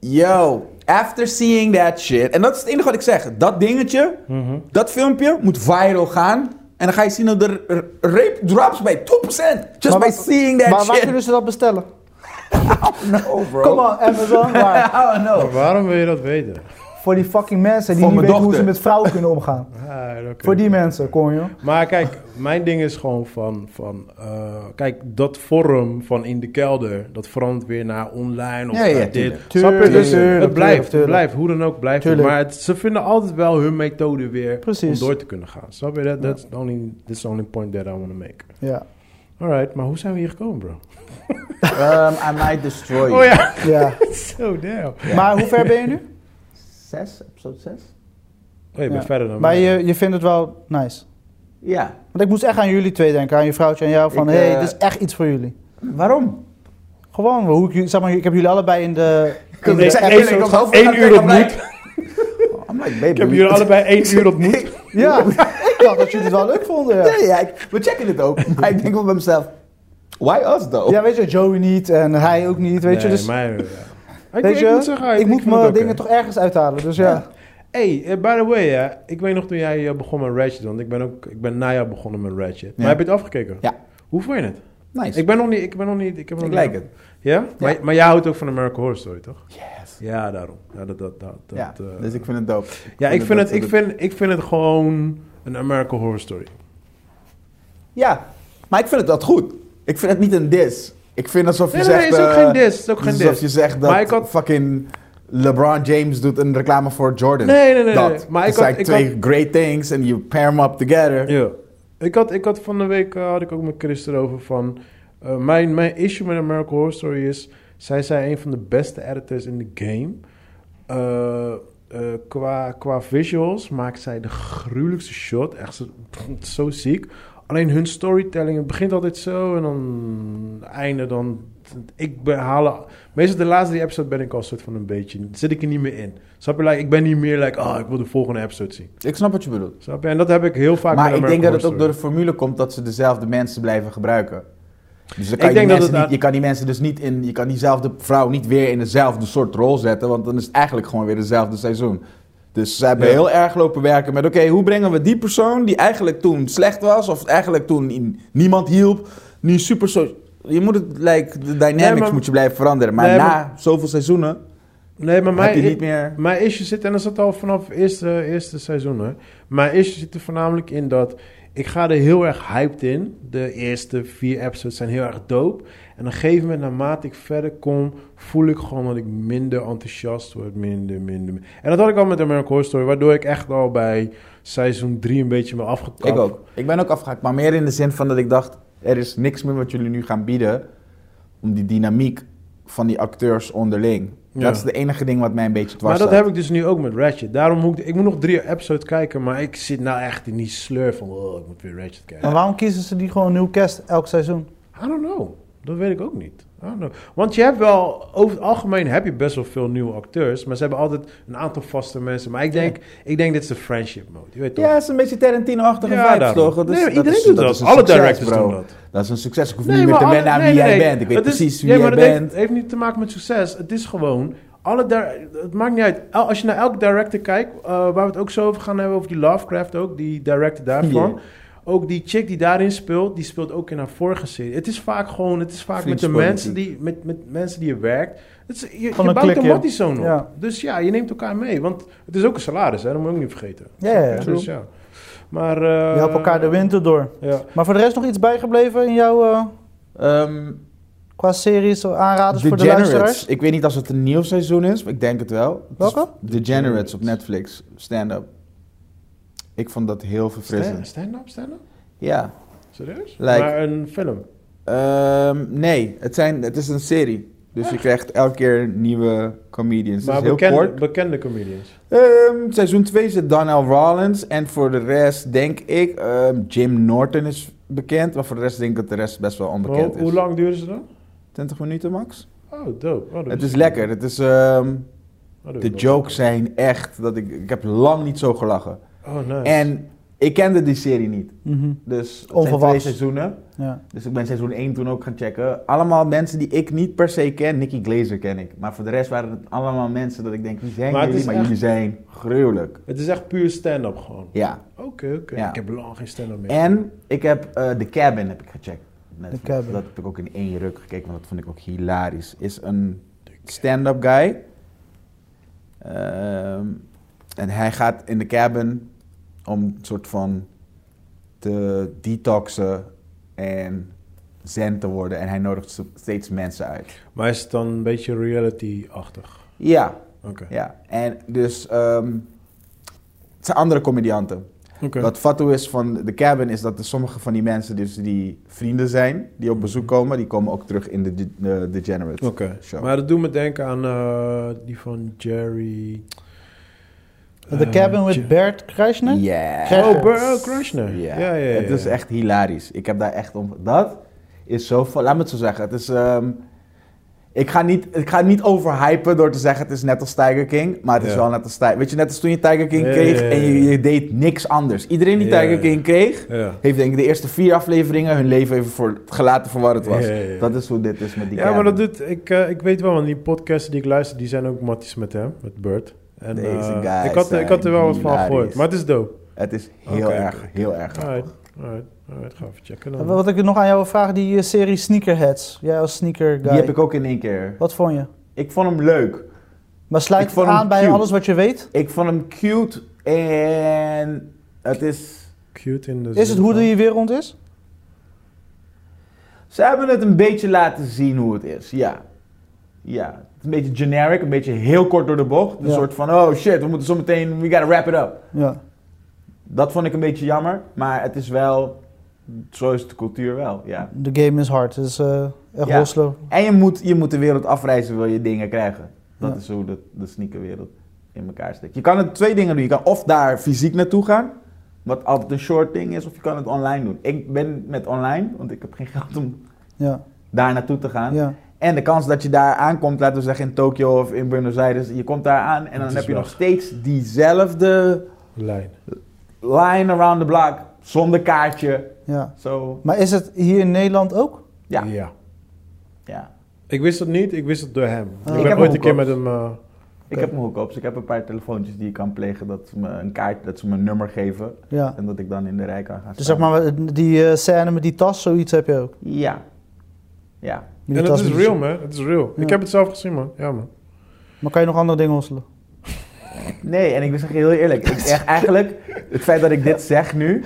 Speaker 3: Yo, after seeing that shit. En dat is het enige wat ik zeg. Dat dingetje,
Speaker 1: Mhm.
Speaker 3: dat filmpje moet viral gaan. En dan ga je zien dat de r- rape drops bij 2%. Just
Speaker 2: Maar
Speaker 3: by
Speaker 2: wa-
Speaker 3: seeing that
Speaker 2: maar waar
Speaker 3: shit.
Speaker 2: kunnen ze dat bestellen?
Speaker 3: No, bro.
Speaker 2: Kom on,
Speaker 3: [laughs]
Speaker 2: Amazon. Waar?
Speaker 3: I don't know.
Speaker 1: Maar waarom wil je dat weten?
Speaker 2: voor die fucking mensen die
Speaker 3: Voor
Speaker 2: niet
Speaker 3: mijn
Speaker 2: weten hoe ze
Speaker 3: dochter.
Speaker 2: met vrouwen kunnen
Speaker 3: [laughs]
Speaker 2: omgaan.
Speaker 1: Ah, oké.
Speaker 2: Voor die mensen, kom joh.
Speaker 1: Maar kijk, mijn ding is gewoon van... van eh, kijk, dat vorm van in de kelder... dat verandert weer naar online of
Speaker 3: Ja, ja,
Speaker 1: naar dit.
Speaker 3: tuurlijk.
Speaker 1: Snap je? Dus
Speaker 2: Tuurlijk, tuurlijk,
Speaker 1: het blijft, het
Speaker 2: tuurlijk.
Speaker 1: blijft. Hoe dan ook blijft
Speaker 2: Tuurlijk.
Speaker 1: het. Maar het- ze vinden altijd wel hun methode weer...
Speaker 2: Precies.
Speaker 1: om door te kunnen gaan. Snap je? That, that's, the only, that's the only point that I want to make.
Speaker 2: Ja.
Speaker 1: Alright, maar hoe zijn we hier gekomen, bro?
Speaker 6: Um, I might destroy you.
Speaker 1: Oh [laughs] ja,
Speaker 2: ja.
Speaker 1: so damn.
Speaker 2: Maar hoe ver ben je nu?
Speaker 6: Zes, episode zes?
Speaker 1: Oh, je bent
Speaker 2: Ja.
Speaker 1: verder dan
Speaker 2: Maar
Speaker 1: mij.
Speaker 2: je, je vindt het wel nice.
Speaker 6: Ja.
Speaker 2: Want ik moest echt aan jullie twee denken, aan je vrouwtje en jou. Van
Speaker 6: Ik,
Speaker 2: hé, hey,
Speaker 6: eh,
Speaker 2: dit is echt iets voor jullie.
Speaker 6: Waarom?
Speaker 2: Gewoon, hoe ik, jullie- zeg maar, ik heb jullie allebei in de. in de
Speaker 1: Ik zeg
Speaker 2: app-
Speaker 1: één, ik
Speaker 3: episode-
Speaker 1: één uur
Speaker 3: I'm [laughs] like-
Speaker 1: ontmoet.
Speaker 6: I'm like, baby.
Speaker 1: Ik heb jullie allebei één uur [laughs] ontmoet.
Speaker 2: Ja, [laughs] ik dacht dat jullie het wel leuk vonden. Ja,
Speaker 3: [laughs] Ja, ja, ik- we checken het
Speaker 1: [laughs]
Speaker 3: ook. Maar ik denk wel bij mezelf, why us though?
Speaker 2: ja weet je, Joey niet en hij ook niet. Weet je,
Speaker 1: Nee,
Speaker 2: dus.
Speaker 1: maar, ja. Ik,
Speaker 2: weet
Speaker 1: ik
Speaker 2: je,
Speaker 1: moet zeggen,
Speaker 2: ik moet
Speaker 1: vind het
Speaker 2: mijn
Speaker 1: oké.
Speaker 2: dingen toch ergens uithalen. Dus ja.
Speaker 1: Hey, eh, by the way, hè, ik weet nog toen jij eh, begon met Ratchet, want ik ben ook ik ben na jou begonnen met Ratchet. Maar heb je het afgekeken?
Speaker 3: Ja.
Speaker 1: Hoe vond je het?
Speaker 3: Nice.
Speaker 1: Ik ben nog niet, ik ben nog niet, ik heb nog
Speaker 3: Ik
Speaker 1: niet-
Speaker 3: lijk het.
Speaker 1: Ja? Maar, maar jij houdt ook van American Horror Story, toch?
Speaker 3: Yes.
Speaker 1: Ja, daarom. Ja, dat, dat, dat, dat,
Speaker 3: ja,
Speaker 1: eh,
Speaker 3: dus ik vind het dope.
Speaker 1: ja ik, vind
Speaker 3: dat
Speaker 1: het, ik,
Speaker 3: ze
Speaker 1: vind, ik vind het gewoon een American Horror Story.
Speaker 3: Ja, maar ik vind het dat goed. Ik vind het niet een dis. Ik vind alsof je
Speaker 1: Nee, nee,
Speaker 3: zegt...
Speaker 1: nee, is ook
Speaker 3: eh,
Speaker 1: geen dis. Is ook geen
Speaker 3: alsof
Speaker 1: dis.
Speaker 3: je zegt
Speaker 1: Maar
Speaker 3: dat
Speaker 1: ik had-
Speaker 3: fucking LeBron James doet een reclame voor Jordan.
Speaker 1: Nee, nee, nee,
Speaker 3: dat.
Speaker 1: nee. Maar
Speaker 3: Het
Speaker 1: ik had-
Speaker 3: zijn
Speaker 1: ik
Speaker 3: twee great things and you pair them up together.
Speaker 1: Ja. Ik had, ik had van de week eh, had ik ook met Chris erover van. eh, mijn, mijn issue met American Horror Story is. Zij zijn een van de beste editors in de game. Eh, eh, qua, qua visuals maakt zij de gruwelijkste shot. Echt zo, [laughs] zo ziek. Alleen hun storytelling, het begint altijd zo en dan einde dan. Ik haal. Meestal de laatste drie episodes ben ik al soort van een beetje. Zit ik er niet meer in. Snap je? Like, ik ben niet meer like, ah, ik wil de volgende episode zien.
Speaker 3: Ik snap wat je bedoelt.
Speaker 1: Snap je? En dat heb ik heel vaak
Speaker 3: maar
Speaker 1: met
Speaker 3: ik denk
Speaker 1: American
Speaker 3: dat het
Speaker 1: Horror
Speaker 3: ook door de formule komt dat ze dezelfde mensen blijven gebruiken. Dus dan kan
Speaker 1: Ik
Speaker 3: je,
Speaker 1: denk dat
Speaker 3: mensen
Speaker 1: het
Speaker 3: niet, je kan die mensen dus niet in... Je kan diezelfde vrouw niet weer in dezelfde soort rol zetten... want dan is het eigenlijk gewoon weer dezelfde seizoen. Dus ze hebben
Speaker 1: Ja.
Speaker 3: heel erg lopen werken met... oké, hoe brengen we die persoon die eigenlijk toen slecht was... of eigenlijk toen i- niemand hielp, nu super... So je moet het, like, de dynamics
Speaker 1: Nee, maar-
Speaker 3: moet je blijven veranderen. Maar
Speaker 1: Nee,
Speaker 3: na
Speaker 1: maar-
Speaker 3: zoveel seizoenen
Speaker 1: Nee, maar
Speaker 3: heb
Speaker 1: mijn,
Speaker 3: je niet meer...
Speaker 1: mijn issue zit, en dat zat al vanaf eerste, eerste seizoen, hè. Mijn issue zit er voornamelijk in dat ik ga er heel erg hyped in. De eerste vier episodes zijn heel erg dope. En op een gegeven moment, naarmate ik verder kom, voel ik gewoon dat ik minder enthousiast word. Minder, minder. minder. En dat had ik al met American Horror Story, waardoor ik echt al bij seizoen drie een beetje me afgekapt.
Speaker 3: Ik ook. Ik ben ook afgehaakt, maar meer in de zin van dat ik dacht... er is niks meer wat jullie nu gaan bieden... om die dynamiek van die acteurs onderling.
Speaker 1: Ja.
Speaker 3: Dat is de enige ding wat mij een beetje dwars
Speaker 1: Maar dat
Speaker 3: zat.
Speaker 1: heb ik dus nu ook met Ratchet. Daarom moet ik, ik moet nog drie episodes kijken, maar ik zit nou echt in die sleur van, oh, ik moet weer Ratchet kijken.
Speaker 7: Maar waarom kiezen ze die gewoon een nieuw cast elk seizoen?
Speaker 1: I don't know. Dat weet ik ook niet. I don't know. Want je hebt wel, over het algemeen heb je best wel veel nieuwe acteurs. Maar ze hebben altijd een aantal vaste mensen. Maar ik denk, ik denk dit is de friendship mode. Je weet toch?
Speaker 3: Ja, het is een beetje Tarantino-achtige
Speaker 1: Ja,
Speaker 3: vibes,
Speaker 1: daarom.
Speaker 3: toch? Dat is-
Speaker 1: Nee, maar
Speaker 3: dat
Speaker 1: iedereen
Speaker 3: is-
Speaker 1: doet
Speaker 3: dat
Speaker 1: dat.
Speaker 3: is een
Speaker 1: Alle
Speaker 3: succes,
Speaker 1: directors
Speaker 3: bro.
Speaker 1: doen dat.
Speaker 3: Dat is een succes. Ik hoef niet meer te
Speaker 1: alle-
Speaker 3: wennen aan
Speaker 1: nee,
Speaker 3: wie
Speaker 1: nee,
Speaker 3: jij
Speaker 1: nee.
Speaker 3: bent. Ik weet
Speaker 1: Het is-
Speaker 3: precies wie
Speaker 1: nee,
Speaker 3: jij
Speaker 1: maar dat heeft-
Speaker 3: bent.
Speaker 1: Het heeft niet te maken met succes. Het is gewoon... Alle dir- het maakt niet uit. El- Als je naar elke director kijkt, eh, waar we het ook zo over gaan hebben, over die Lovecraft ook, die director daarvan.
Speaker 3: Ja.
Speaker 1: Ook die chick die daarin speelt, die speelt ook in haar vorige serie. Het is vaak gewoon, het is vaak met de
Speaker 3: Vriendspolitiek.
Speaker 1: mensen die, met, met mensen die je werkt. Het is, je je
Speaker 7: Gewoon een
Speaker 1: bouwt
Speaker 7: klik,
Speaker 1: automatisch zo'n op.
Speaker 7: Ja.
Speaker 1: Dus ja, je neemt elkaar mee. Want het is ook een salaris, hè? dat moet je ook niet vergeten.
Speaker 7: Ja, ja, ja.
Speaker 1: Dus ja. Maar... eh,
Speaker 7: Die helpen elkaar de winter door.
Speaker 1: Ja.
Speaker 7: Maar voor de rest nog iets bijgebleven in jouw eh,
Speaker 3: Ehm,
Speaker 7: qua series of aanraders voor de
Speaker 3: Degenerates.
Speaker 7: luisteraars?
Speaker 3: Ik weet niet of het een nieuw seizoen is, maar ik denk het wel. Het is
Speaker 7: Welke?
Speaker 3: Degenerates op Netflix. Stand-up. Ik vond dat heel verfrissend.
Speaker 1: Stand-up, stand-up?
Speaker 3: Ja.
Speaker 1: Serieus?
Speaker 3: Like-
Speaker 1: maar een film.
Speaker 3: Ehm, nee, het, zijn, het is een serie. Dus je krijgt elke keer nieuwe comedians.
Speaker 1: Maar
Speaker 3: het is heel
Speaker 1: bekende,
Speaker 3: kort.
Speaker 1: bekende comedians.
Speaker 3: Ehm, seizoen 2 zit Donnell Rollins. En voor de rest denk ik... ehm, Jim Norton is bekend. Maar voor de rest denk ik dat de rest best wel
Speaker 1: Maar
Speaker 3: onbekend
Speaker 1: Hoe, hoe
Speaker 3: is.
Speaker 1: lang duren ze dan?
Speaker 3: 20 minuten max?
Speaker 1: Oh, dope. Oh, dat
Speaker 3: Het
Speaker 1: wist
Speaker 3: is
Speaker 1: ik niet.
Speaker 3: lekker. Het is, ehm,
Speaker 1: Oh, dat
Speaker 3: de
Speaker 1: wist ik
Speaker 3: jokes zijn echt... Dat ik, ik heb lang niet zo gelachen.
Speaker 1: niet. Oh, nice.
Speaker 3: En ik kende die serie niet.
Speaker 7: Mhm,
Speaker 3: Dus het zijn twee
Speaker 7: Onverwachts.
Speaker 3: seizoenen.
Speaker 7: ja.
Speaker 3: Dus ik ben seizoen 1 toen ook gaan checken. Allemaal mensen die ik niet per se ken. Nicky Glazer ken ik. Maar voor de rest waren het allemaal mensen dat ik denk, wie zijn
Speaker 1: Maar het
Speaker 3: jullie?
Speaker 1: is
Speaker 3: Maar
Speaker 1: echt-
Speaker 3: jullie zijn gruwelijk.
Speaker 1: Het is echt puur stand-up gewoon.
Speaker 3: Ja.
Speaker 1: Oké, oké.
Speaker 3: Ja.
Speaker 1: Ik heb lang geen stand-up meer.
Speaker 3: En ik heb eh, The Cabin heb ik gecheckt. Netflix.
Speaker 7: The Cabin.
Speaker 3: Dat heb ik ook in één ruk gekeken, want dat vond ik ook hilarisch. Is een stand-up guy. Ehm, en hij gaat in de cabin om een soort van te detoxen en zen te worden. En hij nodigt zo- steeds mensen uit.
Speaker 1: Maar is het dan een beetje reality-achtig?
Speaker 3: Ja,
Speaker 1: Oké.
Speaker 3: ja. En dus ehm, het zijn andere comedianten.
Speaker 1: Oké.
Speaker 3: Wat fatsoen is van de cabin is dat er sommige van die mensen dus die vrienden zijn, die op bezoek komen, die komen ook terug in de eh, de- de Degenerate
Speaker 1: Mhm. Oké.
Speaker 3: show.
Speaker 1: Maar dat doet me denken aan eh, die van Jerry...
Speaker 7: The
Speaker 1: Eh,
Speaker 7: Cabin with
Speaker 1: Je-
Speaker 7: Bert Kreisner?
Speaker 3: Ja.
Speaker 7: Crash-
Speaker 1: Oh, Bert oh, Krishna.
Speaker 3: Ja.
Speaker 1: Ja, ja, ja.
Speaker 3: Het is
Speaker 1: ja.
Speaker 3: echt hilarisch. Ik heb daar echt om... Dat is zo... fu- Laat me het zo zeggen. Het is... ehm, ik ga, niet, ik ga niet overhypen door te zeggen het is net als Tiger King, maar het is
Speaker 1: Ja.
Speaker 3: wel net als Tiger Weet je, net als toen je Tiger King
Speaker 1: Ja,
Speaker 3: kreeg
Speaker 1: ja, ja,
Speaker 3: en je,
Speaker 1: ja.
Speaker 3: je deed niks anders. Iedereen die
Speaker 1: Ja,
Speaker 3: Tiger
Speaker 1: ja.
Speaker 3: King kreeg,
Speaker 1: Ja.
Speaker 3: heeft denk ik de eerste vier afleveringen hun leven even voor gelaten voor wat het was.
Speaker 1: Ja, ja, ja.
Speaker 3: Dat is hoe dit is met die
Speaker 1: Ja, maar
Speaker 3: cabin.
Speaker 1: dat doet... Ik, eh, ik weet wel, want die podcasts die ik luister, die zijn ook matties met hem, met Bert. En,
Speaker 3: Deze
Speaker 1: eh,
Speaker 3: guys
Speaker 1: ik, had, ik had er wel wat van
Speaker 3: zijn
Speaker 1: gehoord,
Speaker 3: hilarisch.
Speaker 1: maar het is dope.
Speaker 3: Het is heel
Speaker 1: Oké,
Speaker 3: erg,
Speaker 1: oké.
Speaker 3: heel erg. grappig.
Speaker 1: Alright. Alright, alright, ga even checken
Speaker 2: Wat-
Speaker 1: dan.
Speaker 2: Eh, Wat ik nog aan jou wil vragen, die eh, serie Sneakerheads. Jij als sneaker guy.
Speaker 3: Die heb ik ook in één keer.
Speaker 2: Wat vond je?
Speaker 3: Ik vond hem leuk.
Speaker 2: Maar
Speaker 3: Ik
Speaker 2: sluit het
Speaker 3: vond hem
Speaker 2: aan bij
Speaker 3: cute.
Speaker 2: alles wat je weet?
Speaker 3: Ik vond hem cute en het is...
Speaker 1: Cute in de
Speaker 2: Is het
Speaker 1: zin
Speaker 2: hoe
Speaker 1: van-
Speaker 2: de wereld is?
Speaker 3: Ze hebben het een beetje laten zien hoe het is, ja. Ja, het is een beetje generic, een beetje heel kort door de bocht. Een
Speaker 2: Ja.
Speaker 3: soort van, oh shit, we moeten zometeen, we gotta wrap it up.
Speaker 2: Ja.
Speaker 3: Dat vond ik een beetje jammer, maar het is wel, zo is de cultuur wel, ja.
Speaker 2: De game is hard. Het is eh, echt
Speaker 3: Ja.
Speaker 2: Hoslo.
Speaker 3: En je moet, je moet de wereld afreizen, wil je dingen krijgen. Dat
Speaker 2: Ja.
Speaker 3: is hoe de, de sneakerwereld in elkaar steekt. Je kan het twee dingen doen. Je kan of daar fysiek naartoe gaan, wat altijd een short ding is, of je kan het online doen. Ik ben met online, want ik heb geen geld om
Speaker 2: Ja.
Speaker 3: daar naartoe te gaan.
Speaker 2: ja.
Speaker 3: En de kans dat je daar aankomt, laten we zeggen in Tokio of in Buenos Aires, je komt daar aan en
Speaker 1: Het
Speaker 3: dan
Speaker 1: is
Speaker 3: heb je
Speaker 1: weg.
Speaker 3: nog steeds diezelfde
Speaker 1: Lijn.
Speaker 3: line around the block, zonder kaartje.
Speaker 2: ja.
Speaker 3: Zo,
Speaker 2: Maar is het hier in Nederland ook?
Speaker 3: Ja. ja.
Speaker 1: Ik wist het niet, ik wist het door hem.
Speaker 2: Ah.
Speaker 1: Ik
Speaker 2: Ik
Speaker 1: ben
Speaker 3: heb
Speaker 1: ooit
Speaker 3: ook
Speaker 1: een keer
Speaker 3: ook.
Speaker 1: met hem... eh,
Speaker 3: Ik heb mijn hookups, ik heb een paar telefoontjes die ik kan plegen dat ze me een kaart, dat ze me een nummer geven
Speaker 2: Ja.
Speaker 3: en dat ik dan in de rij kan gaan
Speaker 2: Dus zeg
Speaker 3: staan.
Speaker 2: maar, die eh, scène met die tas, zoiets heb je ook.
Speaker 3: Ja. Ja.
Speaker 2: Die
Speaker 1: en het
Speaker 2: tas
Speaker 1: is
Speaker 2: met-
Speaker 1: real, man. Het is real.
Speaker 2: Ja.
Speaker 1: Ik heb het zelf gezien, man. Ja, man.
Speaker 2: Maar kan je nog andere dingen hosselen?
Speaker 3: Nee, en ik zeg je heel eerlijk, ik zeg eigenlijk, het feit dat ik dit zeg nu,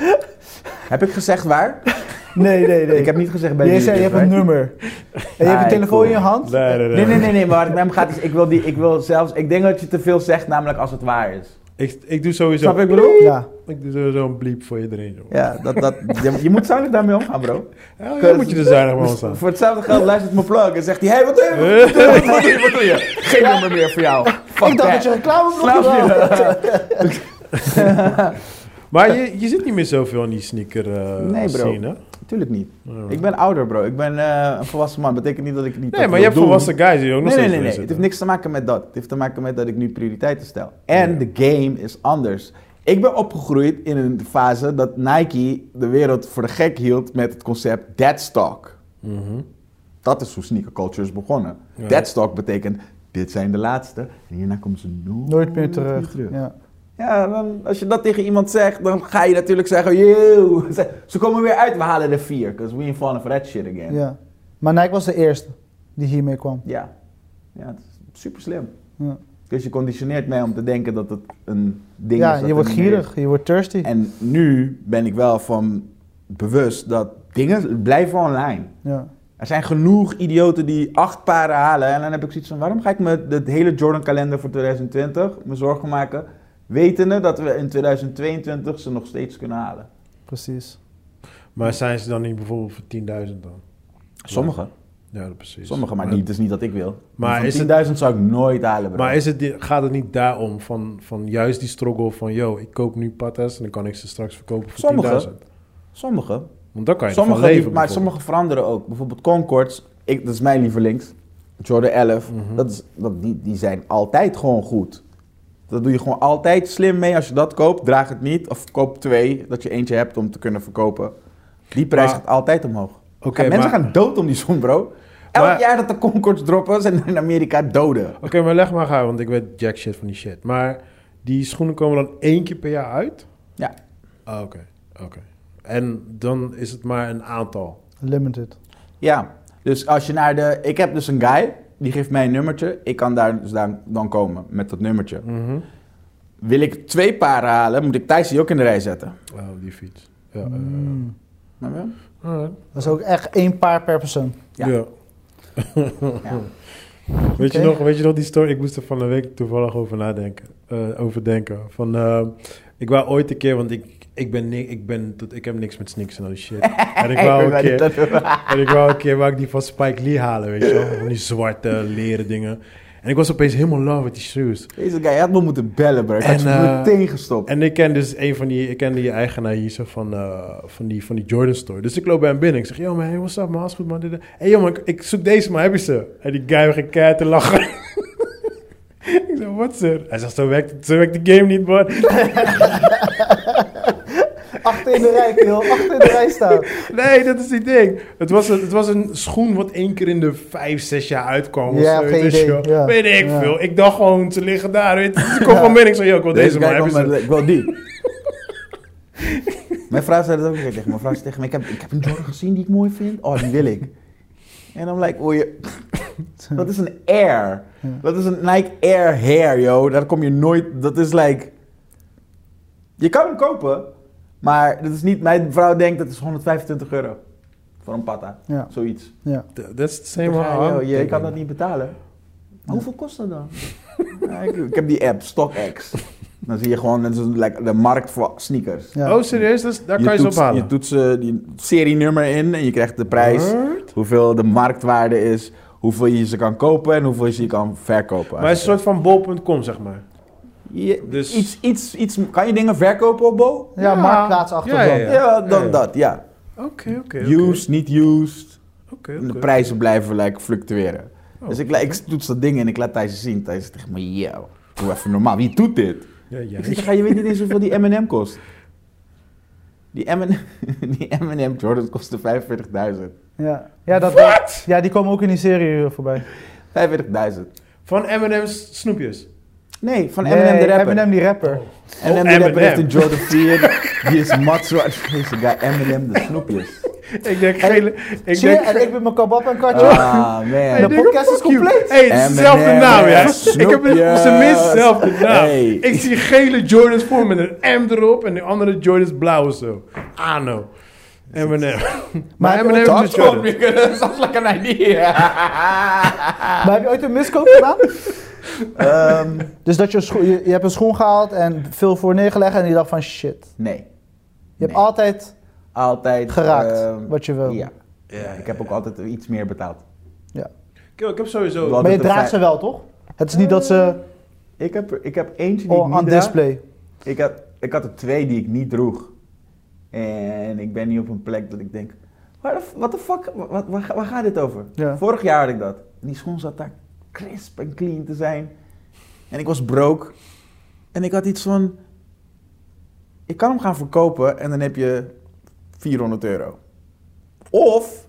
Speaker 3: heb ik gezegd waar?
Speaker 2: [laughs] Nee, nee,
Speaker 3: [laughs] Ik heb niet gezegd bij
Speaker 2: Je
Speaker 3: wie
Speaker 2: zei, je
Speaker 3: het
Speaker 2: hebt
Speaker 3: is,
Speaker 2: een [laughs]
Speaker 3: right?
Speaker 2: nummer. En je hebt
Speaker 3: Ah,
Speaker 2: een telefoon in je
Speaker 3: cool.
Speaker 2: hand.
Speaker 1: Nee, nee,
Speaker 3: Nee, nee, nee, nee, maar waar het met hem gaat is, ik wil, die, ik wil zelfs, ik denk dat je te veel zegt, namelijk als het waar is.
Speaker 1: Ik, ik doe sowieso...
Speaker 3: Snap je wat ik bedoel?
Speaker 2: Ja.
Speaker 1: Ik doe sowieso een bleep voor iedereen, joh.
Speaker 3: Ja, dat, dat, je, je moet zuinig daarmee omgaan, bro.
Speaker 1: Ja, jij moet je er zuinig
Speaker 3: [laughs]
Speaker 2: Oh,
Speaker 1: mee
Speaker 3: Dus
Speaker 1: staan.
Speaker 3: Voor hetzelfde geld luistert mijn plug en zegt hij, hey, wat doe je? Wat doe je? Wat doe je? Wat doe je? Geen nummer meer voor jou. Fuck
Speaker 2: Eh. Ik dacht dat je reclame
Speaker 3: Snap je?
Speaker 1: Maar je, je zit niet meer zoveel in die sneaker eh,
Speaker 3: Nee, bro.
Speaker 1: scene, hè?
Speaker 3: Tuurlijk niet.
Speaker 1: Ja.
Speaker 3: Ik ben ouder, bro. Ik ben eh, een volwassen man. Betekent niet dat ik het niet
Speaker 1: Nee,
Speaker 3: wil
Speaker 1: maar je hebt
Speaker 3: doen.
Speaker 1: volwassen guys die ook nog
Speaker 3: Nee, nee,
Speaker 1: steeds
Speaker 3: nee, nee.
Speaker 1: erin
Speaker 3: Het heeft
Speaker 1: zitten.
Speaker 3: niks te maken met dat. Het heeft te maken met dat ik nu prioriteiten stel. En
Speaker 1: Ja.
Speaker 3: de game is anders. Ik ben opgegroeid in een fase dat Nike de wereld voor de gek hield met het concept dead stock.
Speaker 1: Mhm.
Speaker 3: Dat is hoe sneaker culture is begonnen.
Speaker 1: Ja.
Speaker 3: Dead stock betekent, dit zijn de laatste. En hierna komen ze nooit,
Speaker 2: Nooit meer terug.
Speaker 3: Ja,
Speaker 2: Ja.
Speaker 3: dan, als je dat tegen iemand zegt, dan ga je natuurlijk zeggen, yo, ze, ze komen weer uit, we halen er vier. Because we ain't falling for that shit again.
Speaker 2: ja. Maar Nike was de eerste die hiermee kwam.
Speaker 3: Ja, ja het is super slim.
Speaker 2: Ja.
Speaker 3: Dus je conditioneert mij om te denken dat het een ding
Speaker 2: Ja,
Speaker 3: is. dat
Speaker 2: je
Speaker 3: er
Speaker 2: wordt
Speaker 3: niet meer
Speaker 2: gierig, je wordt thirsty.
Speaker 3: is. En nu ben ik wel van bewust dat dingen blijven online.
Speaker 2: Ja.
Speaker 3: Er zijn genoeg idioten die acht paren halen. En dan heb ik zoiets van, waarom ga ik me het hele Jordan kalender voor 2020 me zorgen maken... wetende dat we in 2022 ze nog steeds kunnen halen.
Speaker 2: Precies.
Speaker 1: Maar zijn ze dan niet bijvoorbeeld voor 10.000 dan?
Speaker 3: Sommigen,
Speaker 1: Ja, dat precies.
Speaker 3: sommigen, maar niet, het is niet dat ik wil.
Speaker 1: Maar
Speaker 3: Maar
Speaker 1: is het-
Speaker 3: 10.000 zou ik nooit halen, bro.
Speaker 1: Maar is het, die- gaat het niet daarom, van, van juist die struggle van... yo, ik koop nu patas en dan kan ik ze straks verkopen voor
Speaker 3: Sommigen.
Speaker 1: 10.000?
Speaker 3: Sommigen,
Speaker 1: Want dan kan je
Speaker 3: Sommige
Speaker 1: ervan leven,
Speaker 3: die- maar
Speaker 1: bijvoorbeeld.
Speaker 3: sommige veranderen ook. Bijvoorbeeld Concords, ik, dat is mijn lievelings. Jordan 11,
Speaker 1: Mhm.
Speaker 3: dat is, dat, die, die zijn altijd gewoon goed. Dat doe je gewoon altijd slim mee. Als je dat koopt, draag het niet. Of koop twee, dat je eentje hebt om te kunnen verkopen. Die prijs
Speaker 1: Maar-
Speaker 3: gaat altijd omhoog.
Speaker 1: Oké,
Speaker 3: En mensen
Speaker 1: maar-
Speaker 3: gaan dood om die zon, bro. Elk
Speaker 1: Maar-
Speaker 3: jaar dat de Concords droppen, zijn er in Amerika doden.
Speaker 1: Oké, maar leg maar gaan, want ik weet jack shit van die shit. Maar die schoenen komen dan één keer per jaar uit?
Speaker 3: Ja.
Speaker 1: Ah, oké. oké. En dan is het maar een aantal.
Speaker 2: Limited.
Speaker 3: Ja, dus als je naar de... Ik heb dus een guy, die geeft mij een nummertje. Ik kan daar dus dan, dan komen met dat nummertje.
Speaker 1: Mhm.
Speaker 3: Wil ik twee paren halen, moet ik Thijs die ook in de rij zetten.
Speaker 1: Oh, die fiets. Ja, eh,
Speaker 2: Mm.
Speaker 3: Snap je?
Speaker 1: alright.
Speaker 2: Dat is ook echt één paar per [laughs] persoon.
Speaker 3: Ja.
Speaker 1: Ja.
Speaker 3: Ja.
Speaker 1: Weet, je
Speaker 2: Oké.
Speaker 1: nog, weet je nog die story? Ik moest er van de week toevallig over nadenken. eh overdenken. Van, eh, ik wou ooit een keer, want ik, ik, ben, ni- ik, ben, tot- ik heb niks met sneakers en al die shit. En ik wou een keer, en ik wou een keer wou ik die van Spike Lee halen, weet je wel. Van die zwarte leren dingen. En ik was opeens helemaal in love met die shoes.
Speaker 3: [laughs] Deze guy had me moeten bellen, bro. Ik
Speaker 1: En,
Speaker 3: had je
Speaker 1: eh,
Speaker 3: meteen gestopt.
Speaker 1: En ik ken dus een van die, ik ken die eigenaar hier zo van, eh, van, die, van die Jordan store. Dus ik loop bij hem binnen. Ik zeg, yo man, hey, what's up man, alles goed man. Dit, dat. hey yo man, ik, ik zoek deze man, heb je ze? En die guy ging keihard te lachen. [laughs] ik zeg, wat sir? Hij zegt, zo werkt, het- zo werkt de game niet man. [laughs]
Speaker 2: Achter in de rij, Kil. Achter in de rij [laughs] staan.
Speaker 1: nee, dat is die ding. Het was, een, het was een schoen wat één keer in de vijf, zes jaar uitkwam. of
Speaker 2: Ja,
Speaker 1: zo, weet
Speaker 2: geen
Speaker 1: je
Speaker 2: idee,
Speaker 1: wel.
Speaker 2: ja.
Speaker 1: Weet ik
Speaker 2: Ja.
Speaker 1: veel. Ik dacht gewoon, ze liggen daar. Weet je. Dus ik kom gewoon binnen, ik zeg, yo, ik wil deze, man, heb je
Speaker 3: kwam
Speaker 1: ze?
Speaker 3: met, ik wil
Speaker 8: [laughs]
Speaker 3: die.
Speaker 8: Mijn vrouw zei dat ook een keer tegen me. Mijn vrouw zei tegen me, ik heb, ik heb een Jordan gezien die ik mooi vind. Oh, die wil ik. En dan like, oh je... [laughs] Dat is een Air.
Speaker 3: Dat is een Nike Air Hair, yo. Daar kom je nooit... Dat is like...
Speaker 8: Je kan hem kopen, maar dat is niet... Mijn vrouw denkt dat is 125 euro. Voor een patta.
Speaker 2: Ja.
Speaker 8: Zoiets.
Speaker 2: Ja.
Speaker 1: Th- That's the
Speaker 8: Ik
Speaker 1: same how I'm
Speaker 8: je kan dat
Speaker 1: thinking.
Speaker 8: niet betalen. Maar hoeveel kost dat dan?
Speaker 3: Ja, ik, ik heb die app, StockX. Dan zie je gewoon dat is een, like, de markt voor sneakers.
Speaker 2: Ja.
Speaker 1: Oh, serieus? Dat is- daar kan je ze
Speaker 3: toetst,
Speaker 1: ophalen?
Speaker 3: je toetst eh, die serienummer in en je krijgt de prijs.
Speaker 1: Word?
Speaker 3: Hoeveel de marktwaarde is. Hoeveel je ze kan kopen en hoeveel je ze kan verkopen.
Speaker 1: Maar het is een soort van bol.com, zeg maar.
Speaker 3: Je-
Speaker 1: Dus-
Speaker 3: iets, iets, iets, kan je dingen verkopen op Bo?
Speaker 2: Ja, marktplaatsachtig
Speaker 1: ja, ja,
Speaker 2: dan.
Speaker 1: ja.
Speaker 3: Ja, dan
Speaker 1: ja.
Speaker 3: dat, ja.
Speaker 1: Oké, oké. oké.
Speaker 3: Used, niet used.
Speaker 1: Oké,
Speaker 3: En de
Speaker 1: oké.
Speaker 3: prijzen blijven like, fluctueren.
Speaker 1: Oh.
Speaker 3: Dus ik, like, ik toets dat ding en ik laat Thijs zien. Thijs zegt tegen me, yo, doe even normaal. Wie doet dit?
Speaker 1: Ja, ja.
Speaker 3: Ik
Speaker 1: [laughs]
Speaker 3: zeg, "Ja, je weet niet eens hoeveel die M&M kost. Die M&M [laughs] die M&M Jordans kostte 45.000.
Speaker 2: Ja, ja, dat, ja, die komen ook in die serie eh, voorbij.
Speaker 3: 45.000.
Speaker 1: Van M&M's snoepjes.
Speaker 3: Nee, van M&M
Speaker 2: Nee,
Speaker 3: de rapper.
Speaker 2: Eminem die rapper.
Speaker 3: M&M
Speaker 1: Oh,
Speaker 3: de
Speaker 1: M&M.
Speaker 3: rapper heeft een Jordan 4. Die is mat zwart. [laughs] Deze guy, M&M de
Speaker 1: [laughs]
Speaker 3: snoepjes.
Speaker 1: Ik denk gele... Ik
Speaker 2: Zie je?
Speaker 1: denk...
Speaker 2: En ik ben mijn kabab en katje.
Speaker 3: Ah,
Speaker 1: Hey,
Speaker 3: man.
Speaker 2: de podcast is
Speaker 1: fuck you.
Speaker 2: compleet.
Speaker 1: Hey, het is
Speaker 3: M&M,
Speaker 1: dezelfde naam, ja. [laughs]
Speaker 3: snoepjes.
Speaker 1: Ik heb het tenminste dezelfde naam.
Speaker 3: Hey.
Speaker 1: Ik zie gele Jordans voor met een M erop en de andere Jordans blauw zo. Ano. M&M. Maar M&M
Speaker 3: Dat
Speaker 1: is een
Speaker 3: is
Speaker 1: Jordan.
Speaker 3: lekker Sounds like an idea.
Speaker 2: [laughs] Maar heb je ooit een miskoop gedaan?
Speaker 3: Ehm,
Speaker 2: [laughs] Dus dat je, scho- je, je hebt een schoen gehaald en veel voor neergelegd en je dacht van shit.
Speaker 3: nee,
Speaker 2: Je hebt
Speaker 3: Nee.
Speaker 2: altijd
Speaker 3: altijd...
Speaker 2: geraakt
Speaker 3: ehm,
Speaker 2: wat je wil.
Speaker 3: Ja.
Speaker 1: Ja,
Speaker 3: Ik heb ook altijd iets meer betaald.
Speaker 1: Yo, ik heb sowieso...
Speaker 3: Wat-
Speaker 2: Maar je
Speaker 3: Altijd
Speaker 2: draagt ze
Speaker 3: een
Speaker 2: wel, toch? Het is niet dat ze
Speaker 3: Ik heb, er- ik heb eentje Eh, die
Speaker 2: oh,
Speaker 3: ik
Speaker 2: on
Speaker 3: niet draag.
Speaker 2: display.
Speaker 3: Ik had, ik had er twee die ik niet droeg. En ik ben nu op een plek dat ik denk... Waar de, what the fuck? Wa- wa- Waar, ga- waar gaat dit over?
Speaker 2: Ja.
Speaker 3: Vorig jaar had ik dat. En die schoen zat daar crisp en clean te zijn. En ik was broke. En ik had iets van... Ik kan hem gaan verkopen en dan heb je 400 euro. Of...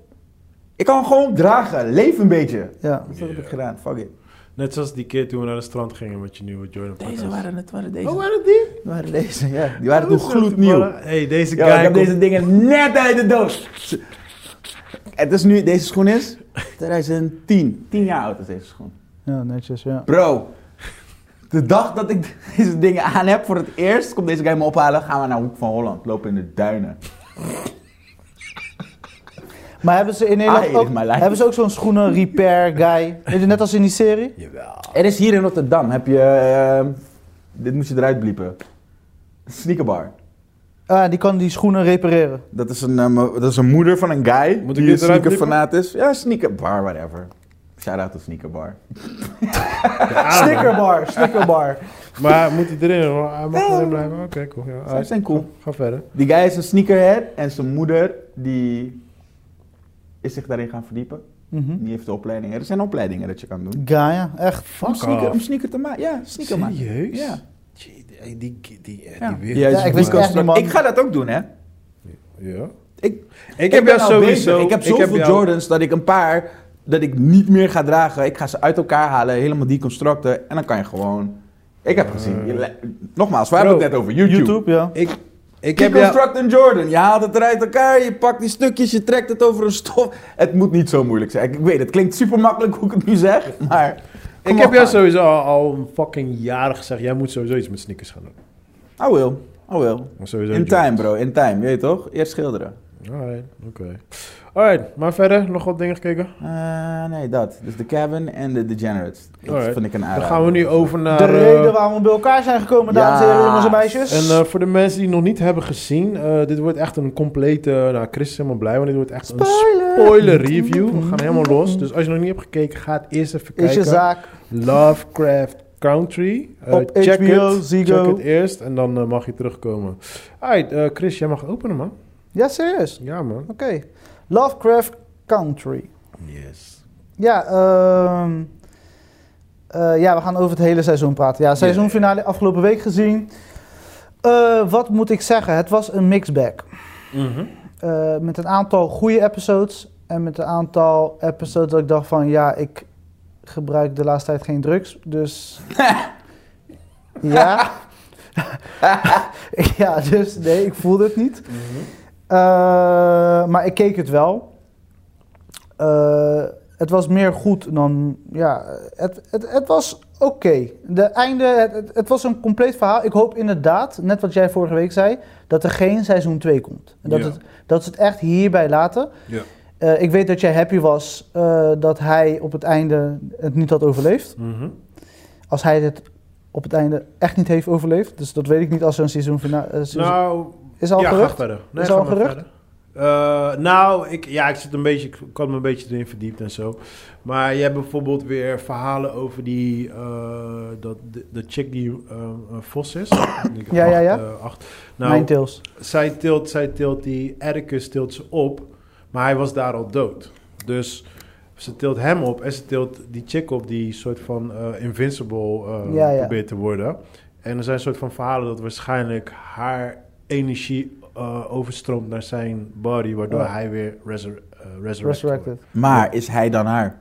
Speaker 3: Ik kan hem gewoon dragen. Leef een beetje.
Speaker 2: Ja.
Speaker 3: Dus dat heb
Speaker 1: Ja.
Speaker 3: ik gedaan. Fuck it.
Speaker 1: Net zoals die keer toen we naar het strand gingen met je nieuwe Jordan.
Speaker 3: Deze waren het. Waren deze.
Speaker 1: Oh, waren die?
Speaker 3: Het waren deze, [laughs] ja. Die waren toen
Speaker 1: Oh, zo
Speaker 3: gloednieuw.
Speaker 1: toevallig. hey, deze
Speaker 3: Ja,
Speaker 1: guy...
Speaker 3: ik heb
Speaker 1: komt-
Speaker 3: deze dingen net uit de doos. Het is nu, deze schoen is 2010. 10 jaar oud is deze schoen.
Speaker 2: ja, netjes, ja.
Speaker 3: Bro, de dag dat ik deze dingen aan heb voor het eerst, komt deze guy me ophalen, gaan we naar Hoek van Holland, lopen in de duinen.
Speaker 2: Maar hebben ze in
Speaker 3: I
Speaker 2: Nederland
Speaker 3: hate
Speaker 2: ook,
Speaker 3: my life.
Speaker 2: hebben ze ook zo'n schoenen repair guy? Weet je, net als in die serie?
Speaker 1: Jawel.
Speaker 3: Er is hier in Rotterdam, heb je, ehm, dit moet je eruit bliepen, sneakerbar.
Speaker 2: Ah, die kan die schoenen repareren.
Speaker 3: Dat is een, ehm, dat is een moeder van een guy
Speaker 1: Moet ik
Speaker 3: die een
Speaker 1: dit eruit bliepen?
Speaker 3: sneakerfanaat is. Ja, sneakerbar, whatever. Shout out to sneakerbar.
Speaker 2: Snickerbar, snickerbar.
Speaker 1: Ah. Maar moet hij erin? hoor? Hij mag erin blijven? Oké, cool. Ja,
Speaker 3: Zij zijn cool.
Speaker 1: Ga, ga verder.
Speaker 3: Die guy is een sneakerhead en zijn moeder die is zich daarin gaan verdiepen.
Speaker 1: Hm?
Speaker 2: Mhm.
Speaker 3: Die heeft de opleidingen. Er zijn opleidingen dat je kan
Speaker 1: Oh,
Speaker 3: doen.
Speaker 2: Guy, ja, echt.
Speaker 3: Om sneaker,
Speaker 1: off.
Speaker 3: om sneaker te maken. Ja, sneaker maken.
Speaker 1: Serieus?
Speaker 3: Ja.
Speaker 1: Gee, die, die, die, die
Speaker 3: ja.
Speaker 1: wereld.
Speaker 3: Ja,
Speaker 2: Ja,
Speaker 3: is
Speaker 2: ik
Speaker 3: een
Speaker 2: wist
Speaker 3: construct.
Speaker 2: echt niet, man.
Speaker 3: Ik ga dat ook doen, hè.
Speaker 1: Ja.
Speaker 3: Ik,
Speaker 1: Ik heb jou
Speaker 3: ben al
Speaker 1: sowieso...
Speaker 3: bezig. Ik heb zoveel
Speaker 1: jou-
Speaker 3: Jordans dat ik een paar dat ik niet meer ga dragen. Ik ga ze uit elkaar halen, helemaal die constructen. En dan kan je gewoon... Ik
Speaker 1: Eh.
Speaker 3: heb gezien. je le- Nogmaals, waar hebben we het net over? YouTube.
Speaker 2: YouTube, ja.
Speaker 1: Ik, ik
Speaker 3: Ik
Speaker 1: heb jou...
Speaker 3: Deconstruct een Jordan. Je haalt het eruit elkaar, je pakt die stukjes, je trekt het over een stof. Het moet niet zo moeilijk zijn. Ik weet, het klinkt super makkelijk hoe ik het nu zeg, [laughs] maar.
Speaker 1: Ik heb jou sowieso al, al een fucking jaren gezegd... Jij moet sowieso iets met sneakers gaan doen.
Speaker 3: I will, I will.
Speaker 1: Maar sowieso
Speaker 3: Oh, In
Speaker 1: Jordans.
Speaker 3: time, bro, in time. Je weet toch? Eerst schilderen.
Speaker 1: Alright, oké. Alright, maar verder nog wat dingen gekeken?
Speaker 3: Eh, nee, dat. Dus The Cabin en The Degenerates. Dat
Speaker 1: Alright.
Speaker 3: vind ik een
Speaker 1: Dan
Speaker 3: aanrader.
Speaker 1: gaan we nu over naar...
Speaker 2: De reden
Speaker 1: eh,
Speaker 2: waarom we bij elkaar zijn gekomen, dames en heren,
Speaker 3: Ja.
Speaker 2: jongens en meisjes.
Speaker 1: en eh, voor de mensen die nog niet hebben gezien, eh, dit wordt echt een complete. nou, Chris is helemaal blij, want dit wordt echt een spoiler review. We gaan helemaal los. Dus als je nog niet hebt gekeken, ga het eerst even
Speaker 2: is
Speaker 1: kijken.
Speaker 2: je zaak.
Speaker 1: Lovecraft Country. Eh,
Speaker 2: Op HBO, Ziggo.
Speaker 1: Check het eerst en dan eh, mag je terugkomen. Alright, eh, Chris, jij mag openen, man.
Speaker 2: Ja, serieus.
Speaker 1: Ja, man.
Speaker 2: Oké. Lovecraft Country.
Speaker 1: Yes.
Speaker 2: Ja, ehm, eh, ja, we gaan over het hele seizoen praten. Ja, seizoenfinale afgelopen week gezien. Eh, wat moet ik zeggen? Het was een mixbag.
Speaker 1: Mhm.
Speaker 2: Eh, met een aantal goede episodes en met een aantal episodes dat ik dacht van ja, ik gebruik de laatste tijd geen drugs, dus ja. [laughs]
Speaker 7: ja, dus nee, ik voelde het
Speaker 1: Mhm.
Speaker 7: niet. Eh, maar ik keek het wel. Eh, het was meer goed dan. Ja, het, het, het was oké. De einde, het, het, het was een compleet verhaal. Ik hoop inderdaad, net wat jij vorige week zei, dat er geen seizoen 2 komt. En dat,
Speaker 1: Ja.
Speaker 7: het, dat ze het echt hierbij laten.
Speaker 1: Ja.
Speaker 7: Eh, ik weet dat jij happy was eh, dat hij op het einde het niet had overleefd.
Speaker 1: Mhm.
Speaker 7: Als hij het op het einde echt niet heeft overleefd. Dus dat weet ik niet als er een seizoen finale. eh, seizoen-
Speaker 1: Nou,
Speaker 7: is al
Speaker 1: ja,
Speaker 7: gerucht?
Speaker 1: ga verder.
Speaker 7: Is al
Speaker 1: ga maar
Speaker 7: gerucht?
Speaker 1: verder. Eh, nou, ik, ja, ik, zit een beetje, ik had me een beetje erin verdiept en zo. Maar je hebt bijvoorbeeld weer verhalen over die... eh, dat, de, de chick die eh, een vos is. [coughs] Ik
Speaker 7: Ja, ja, ja.
Speaker 1: acht, eh, acht. Nou,
Speaker 7: Ninetales.
Speaker 1: zij tilt, zij tilt die Ericus tilt ze op, maar hij was daar al dood. Dus ze tilt hem op en ze tilt die chick op die soort van eh, invincible eh,
Speaker 7: Ja, ja.
Speaker 1: probeert te worden. En er zijn soort van verhalen dat waarschijnlijk haar energie eh, overstroomt naar zijn body, waardoor
Speaker 7: Ja.
Speaker 1: hij weer resurre- eh, resurrect wordt.
Speaker 7: Resurrected.
Speaker 3: Maar is hij dan haar?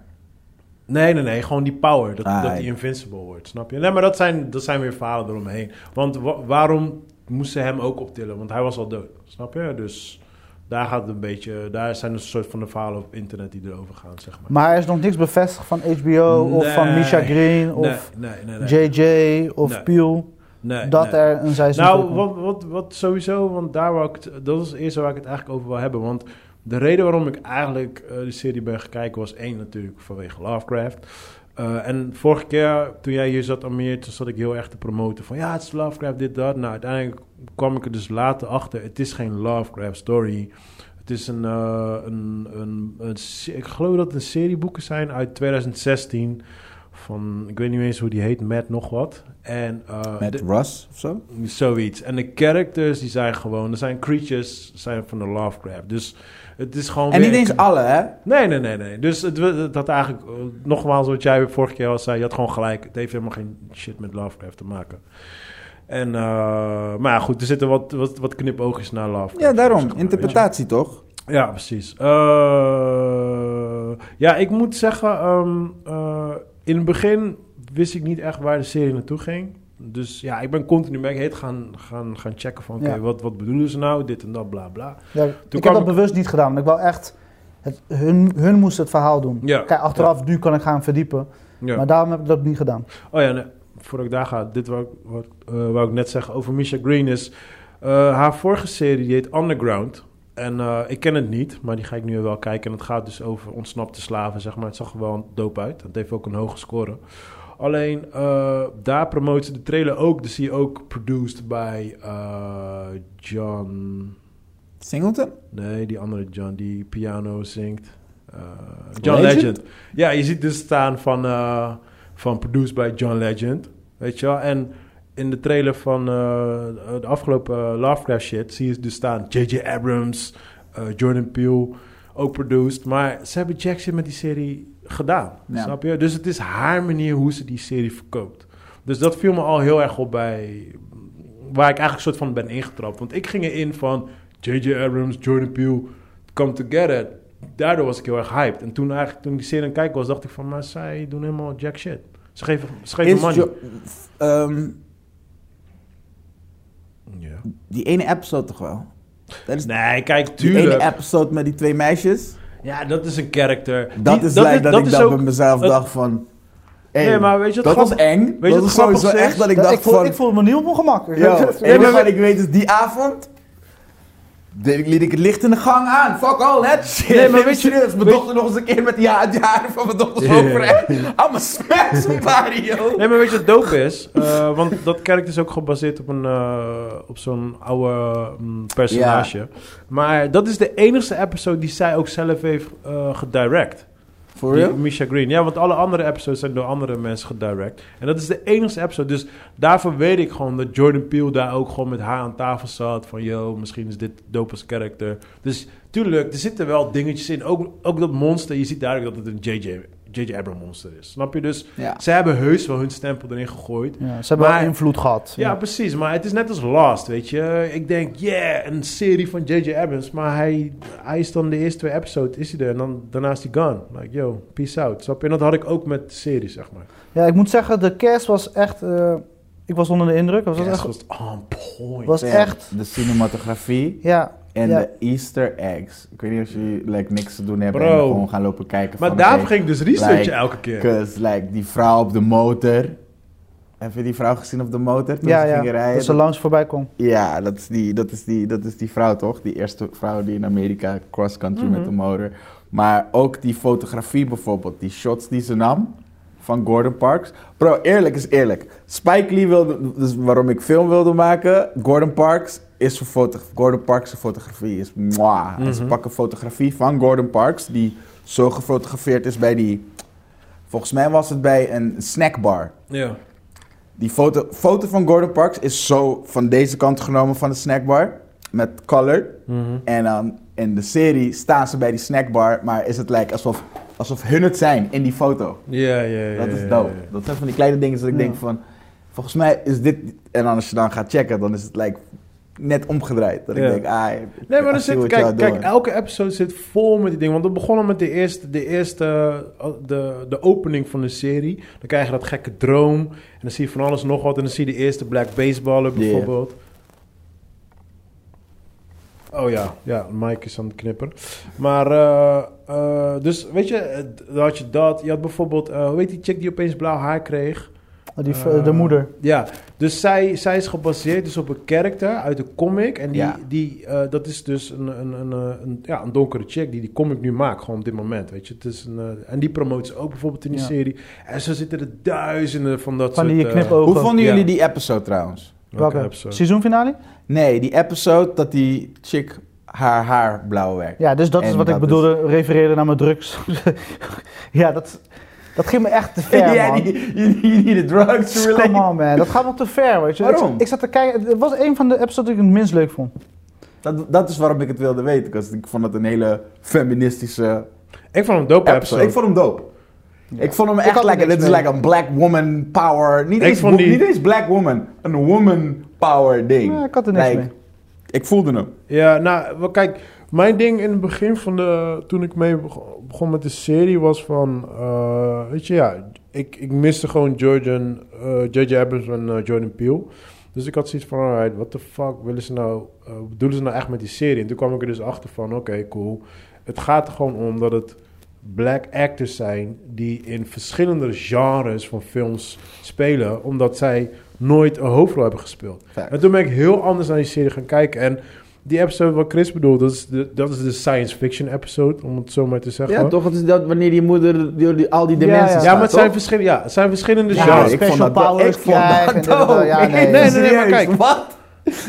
Speaker 1: Nee, nee, nee. Gewoon die power. Dat,
Speaker 3: Ah,
Speaker 1: dat
Speaker 3: ja.
Speaker 1: die invincible wordt, snap je? Nee, maar dat zijn, dat zijn weer verhalen eromheen. Want wa- waarom moest ze hem ook optillen? Want hij was al dood, snap je? Dus daar gaat het een beetje... Daar zijn dus een soort van de verhalen op internet die erover gaan, zeg maar.
Speaker 7: Maar er is nog niks bevestigd van HBO of van
Speaker 1: Nee.
Speaker 7: Misha Green of
Speaker 1: nee, nee, nee. nee,
Speaker 7: JJ of
Speaker 1: Nee.
Speaker 7: Peel.
Speaker 1: nee,
Speaker 7: dat
Speaker 1: nee.
Speaker 7: er een seizoen
Speaker 1: Nou,
Speaker 7: komt.
Speaker 1: wat, wat, wat sowieso, want daar wou ik het, dat is het eerste waar ik het eigenlijk over wil hebben. Want de reden waarom ik eigenlijk eh, de serie ben gaan kijken was één natuurlijk vanwege Lovecraft. Eh, en vorige keer, toen jij hier zat, Amir, toen zat ik heel erg te promoten van ja, het is Lovecraft, dit, dat. Nou, uiteindelijk kwam ik er dus later achter, het is geen Lovecraft story. Het is een, eh, een, een, een se- ik geloof dat het een serie boeken zijn uit 2016 van, ik weet niet eens hoe die heet, Matt nog wat. En, eh,
Speaker 3: Met
Speaker 1: de-
Speaker 3: Russ of zo?
Speaker 1: Zoiets. En de characters die zijn gewoon, er zijn creatures zijn van de Lovecraft. Dus het is gewoon.
Speaker 3: En
Speaker 1: weer-
Speaker 3: niet eens alle, hè?
Speaker 1: Nee, nee, nee, nee. Dus het, het had eigenlijk, eh, nogmaals wat jij vorige keer al zei, je had gewoon gelijk. Het heeft helemaal geen shit met Lovecraft te maken. En, eh, maar ja, goed, er zitten wat, wat, wat knipoogjes naar Lovecraft.
Speaker 3: Ja,
Speaker 1: zeg
Speaker 3: daarom.
Speaker 1: maar,
Speaker 3: Interpretatie toch?
Speaker 1: weet je. Ja, precies. Eh, ja, ik moet zeggen, ehm, eh, in het begin wist ik niet echt waar de serie naartoe ging. Dus ja, ik ben continu ben ik heet gaan, gaan, gaan checken van... oké,
Speaker 7: Ja.
Speaker 1: wat, wat bedoelen ze nou? Dit en dat, bla bla.
Speaker 7: Ja,
Speaker 1: kwam
Speaker 7: ik heb dat
Speaker 1: ik-
Speaker 7: bewust niet gedaan, want ik wou echt... Het, hun, hun moesten het verhaal doen.
Speaker 1: Ja.
Speaker 7: Kijk, achteraf, nu kan ik gaan verdiepen.
Speaker 1: Ja.
Speaker 7: Maar daarom heb ik dat niet gedaan.
Speaker 1: Oh ja, nee, voordat ik daar ga, dit wou ik, wou, ik- eh, wou ik net zeggen over Misha Green is... eh, haar vorige serie, die heet Underground. En eh, ik ken het niet, maar die ga ik nu wel kijken. En het gaat dus over ontsnapte slaven, zeg maar. Het zag er wel dope uit. Het heeft ook een hoge score. Alleen, eh, daar promoten ze de trailer ook. Dus die ook produced bij eh, John...
Speaker 3: Singleton?
Speaker 1: Nee, die andere John die piano zingt. Eh, John
Speaker 3: Legend?
Speaker 1: Legend? Ja, je ziet dus staan van, eh, van produced by John Legend. Weet je wel? En in de trailer van eh, de afgelopen eh, Lovecraft shit zie je dus staan J.J. Abrams, eh, Jordan Peele, ook produced. Maar ze hebben Jackson met die serie gedaan.
Speaker 3: Ja.
Speaker 1: Snap je? Dus het is haar manier hoe ze die serie verkoopt. Dus dat viel me al heel erg op bij waar ik eigenlijk soort van ben ingetrapt. Want ik ging erin van J.J. Abrams, Jordan Peele, come together. Daardoor was ik heel erg hyped. En toen, eigenlijk, toen ik die serie aan het kijken was, dacht ik van... maar zij doen helemaal jack shit. Ze geven, ze geven
Speaker 3: Is
Speaker 1: money.
Speaker 3: Jo- ehm,
Speaker 1: Ja.
Speaker 3: die ene episode toch wel? Dat is
Speaker 1: Nee, kijk,
Speaker 3: die ene
Speaker 1: tuurlijk.
Speaker 3: episode met die twee meisjes.
Speaker 1: Ja, dat is een character.
Speaker 3: Dat
Speaker 1: Die-
Speaker 3: is lijkt dat, ik
Speaker 1: is
Speaker 3: dat
Speaker 1: ook-
Speaker 3: bij mezelf
Speaker 1: het-
Speaker 3: dacht van... hey,
Speaker 1: Nee, maar weet je wat
Speaker 3: dat was
Speaker 1: grappig-
Speaker 3: eng.
Speaker 1: je
Speaker 3: dat
Speaker 1: wat
Speaker 3: was sowieso
Speaker 1: grappig is?
Speaker 3: echt dat ik
Speaker 7: Ja,
Speaker 3: dacht
Speaker 7: voel,
Speaker 3: van...
Speaker 7: ik voelde me niet op mijn gemak. [laughs]
Speaker 3: Yo,
Speaker 7: Ja,
Speaker 3: het enige wat ik weet is die avond... deed ik- liet ik het licht in de gang aan. Fuck all that shit.
Speaker 1: Nee, maar
Speaker 3: Neem
Speaker 1: weet
Speaker 3: me
Speaker 1: je-
Speaker 3: serieus. Mijn
Speaker 1: weet-
Speaker 3: dochter nog eens een keer met die ja, die haren van mijn dochter zo over. I'm a smash somebody, yo.
Speaker 1: Nee, maar weet je wat dope is? [laughs] Eh, want dat kerk is ook gebaseerd op, een, eh, op zo'n oude mm, personage. Maar dat is de enige episode die zij ook zelf heeft eh, gedirect.
Speaker 3: For
Speaker 1: Die Misha Green. Ja, want alle andere episodes zijn door andere mensen gedirect. En dat is de enige episode. Dus daarvoor weet ik gewoon dat Jordan Peele daar ook gewoon met haar aan tafel zat. Van, yo, misschien is dit dope als character. Dus tuurlijk, er zitten wel dingetjes in. Ook, ook dat monster. Je ziet duidelijk dat het een J.J. J.J. Abrams monster is. Snap je? Dus
Speaker 3: Ja.
Speaker 1: ze hebben heus wel hun stempel erin gegooid.
Speaker 7: ze hebben
Speaker 1: Maar-
Speaker 7: wel invloed gehad.
Speaker 1: Ja, precies. Maar het is net als Lost, weet je. Ik denk, yeah, een serie van J.J. Abrams. Maar hij, hij is dan de eerste twee episodes, is hij er. En dan, daarna is hij gone. Like, yo, peace out. Snap je? En dat had ik ook met de serie, zeg maar.
Speaker 7: Ja, ik moet zeggen, de cast was echt... eh,
Speaker 2: Ik was onder de indruk. Was
Speaker 1: Dat
Speaker 2: dat
Speaker 1: was
Speaker 2: echt,
Speaker 1: echt on point.
Speaker 2: was echt.
Speaker 3: De cinematografie
Speaker 2: Ja.
Speaker 3: en
Speaker 2: ja.
Speaker 3: de easter eggs. Ik weet niet of jullie like, niks te doen hebben en
Speaker 1: Bro.
Speaker 3: gewoon gaan lopen kijken
Speaker 1: maar
Speaker 3: van...
Speaker 1: daarom
Speaker 3: oké,
Speaker 1: ging ik dus researchen
Speaker 3: like,
Speaker 1: elke keer.
Speaker 3: Cause like, die vrouw op de motor. Heb je die vrouw gezien op de motor toen
Speaker 2: Ja,
Speaker 3: ze
Speaker 2: ja.
Speaker 3: ging rijden?
Speaker 2: Dat ze langs voorbij kwam.
Speaker 3: Ja, dat is, die, dat, is die, dat is die vrouw toch? Die eerste vrouw die in Amerika cross country met de motor. Maar ook die fotografie bijvoorbeeld, die shots die ze nam van Gordon Parks. Bro, eerlijk is eerlijk. Spike Lee wilde, dus waarom ik film wilde maken, Gordon Parks is zijn foto, Gordon Parks' fotografie is mwah. En ze
Speaker 1: Mhm.
Speaker 3: pakken fotografie van Gordon Parks, die zo gefotografeerd is bij die, volgens mij was het bij een snackbar.
Speaker 1: Ja.
Speaker 3: Die foto, foto van Gordon Parks is zo van deze kant genomen van de snackbar. Met color.
Speaker 1: Mhm.
Speaker 3: En dan in de serie staan ze bij die snackbar. Maar is het lijkt alsof, alsof hun het zijn in die foto.
Speaker 1: Ja, ja, ja.
Speaker 3: Dat
Speaker 1: ja,
Speaker 3: is
Speaker 1: ja,
Speaker 3: dope.
Speaker 1: ja.
Speaker 3: Dat zijn van die kleine dingen dat ik denk van... Volgens mij is dit... En dan als je dan gaat checken, dan is het lijkt net omgedraaid. Dat ik
Speaker 1: Ja.
Speaker 3: denk, ah...
Speaker 1: Nee, maar er zit, kijk, kijk, elke episode zit vol met die dingen. Want we begonnen met de eerste, de, eerste eh, de, de opening van de serie. Dan krijg je dat gekke droom. En dan zie je van alles en nog wat. En dan zie je de eerste black baseballer
Speaker 3: Ja.
Speaker 1: bijvoorbeeld. Oh ja, ja, Mike is aan het knippen. Maar, eh, eh, dus weet je, eh, dan had je dat. Je had bijvoorbeeld, eh, hoe heet die chick die opeens blauw haar kreeg?
Speaker 2: Oh, Die, v-
Speaker 1: Eh,
Speaker 2: de moeder.
Speaker 1: Ja, dus zij, zij is gebaseerd dus op een karakter uit de comic. En die,
Speaker 3: Ja.
Speaker 1: die, eh, dat is dus een, een, een, eh, een, ja, een donkere chick die die comic nu maakt, gewoon op dit moment. Weet je? Het is een, eh, en die promoot ze ook bijvoorbeeld in die
Speaker 2: Ja.
Speaker 1: serie. En zo zitten er duizenden van dat
Speaker 2: Van
Speaker 1: soort...
Speaker 2: die
Speaker 1: eh,
Speaker 2: knipogen.
Speaker 3: Hoe vonden
Speaker 1: Ja.
Speaker 3: jullie die episode trouwens?
Speaker 1: welke
Speaker 2: Welke?
Speaker 1: episode?
Speaker 2: Seizoenfinale?
Speaker 3: Nee, die episode dat die chick haar haar blauw werkt.
Speaker 2: Ja, dus dat
Speaker 3: En
Speaker 2: is wat ik
Speaker 3: dat
Speaker 2: bedoelde. Refereerde naar mijn drugs. [laughs] ja, dat, dat ging me echt te ver,
Speaker 3: [laughs] Ja,
Speaker 2: man.
Speaker 3: die, die, die, die de drugs
Speaker 2: [laughs]
Speaker 3: related.
Speaker 2: Come on, man. Dat gaat wel te ver, weet je. Ik-
Speaker 3: Waarom?
Speaker 2: Ik, zat te kijken. Het was een van de episodes die ik het minst leuk vond.
Speaker 3: Dat, dat is waarom ik het wilde weten. want ik vond het een hele feministische
Speaker 1: Ik vond hem een dope
Speaker 3: episode.
Speaker 1: episode.
Speaker 3: Ik vond hem dope. Ik vond hem
Speaker 2: Ik
Speaker 3: echt
Speaker 2: had er
Speaker 3: lekker.
Speaker 2: niks
Speaker 3: Dit is
Speaker 2: mee.
Speaker 3: like een black woman power. Niet
Speaker 1: Ik
Speaker 3: eens,
Speaker 1: vond
Speaker 3: wo-
Speaker 1: die-
Speaker 3: niet eens black woman. Een woman power ding.
Speaker 2: Ja, ik had er niks
Speaker 3: Like,
Speaker 2: mee.
Speaker 3: Ik voelde hem.
Speaker 1: Ja, nou, wel, kijk, mijn ding in het begin van de... Toen ik mee beg- begon met de serie was van... eh, weet je, ja, ik, ik miste gewoon Jordan, eh, J.J. Abrams en eh, Jordan Peele. Dus ik had zoiets van, alright, what the fuck willen ze nou... eh, wat bedoelen ze nou echt met die serie? En toen kwam ik er dus achter van, oké, cool. Het gaat er gewoon om dat het black actors zijn... die in verschillende genres van films spelen... omdat zij nooit een hoofdrol hebben gespeeld.
Speaker 3: Fact.
Speaker 1: En toen ben ik heel anders naar die serie gaan kijken... en die episode wat Chris bedoelt, dat is de, dat is de science fiction episode, om het zo maar te zeggen.
Speaker 3: Ja, toch? Het is dat wanneer die moeder die, die- al die
Speaker 2: Ja,
Speaker 3: dimensies
Speaker 2: ja. dus-
Speaker 1: Ja, maar het zijn, verschillen, ja, het zijn verschillende
Speaker 2: Ja,
Speaker 1: genres.
Speaker 2: ik vond special
Speaker 3: dat-
Speaker 2: powers
Speaker 3: ik vond dat
Speaker 2: krijgen,
Speaker 3: dope.
Speaker 2: inderdaad. Ja, nee,
Speaker 1: nee, nee,
Speaker 3: serieus,
Speaker 1: maar kijk.
Speaker 3: [laughs] Wat?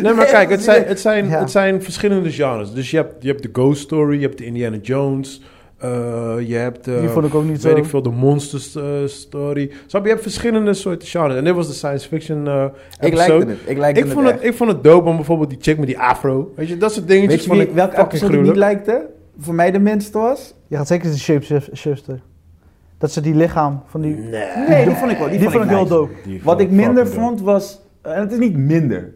Speaker 1: Nee, maar kijk, het
Speaker 3: [laughs]
Speaker 1: zijn, het, zijn,
Speaker 2: Ja.
Speaker 1: het zijn verschillende genres. Dus je hebt, je hebt de Ghost Story, je hebt de Indiana Jones, eh, je hebt... eh,
Speaker 2: Die vond ik ook niet
Speaker 1: Weet
Speaker 2: zo.
Speaker 1: ik veel, de Monster eh, Story. Snap je? Je hebt verschillende soorten genres. En dit was de science fiction eh
Speaker 3: Ik
Speaker 1: episode.
Speaker 3: likte het. Ik likte
Speaker 1: ik, vond het,
Speaker 3: echt.
Speaker 1: ik vond het dope om bijvoorbeeld die chick met die afro. Weet je, dat soort dingetjes
Speaker 3: Weet je
Speaker 1: vond
Speaker 3: wie,
Speaker 1: ik
Speaker 3: welke
Speaker 1: fucking
Speaker 3: episode ik niet
Speaker 1: gruwelijk.
Speaker 3: likte? Voor mij de minste was?
Speaker 2: Je gaat zeker de shapeshifter. Dat ze die lichaam van die... Oh, Die,
Speaker 3: Nee, die vond ik wel. Die,
Speaker 2: vond ik heel
Speaker 3: nice.
Speaker 2: dope.
Speaker 1: Die
Speaker 3: Wat
Speaker 1: vond
Speaker 3: ik minder
Speaker 1: fucking dope.
Speaker 3: vond was, en het is niet minder,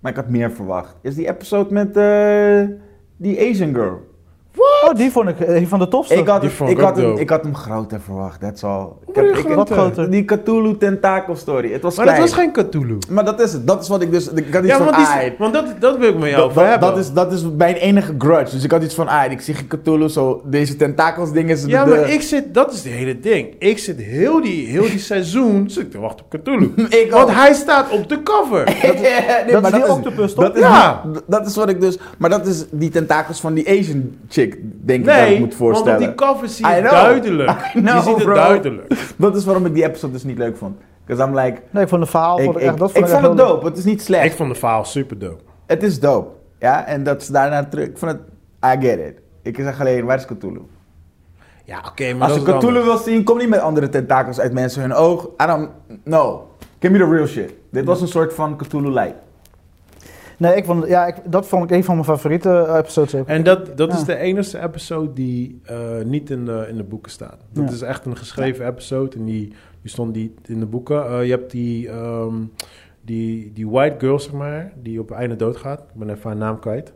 Speaker 3: maar ik had meer verwacht, is die episode met eh, die Asian girl.
Speaker 2: Oh, die vond ik eh, een van de tofste.
Speaker 3: Ik had,
Speaker 1: Die
Speaker 3: het-
Speaker 1: vond
Speaker 3: ik,
Speaker 1: ik ook
Speaker 3: had hem,
Speaker 1: dope.
Speaker 3: ik had hem groter verwacht, that's all. Ik
Speaker 1: bedoel je
Speaker 3: ik
Speaker 2: Wat groter.
Speaker 3: Die Cthulhu tentakel story, het was
Speaker 1: Maar dat
Speaker 3: klein.
Speaker 1: was geen Cthulhu.
Speaker 3: Maar dat is het, dat is wat ik dus, ik had iets
Speaker 1: Ja,
Speaker 3: van,
Speaker 1: want, die,
Speaker 3: ah,
Speaker 1: want dat, dat wil ik met jou
Speaker 3: dat,
Speaker 1: over
Speaker 3: dat,
Speaker 1: hebben.
Speaker 3: dat is, dat is mijn enige grudge. Dus ik had iets van, ah, ik zie geen Cthulhu, zo, deze tentakels ding is
Speaker 1: ja,
Speaker 3: de-
Speaker 1: maar ik zit, dat is het hele ding. Ik zit heel die, heel die
Speaker 3: [laughs]
Speaker 1: seizoen zit ik te wachten op Cthulhu.
Speaker 3: Ik
Speaker 1: Want
Speaker 3: ook.
Speaker 1: hij staat op de
Speaker 3: [laughs]
Speaker 1: cover.
Speaker 3: Ja, nee,
Speaker 2: dat
Speaker 3: maar
Speaker 2: is die octopus, toch?
Speaker 3: Dat is,
Speaker 1: Ja.
Speaker 3: d- dat is wat ik dus... Maar dat is die tentakels van die Asian chick, denk ik, dat ik
Speaker 1: Nee,
Speaker 3: moet
Speaker 1: want op
Speaker 3: voorstellen.
Speaker 1: die cover zie
Speaker 3: I
Speaker 1: je
Speaker 3: know.
Speaker 1: duidelijk.
Speaker 3: [laughs] I know,
Speaker 1: je ziet het
Speaker 3: bro.
Speaker 1: duidelijk.
Speaker 3: Dat is waarom ik die episode dus niet leuk vond. Because I'm like...
Speaker 2: Nee, ik vond het verhaal...
Speaker 3: Ik,
Speaker 2: vond ik,
Speaker 3: ik,
Speaker 2: echt, dat
Speaker 3: ik
Speaker 2: vond ik
Speaker 3: vond
Speaker 2: echt
Speaker 3: het
Speaker 2: heel leuk.
Speaker 3: dope, het is niet
Speaker 1: Ik
Speaker 3: slecht.
Speaker 1: vond de verhaal super dope.
Speaker 3: Het is dope. Ja, en dat is daarna terug. Ik vond het... I get it. Ik zeg alleen, waar is Cthulhu?
Speaker 1: Ja, oké, maar
Speaker 3: Als je
Speaker 1: dat is
Speaker 3: Cthulhu
Speaker 1: dan...
Speaker 3: wil zien, kom niet met andere tentakels uit mensen hun oog. I don't... No. Give me the real shit. Dit was een soort van Cthulhu-like.
Speaker 2: Nee, ik vond het, ja, ik, dat vond ik een van mijn favoriete eh, episodes ook.
Speaker 1: En dat, dat is
Speaker 2: Ja.
Speaker 1: de enige episode die eh, niet in de, in de boeken staat. Dat
Speaker 2: Ja.
Speaker 1: is echt een geschreven episode en die, die stond niet in de boeken. Eh, je hebt die, ehm, die, die white girl, zeg maar, die op het einde doodgaat. Ik ben even haar naam kwijt.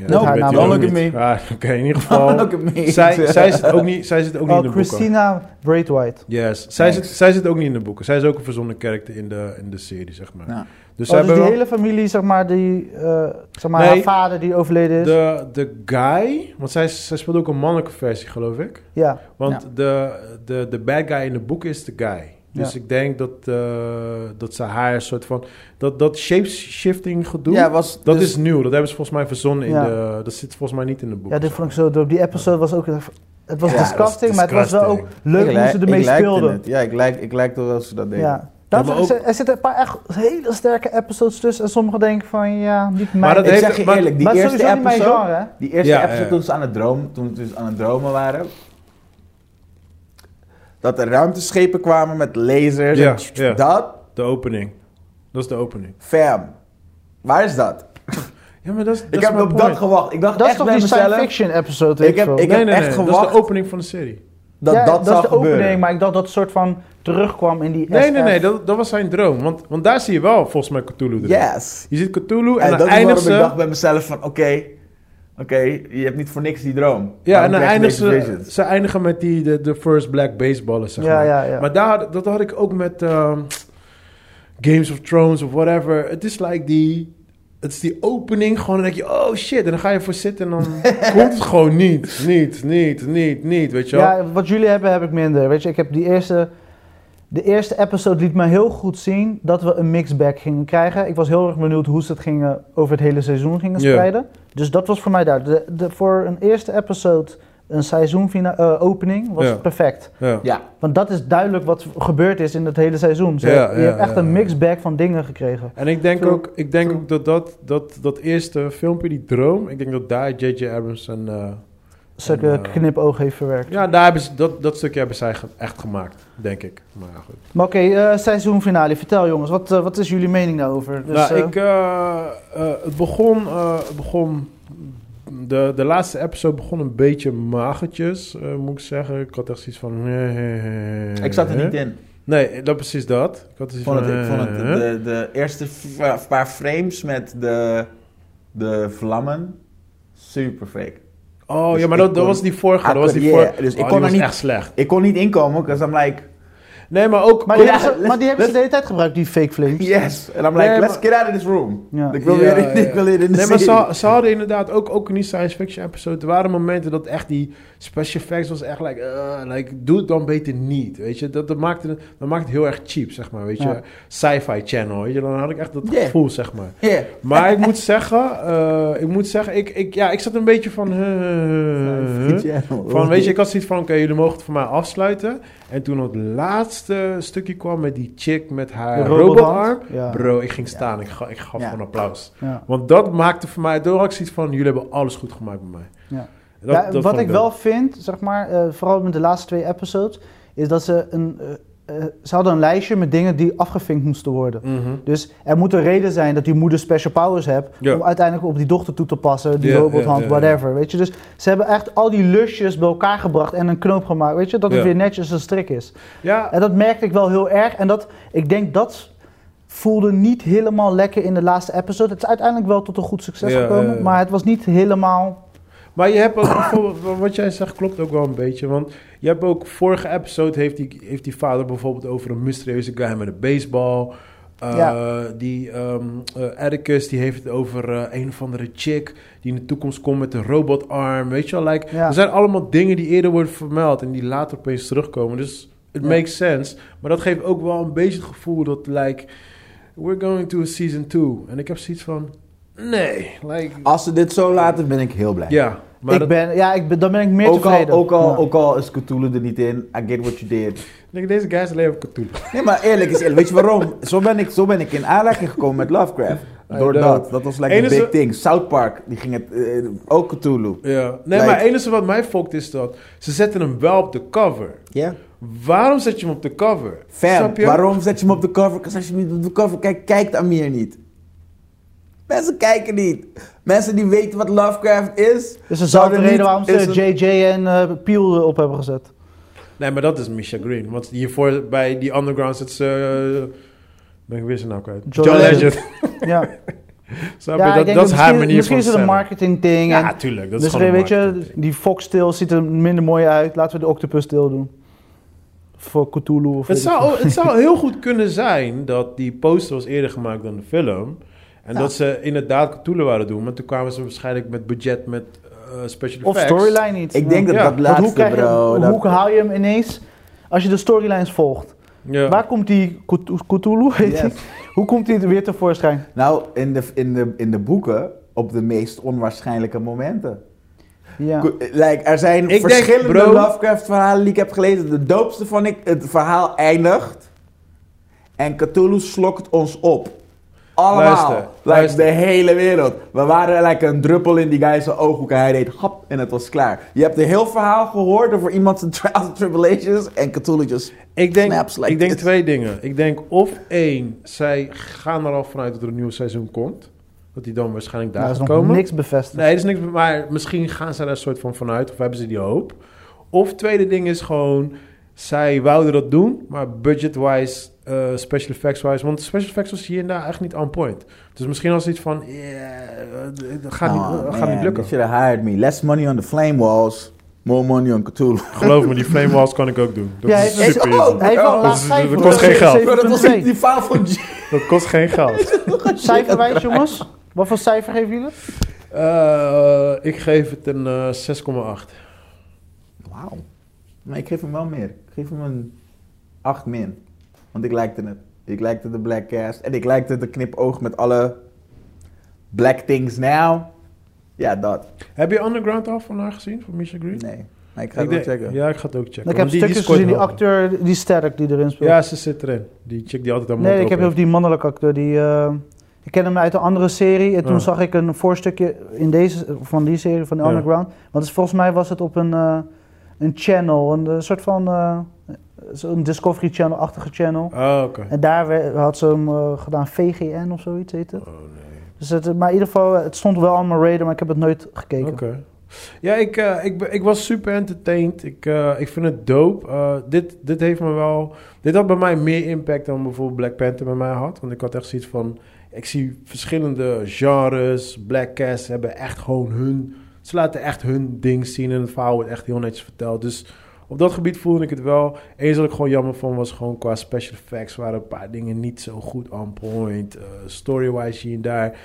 Speaker 1: Ja,
Speaker 2: Nou,
Speaker 1: dat weet
Speaker 2: nou,
Speaker 1: je ook
Speaker 3: look at
Speaker 1: niet.
Speaker 3: me.
Speaker 1: Ah, Oké, in ieder geval.
Speaker 2: [laughs]
Speaker 3: Look at me.
Speaker 1: zij, zij zit ook niet, zij zit ook niet in
Speaker 2: Oh,
Speaker 1: de boeken.
Speaker 2: Christina Braithwaite.
Speaker 1: Yes, zij zit,
Speaker 3: Thanks.
Speaker 1: zij zit ook niet in de boeken. Zij is ook een verzonnen karakter in de, in de serie, zeg maar.
Speaker 3: Ja.
Speaker 1: Dus,
Speaker 2: Dus, oh,
Speaker 1: zij
Speaker 2: dus die
Speaker 1: hebben wel-
Speaker 2: hele familie, zeg maar, die, eh, zeg maar
Speaker 1: Nee.
Speaker 2: haar vader die overleden is.
Speaker 1: de, de guy, want zij, zij speelt ook een mannelijke versie, geloof ik.
Speaker 2: Ja,
Speaker 1: Want de, de, de bad guy in de boeken is de guy. Dus ik denk dat, eh, dat ze haar een soort van... Dat, dat shapeshifting gedoe,
Speaker 3: Ja, was
Speaker 1: dat
Speaker 3: dus-
Speaker 1: is nieuw. Dat hebben ze volgens mij verzonnen in
Speaker 2: Ja.
Speaker 1: de... Dat zit volgens mij niet in de boeken.
Speaker 2: ja dit vond ik zo dope. Die episode was ook... Het was
Speaker 1: Ja, dat
Speaker 2: disgusting,
Speaker 1: is
Speaker 2: maar het was wel ook
Speaker 1: disgusting.
Speaker 2: leuk hoe ze ermee speelden.
Speaker 3: Ja, ik lijkt ik lijkt wel dat ze dat deden.
Speaker 2: Ja. Dat,
Speaker 1: Ja, maar ook-
Speaker 2: er zitten een paar echt hele sterke episodes tussen. En sommigen denken van, ja, niet mijn...
Speaker 1: Maar dat
Speaker 3: Ik
Speaker 1: heeft-
Speaker 3: zeg je
Speaker 1: maar-
Speaker 3: eerlijk, die
Speaker 2: maar het is
Speaker 3: eerste
Speaker 2: sowieso niet mijn
Speaker 3: episode,
Speaker 2: genre, hè?
Speaker 3: die eerste
Speaker 1: Ja,
Speaker 3: episode
Speaker 1: ja.
Speaker 3: toen ze aan het dromen, toen ze dus aan het dromen waren, dat er ruimteschepen kwamen met lasers
Speaker 1: Ja,
Speaker 3: en tss, tss,
Speaker 1: ja.
Speaker 3: dat,
Speaker 1: De opening. Dat is de opening.
Speaker 3: fam, waar is dat?
Speaker 1: Ja, maar dat is
Speaker 3: ik heb op dat gewacht. Ik dacht
Speaker 2: Dat is
Speaker 3: echt
Speaker 2: toch
Speaker 3: bij
Speaker 2: die
Speaker 3: mezelf
Speaker 2: science fiction episode,
Speaker 3: Ik
Speaker 2: weet
Speaker 3: heb-
Speaker 2: veel.
Speaker 3: ik-
Speaker 1: nee, nee,
Speaker 3: echt
Speaker 1: nee, Dat
Speaker 3: gewacht.
Speaker 1: is de opening van de serie.
Speaker 3: dat
Speaker 2: Ja,
Speaker 3: dat,
Speaker 2: is
Speaker 3: zou
Speaker 2: de
Speaker 3: gebeuren.
Speaker 2: opening, maar ik dacht dat het soort van terugkwam in die
Speaker 1: Nee,
Speaker 2: SF.
Speaker 1: nee, nee. Dat, dat was zijn droom. Want, want daar zie je wel volgens mij Cthulhu erin.
Speaker 3: Yes.
Speaker 1: Je ziet Cthulhu en,
Speaker 3: En,
Speaker 1: dan
Speaker 3: dat is
Speaker 1: eindigt
Speaker 3: waarom ik
Speaker 1: ze...
Speaker 3: dacht bij mezelf van, oké, oké, je hebt niet voor niks die droom.
Speaker 1: Ja, en
Speaker 3: Waarom
Speaker 1: dan
Speaker 3: krijg je
Speaker 1: eindigen
Speaker 3: deze
Speaker 1: ze,
Speaker 3: visions?
Speaker 1: ze eindigen met die, de, de first black baseballers, zeg
Speaker 2: Ja,
Speaker 1: maar.
Speaker 2: ja, ja.
Speaker 1: Maar daar, dat had ik ook met ehm, Games of Thrones of whatever. Het is like die... Het is die opening gewoon, dan denk je, oh shit. En dan ga je voor zitten en dan
Speaker 2: [laughs]
Speaker 1: komt het gewoon niet, niet, niet, niet, niet, weet je wel.
Speaker 2: Ja, wat jullie hebben, heb ik minder. Weet je, ik heb die eerste... De eerste episode liet me heel goed zien dat we een mixback gingen krijgen. Ik was heel erg benieuwd hoe ze het gingen, over het hele seizoen gingen
Speaker 1: Ja.
Speaker 2: spreiden. Dus dat was voor mij daar. De, de, voor een eerste episode, een seizoenfina- eh, opening, was
Speaker 1: Ja.
Speaker 2: het perfect.
Speaker 1: Ja.
Speaker 3: Ja,
Speaker 2: Want dat is duidelijk wat gebeurd is in het hele seizoen. Ze-
Speaker 1: Ja,
Speaker 2: je
Speaker 1: ja,
Speaker 2: hebt echt
Speaker 1: ja,
Speaker 2: een
Speaker 1: ja.
Speaker 2: mixback van dingen gekregen.
Speaker 1: En ik denk
Speaker 2: True.
Speaker 1: ook, ik denk
Speaker 2: True.
Speaker 1: ook dat, dat, dat dat eerste filmpje, die droom, ik denk dat daar J.J. Abrams en... eh,
Speaker 2: Zulke
Speaker 1: En, eh,
Speaker 2: knipoog heeft verwerkt.
Speaker 1: ja, daar hebben ze, dat, dat stukje hebben zij ge- echt gemaakt, denk ik. Maar ja, goed.
Speaker 2: Maar oké, eh, seizoenfinale. Vertel jongens, wat, eh, wat is jullie mening daarover? Dus,
Speaker 1: nou,
Speaker 2: eh,
Speaker 1: ik, eh, eh, het begon, eh, het begon de, de laatste episode begon een beetje magertjes, eh, moet ik zeggen. Ik had echt zoiets van... eh,
Speaker 3: ik zat er niet in.
Speaker 1: Nee, dat precies dat. Ik had
Speaker 3: Ik
Speaker 1: zoiets
Speaker 3: vond
Speaker 1: van...
Speaker 3: het, ik vond het
Speaker 1: eh,
Speaker 3: de, de eerste f- paar frames met de, de vlammen super fake.
Speaker 1: Oh
Speaker 3: dus
Speaker 1: ja, maar
Speaker 3: ik
Speaker 1: dat, dat
Speaker 3: kon-
Speaker 1: was die vorige. Dat was die
Speaker 3: Ah,
Speaker 1: vorige.
Speaker 3: yeah, dus ik
Speaker 1: oh, die
Speaker 3: kon er
Speaker 1: was
Speaker 3: niet-
Speaker 1: echt slecht.
Speaker 3: Ik kon niet inkomen, because I'm like,
Speaker 1: Nee, maar ook...
Speaker 2: maar,
Speaker 1: ook-
Speaker 2: die
Speaker 3: ja,
Speaker 2: hebben ze, maar die hebben ze
Speaker 3: let's-
Speaker 2: de hele tijd gebruikt, die fake flames.
Speaker 3: yes. En I'm like,
Speaker 1: Nee, maar-
Speaker 3: let's get out of this room.
Speaker 2: Ja.
Speaker 3: Ik wil
Speaker 1: Ja,
Speaker 3: weer in, [laughs]
Speaker 1: ja.
Speaker 3: ik wil weer in de
Speaker 1: Nee, maar
Speaker 3: serie.
Speaker 1: ze, ze hadden inderdaad ook, ook in die science fiction episode... Er waren momenten dat echt die special effects was echt like... eh, like doe het dan beter niet, weet je. Dat, dat, maakte, het- dat maakt het heel erg cheap, zeg maar, weet je.
Speaker 2: Ja.
Speaker 1: Sci-fi channel, weet je. Dan had ik echt dat
Speaker 3: Ja.
Speaker 1: gevoel, zeg maar.
Speaker 3: [laughs] Yeah.
Speaker 1: Maar ik moet zeggen... eh, ik moet zeggen, ik, ik, ja, ik zat een beetje van... eh, eh,
Speaker 3: [laughs]
Speaker 1: eh. Van, weet je, ik had zoiets van, oké, jullie mogen het voor mij afsluiten. En toen het laatste stukje kwam met die chick met
Speaker 2: De
Speaker 1: haar
Speaker 2: robotarm.
Speaker 1: robotarm...
Speaker 2: Ja.
Speaker 1: Bro, ik ging staan. Ik, ga, ik gaf
Speaker 3: Ja.
Speaker 1: gewoon applaus.
Speaker 2: Ja.
Speaker 1: Want dat maakte voor mij, door had ik zoiets van, jullie hebben alles goed gemaakt bij mij.
Speaker 2: Ja.
Speaker 1: Dat-
Speaker 2: Ja,
Speaker 1: dat vond
Speaker 2: wat ik wel vind, zeg maar, eh, vooral met de laatste twee episodes, is dat ze een. eh, eh, ze hadden een lijstje met dingen die afgevinkt moesten worden.
Speaker 1: Mhm.
Speaker 2: Dus er moet een reden zijn dat die moeder special powers hebt.
Speaker 1: Ja.
Speaker 2: om uiteindelijk op die dochter toe te passen. die
Speaker 1: Ja,
Speaker 2: robothand,
Speaker 1: ja, ja, ja.
Speaker 2: whatever. Weet je, dus ze hebben echt al die lusjes bij elkaar gebracht en een knoop gemaakt. Weet je, dat het
Speaker 1: Ja.
Speaker 2: weer netjes een strik is.
Speaker 1: Ja,
Speaker 2: En dat merkte ik wel heel erg. En dat, ik denk dat voelde niet helemaal lekker in de laatste episode. Het is uiteindelijk wel tot een goed succes
Speaker 1: Ja, eh,
Speaker 2: gekomen.
Speaker 1: ja, ja.
Speaker 2: Maar het was niet helemaal.
Speaker 1: maar je hebt ook, [coughs] bijvoorbeeld, wat jij zegt klopt ook wel een beetje. Want je hebt ook, vorige episode heeft die, heeft die vader bijvoorbeeld over een mysterieuze guy met een baseball. Eh,
Speaker 2: Ja.
Speaker 1: Die ehm eh, Atticus, die heeft het over eh, een of andere chick die in de toekomst komt met een robotarm. Weet je wel, like,
Speaker 2: Ja.
Speaker 1: er zijn allemaal dingen die eerder worden vermeld en die later opeens terugkomen. Dus it
Speaker 2: Ja.
Speaker 1: makes sense. Maar dat geeft ook wel een beetje het gevoel dat, like, we're going to a season 2. En ik heb zoiets van, nee, like,
Speaker 3: Als ze dit zo laten, ben ik heel blij.
Speaker 1: ja. Maar
Speaker 2: ik
Speaker 1: dat-
Speaker 2: ben, ja, ik ben, dan ben ik meer
Speaker 3: Ook al,
Speaker 2: tevreden.
Speaker 3: ook, al,
Speaker 2: Ja.
Speaker 3: ook al is Cthulhu er niet in, I get what you did.
Speaker 1: ik denk, deze guys alleen op Cthulhu.
Speaker 3: Nee, maar eerlijk is eerlijk. Weet je waarom? Zo ben ik, zo ben ik in aanraking gekomen met Lovecraft.
Speaker 1: I
Speaker 3: Door
Speaker 1: know.
Speaker 3: dat. Dat was like the
Speaker 1: Enige-
Speaker 3: big thing. South Park, die ging het... eh, ook Cthulhu.
Speaker 1: Ja. Nee,
Speaker 3: Like-
Speaker 1: maar het enige wat mij fokt is dat ze zetten hem wel op de cover.
Speaker 3: Ja.
Speaker 1: Waarom zet je hem op de cover?
Speaker 3: Fam,
Speaker 1: Snap je?
Speaker 3: waarom zet je hem op de cover? Because als je hem niet op de cover kijkt, kijkt Amir niet. Mensen kijken niet. Mensen die weten wat Lovecraft is...
Speaker 2: Dus dat is ook de
Speaker 3: zouden niet-
Speaker 2: reden waarom
Speaker 3: is
Speaker 2: ze
Speaker 3: een-
Speaker 2: JJ en eh Peel op hebben gezet.
Speaker 1: Nee, maar dat is Misha Green. Want hiervoor bij die underground zit ze... eh, ben ik weer zijn naam kwijt.
Speaker 2: John
Speaker 1: John Legend. [laughs]
Speaker 2: Ja.
Speaker 1: Snap je? dat, dat is haar
Speaker 2: misschien,
Speaker 1: manier van
Speaker 2: misschien is het een
Speaker 1: stemmen.
Speaker 2: marketing ding.
Speaker 1: Ja, tuurlijk. Dat
Speaker 2: dus
Speaker 1: is gewoon
Speaker 2: weet
Speaker 1: een
Speaker 2: je,
Speaker 1: marketing.
Speaker 2: die foxtail ziet er minder mooi uit. Laten we de octopus tail doen. Voor Cthulhu
Speaker 1: Het
Speaker 2: of weet ik veel. [laughs]
Speaker 1: zou, het zou heel goed kunnen zijn dat die poster was eerder gemaakt dan de film. En
Speaker 2: Ja.
Speaker 1: dat ze inderdaad Cthulhu waren doen. Maar toen kwamen ze waarschijnlijk met budget, met eh, special
Speaker 2: Of
Speaker 1: effects.
Speaker 2: storyline niet.
Speaker 3: Ik denk dat
Speaker 1: Ja,
Speaker 3: dat
Speaker 1: want
Speaker 2: Want
Speaker 3: laatste,
Speaker 2: hoe, krijg je-
Speaker 3: bro.
Speaker 2: hoe,
Speaker 3: dat-
Speaker 2: hoe haal je hem ineens als je de storylines volgt?
Speaker 1: Ja.
Speaker 2: Waar komt die Cthul- Cthulhu, weet
Speaker 3: Yes.
Speaker 2: je? Hoe komt die er weer tevoorschijn?
Speaker 3: Nou, in de, in, de, in de boeken op de meest onwaarschijnlijke momenten.
Speaker 2: Ja. Nou,
Speaker 3: Ko- Like, er zijn
Speaker 1: denk,
Speaker 3: verschillende
Speaker 1: bro-
Speaker 3: Lovecraft-verhalen die ik heb gelezen. De doopste van ik, het verhaal eindigt. En Cthulhu slokt ons op. Allemaal.
Speaker 1: Luister,
Speaker 3: like,
Speaker 1: luister.
Speaker 3: de hele wereld. We waren like een druppel in die guy's ooghoek en hij deed hap en het was klaar. Je hebt een heel verhaal gehoord over iemand zijn [laughs] trials and tribulations en Cthulhu just...
Speaker 1: Ik denk,
Speaker 3: Snaps like
Speaker 1: ik denk
Speaker 3: this.
Speaker 1: twee dingen. Ik denk of één, zij gaan er al vanuit dat er een nieuw seizoen komt. Dat die dan waarschijnlijk daar
Speaker 2: Daar is
Speaker 1: gaat
Speaker 2: nog
Speaker 1: komen.
Speaker 2: niks bevestigd.
Speaker 1: Nee, dat is niks. Maar misschien gaan zij daar een soort van vanuit. Of hebben ze die hoop. Of tweede ding is gewoon... Zij wouden dat doen, maar budget-wise, eh, special effects-wise... Want special effects was hier en daar echt niet on point. Dus misschien als iets van... Yeah, eh, dat gaat,
Speaker 3: Oh,
Speaker 1: niet, dat gaat
Speaker 3: man,
Speaker 1: niet lukken.
Speaker 3: You should have hired me. Less money on the flame walls, more money on Cthulhu.
Speaker 1: Geloof me, die flame walls kan ik ook doen. Dat
Speaker 2: Ja,
Speaker 1: is
Speaker 2: hij-
Speaker 1: super
Speaker 3: hij-
Speaker 1: easy.
Speaker 3: oh,
Speaker 2: Hij heeft wel
Speaker 1: Dat
Speaker 2: een laag
Speaker 1: is-
Speaker 2: cijfer.
Speaker 1: dat kost geen geld.
Speaker 3: Bro, dat was [laughs]
Speaker 2: 7.2.
Speaker 3: die verhaal van G.
Speaker 1: Dat kost geen geld.
Speaker 3: [laughs]
Speaker 2: Cijferwijs, jongens. Wat voor cijfer geven jullie? Nou, het?
Speaker 1: Eh, ik geef het een eh, 6,8.
Speaker 3: Wauw. Maar ik geef hem wel meer. Ik geef hem een 8 min. Want ik likte het. Ik likte de black cast. En ik likte de knipoog met alle black things now. Ja, dat.
Speaker 1: Heb je Underground al van haar gezien? Van Misha Green?
Speaker 3: Nee. Maar ik ga het
Speaker 1: Hm? Ik
Speaker 3: wel
Speaker 1: denk-
Speaker 3: checken.
Speaker 1: Ja, ik ga het ook checken.
Speaker 2: Ik
Speaker 1: want
Speaker 2: heb stukjes
Speaker 1: scoort
Speaker 2: gezien, die
Speaker 1: hoger.
Speaker 2: acteur, die sterk die erin speelt.
Speaker 1: Ja, ze zit erin. Die chick die altijd aan mond
Speaker 2: nee, ik
Speaker 1: op
Speaker 2: heb
Speaker 1: heeft.
Speaker 2: over die mannelijke acteur. Die, eh, ik ken hem uit een andere serie. En toen
Speaker 1: Ja.
Speaker 2: zag ik een voorstukje in deze, van die serie, van The
Speaker 1: Ja.
Speaker 2: Underground. Want dus volgens mij was het op een, eh, een channel, een eh, soort van eh, zo'n Discovery Channel-achtige channel.
Speaker 1: Oh, oké.
Speaker 2: En daar we- had ze hem eh, gedaan, VGN of zoiets heet het.
Speaker 1: Oh, nee.
Speaker 2: Dus het, maar in ieder geval, het stond wel aan mijn radar, maar ik heb het nooit gekeken.
Speaker 1: Oké. Ja, ik, eh, ik, ben- ik was super entertained. Ik, eh, ik vind het dope. Eh, dit, dit heeft me wel... Dit had bij mij meer impact dan bijvoorbeeld Black Panther bij mij had. Want ik had echt zoiets van... Ik zie verschillende genres. Black Cast hebben echt gewoon hun... Ze laten echt hun ding zien en het verhaal wordt echt heel netjes verteld. Dus op dat gebied voelde ik het wel. Eens wat ik gewoon jammer van was gewoon qua special effects... waren een paar dingen niet zo goed on point. Eh, Story-wise hier en daar...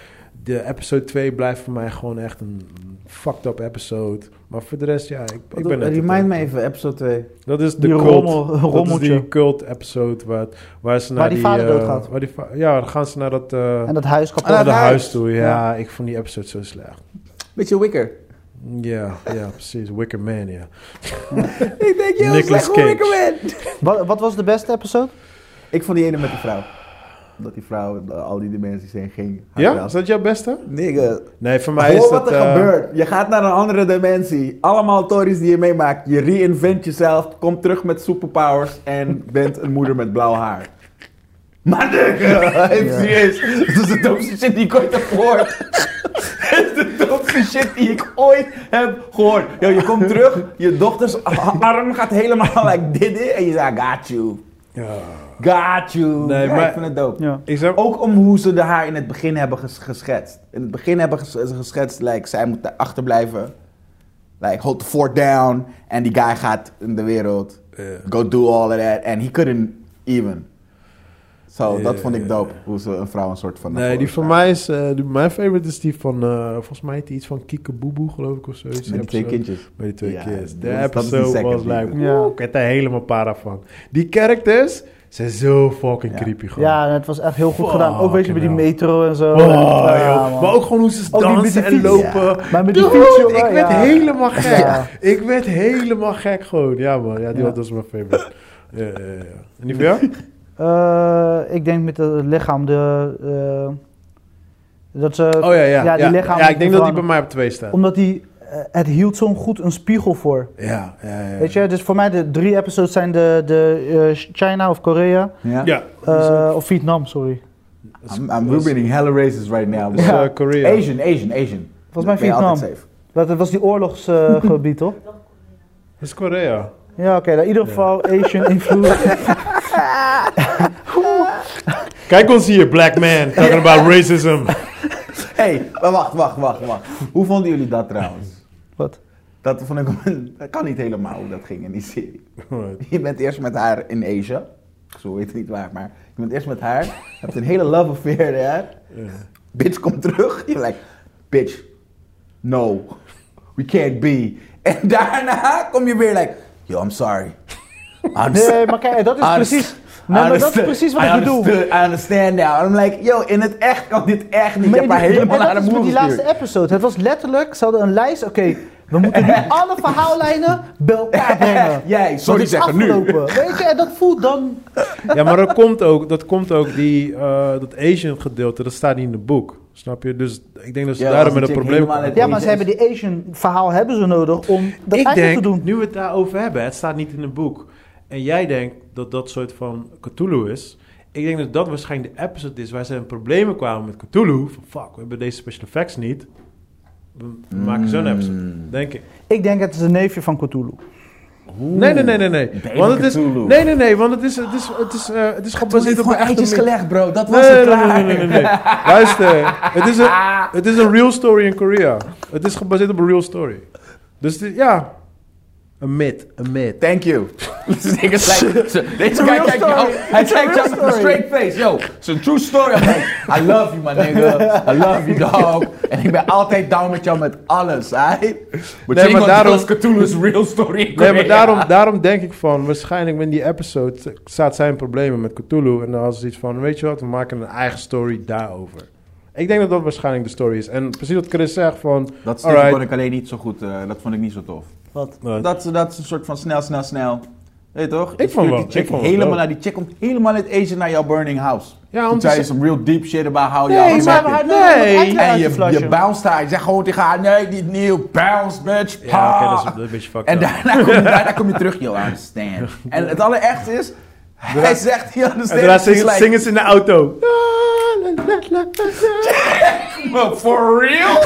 Speaker 1: De episode 2 blijft voor mij gewoon echt een fucked up episode. Maar voor de rest, ja, ik, ik ben net-
Speaker 3: Remind me even, episode 2.
Speaker 1: Dat is de
Speaker 2: Die
Speaker 1: cult.
Speaker 2: rommel,
Speaker 1: dat is
Speaker 2: rommeltje.
Speaker 1: die cult episode waar, het- waar ze naar
Speaker 2: Waar die vader
Speaker 1: eh,
Speaker 2: doodgaat.
Speaker 1: Waar die va- ja, dan gaan ze naar dat, eh
Speaker 2: En dat huis kapot.
Speaker 3: Ah,
Speaker 1: naar
Speaker 3: dat
Speaker 1: dat
Speaker 3: huis.
Speaker 1: huis toe. Ja, ik vond die episode zo slecht.
Speaker 3: Beetje
Speaker 1: [laughs]
Speaker 3: wicker.
Speaker 1: Ja, ja, precies. Wicker Man, ja.
Speaker 3: Ik denk,
Speaker 1: joh, Nicolas slecht hoe Cage. wicker
Speaker 2: Wat, wat was de beste episode?
Speaker 3: Ik vond die ene met die vrouw. Dat die vrouw eh, al die dimensies heen ging.
Speaker 1: Ja? Is dat jouw beste?
Speaker 3: Nigga,
Speaker 1: Nee, voor mij
Speaker 3: Maar
Speaker 1: is
Speaker 3: Hoor
Speaker 1: dat...
Speaker 3: wat er
Speaker 1: eh,
Speaker 3: gebeurt. Je gaat naar een andere dimensie. Allemaal tories die je meemaakt. Je reinvent jezelf. Komt terug met superpowers. En bent een moeder met blauw haar. Maar
Speaker 1: [laughs]
Speaker 3: nigga, even serieus. Dat is de domste shit die ik ooit heb gehoord. Dat is de domste shit die ik ooit heb gehoord. Yo, je komt terug. Je dochters a- arm gaat helemaal [laughs] like dit. dit, En je zegt, I got you.
Speaker 1: ja.
Speaker 3: Got you.
Speaker 1: Nee,
Speaker 3: Ja,
Speaker 1: maar-
Speaker 3: ik vind het dope.
Speaker 2: Ja.
Speaker 1: Ik zou...
Speaker 3: Ook om hoe ze de haar in het begin hebben ges- geschetst. In het begin hebben ges- ze geschetst, like, zij moet daar achterblijven. Like, hold the fort down. En die guy gaat in de wereld.
Speaker 1: Ja.
Speaker 3: Go do all of that. And he couldn't even. Zo,
Speaker 1: Ja,
Speaker 3: dat vond ik
Speaker 1: ja,
Speaker 3: dope. Hoe ze een vrouw een soort van... naar
Speaker 1: Nee, die van
Speaker 3: voren
Speaker 1: mij is... eh, die- mijn favorite is die van... eh, volgens mij heet die iets van Kieke Boeboe, geloof ik, of zo.
Speaker 3: staat. Met die twee kindjes.
Speaker 1: Bij die twee
Speaker 3: Ja,
Speaker 1: kids. De
Speaker 3: dat is- dat is die
Speaker 1: episode
Speaker 3: second
Speaker 1: was
Speaker 3: die-
Speaker 1: like,
Speaker 2: Ja.
Speaker 1: oeh, ik werd daar helemaal para van. Die characters zijn zo fucking
Speaker 3: Ja.
Speaker 1: creepy gewoon.
Speaker 2: Ja, het was echt heel goed
Speaker 1: Fuck,
Speaker 2: gedaan. Ook weet je, bij die
Speaker 1: hell.
Speaker 2: metro en zo.
Speaker 1: Oh,
Speaker 2: Ja,
Speaker 1: joh.
Speaker 2: man.
Speaker 1: Maar ook gewoon hoe ze
Speaker 2: Ook die met die
Speaker 1: dansen en
Speaker 2: fiets.
Speaker 1: lopen.
Speaker 2: Maar met die
Speaker 1: Dude,
Speaker 2: fiets, jongen,
Speaker 1: ik werd
Speaker 2: ja.
Speaker 1: helemaal gek.
Speaker 2: Ja.
Speaker 1: Ik werd helemaal gek gewoon. Ja man, ja, die
Speaker 2: Ja.
Speaker 1: was dat is mijn favorite. Ja, ja, ja. En die van jou?
Speaker 2: Eh, ik denk met het lichaam, de, eh, dat ze,
Speaker 1: Oh ja, ja.
Speaker 2: Ja,
Speaker 1: Ja,
Speaker 2: die lichaam
Speaker 1: ja, ik denk dat die
Speaker 2: veranderen.
Speaker 1: bij mij op twee staat.
Speaker 2: omdat die, eh, het hield zo'n goed een spiegel voor.
Speaker 1: Ja, ja, ja.
Speaker 2: Weet je, dus voor mij de drie episodes zijn de, de eh, China of Korea,
Speaker 3: Ja.
Speaker 1: Ja.
Speaker 2: eh, of Vietnam, sorry.
Speaker 3: I'm, I'm ruining hella races right now.
Speaker 1: Dus,
Speaker 3: bro.
Speaker 1: eh, Korea.
Speaker 3: Asian, Asian, Asian.
Speaker 2: Volgens mij
Speaker 3: Ben je altijd
Speaker 2: Vietnam.
Speaker 3: safe.
Speaker 2: Dat, dat was die
Speaker 1: [laughs]
Speaker 2: oorlogsgebied, toch?
Speaker 1: Dat is Korea.
Speaker 2: Ja, oké, nou, in ieder geval
Speaker 1: [laughs]
Speaker 2: Asian influence.
Speaker 1: Kijk ons hier, black man. Talking about racism. [laughs]
Speaker 3: hey, maar wacht, wacht, wacht, wacht. Hoe vonden jullie dat trouwens?
Speaker 2: Wat?
Speaker 3: Dat vond ik, [laughs] dat kan niet helemaal hoe dat ging in die serie. [laughs] Je bent eerst met haar in Asia. Zo weet het niet waar, maar je bent eerst met haar. Hebt een hele love affair, hè?
Speaker 1: Ja.
Speaker 3: Bitch komt terug. [laughs] Je like, bitch, no, we can't be. En daarna kom je weer like, yo, I'm sorry. I'm
Speaker 2: Nee, maar kijk, dat is precies. Nee, maar dat is precies wat ik bedoel.
Speaker 3: I understand now. I'm like, yo, in het echt kan dit echt niet. Je hebt haar
Speaker 2: die-
Speaker 3: helemaal
Speaker 2: en
Speaker 3: aan de
Speaker 2: dat is
Speaker 3: moeder
Speaker 2: met die laatste
Speaker 3: gestuurd.
Speaker 2: episode. Het was letterlijk, ze hadden een lijst. Oké, we moeten
Speaker 3: [laughs]
Speaker 2: nu alle verhaallijnen bij elkaar brengen.
Speaker 3: Jij,
Speaker 2: Dat
Speaker 3: sorry
Speaker 2: is
Speaker 3: zeggen nu.
Speaker 2: afgelopen. Weet je, en dat voelt dan...
Speaker 1: Ja, maar dat komt ook, dat, komt ook die, eh, dat Asian gedeelte, dat staat niet in het boek. Snap je? Dus ik denk dat ze
Speaker 3: Ja,
Speaker 1: daarom
Speaker 3: als
Speaker 1: met een
Speaker 3: die chick
Speaker 1: probleem
Speaker 3: helemaal
Speaker 1: komen.
Speaker 2: Ja, maar ze hebben die Asian verhaal hebben ze nodig om dat
Speaker 1: ik
Speaker 2: eigenlijk
Speaker 1: denk,
Speaker 2: te doen.
Speaker 1: nu we het daarover hebben, het staat niet in het boek. En jij denkt dat dat soort van Cthulhu is. Ik denk dat dat waarschijnlijk de episode is waar ze in problemen kwamen met Cthulhu. Van fuck, we hebben deze special effects niet. We we maken zo'n episode, denk ik.
Speaker 2: Ik denk het is een neefje van Cthulhu.
Speaker 1: Nee, nee, nee, nee. nee.
Speaker 3: Baby
Speaker 1: Want het is,
Speaker 3: Cthulhu.
Speaker 1: nee, nee, nee, want het is, het is, het is, eh, het is gebaseerd op een echte mythe.
Speaker 3: gelegd, bro. Dat
Speaker 1: Nee, nee, nee, nee, nee, nee. [laughs] Luister, het is, een, het is een real story in Korea. Het is gebaseerd op een real story. Dus het is- ja, een myth, een myth.
Speaker 3: Thank [laughs] you. Deze guy kijkt
Speaker 2: real
Speaker 3: kijkt jou,
Speaker 2: story.
Speaker 3: hij kijkt jou met een straight face. Yo, it's a true story. I'm like, I love you, my nigga. I love you, dog. En ik ben altijd down met jou met alles, aight? But
Speaker 1: maar daarom-
Speaker 3: is Cthulhu's real story in
Speaker 1: Nee, maar
Speaker 3: Korea.
Speaker 1: daarom, daarom denk ik van, waarschijnlijk in die episode staat zijn problemen met Cthulhu. En dan hadden ze iets van, weet je wat, we maken een eigen story daarover. Ik denk dat dat waarschijnlijk de story is. En precies wat Chris zegt van,
Speaker 3: Dat stuk
Speaker 1: alright.
Speaker 3: vond ik alleen niet zo goed. eh, dat vond ik niet zo tof.
Speaker 2: Wat?
Speaker 1: eh,
Speaker 3: Dat, dat is een soort van snel, snel, snel. Weet je toch?
Speaker 1: vond
Speaker 3: Je stuurt
Speaker 1: wel-
Speaker 3: die chick
Speaker 1: ik vond wel
Speaker 3: helemaal
Speaker 1: dope.
Speaker 3: naar die chick komt helemaal uit Asia naar jouw burning house.
Speaker 1: Ja, om
Speaker 3: Toen
Speaker 1: te
Speaker 3: zei je
Speaker 1: ze-
Speaker 3: some real deep shit about how
Speaker 2: Nee,
Speaker 3: y'all
Speaker 2: ze hebben haar
Speaker 3: met-
Speaker 2: nodig om het
Speaker 1: Nee.
Speaker 2: eindelijk
Speaker 3: En
Speaker 2: uit te
Speaker 3: je,
Speaker 2: flashen.
Speaker 3: je bounced haar. Je zegt gewoon tegen haar, nee, niet nieuw. Bounce, bitch.
Speaker 1: ja, oké,
Speaker 3: Pa.
Speaker 1: dat is een beetje fucked
Speaker 3: Ah. en
Speaker 1: up.
Speaker 3: daarna kom, je, daarna kom je terug, yo, I understand.
Speaker 1: [laughs]
Speaker 3: En het allerechtste is, hij zegt, you
Speaker 1: En
Speaker 3: understand.
Speaker 1: daarna
Speaker 3: She's
Speaker 1: zingen,
Speaker 3: like,
Speaker 1: zingen ze in de
Speaker 3: [laughs]
Speaker 1: auto. [laughs]
Speaker 3: "But for real?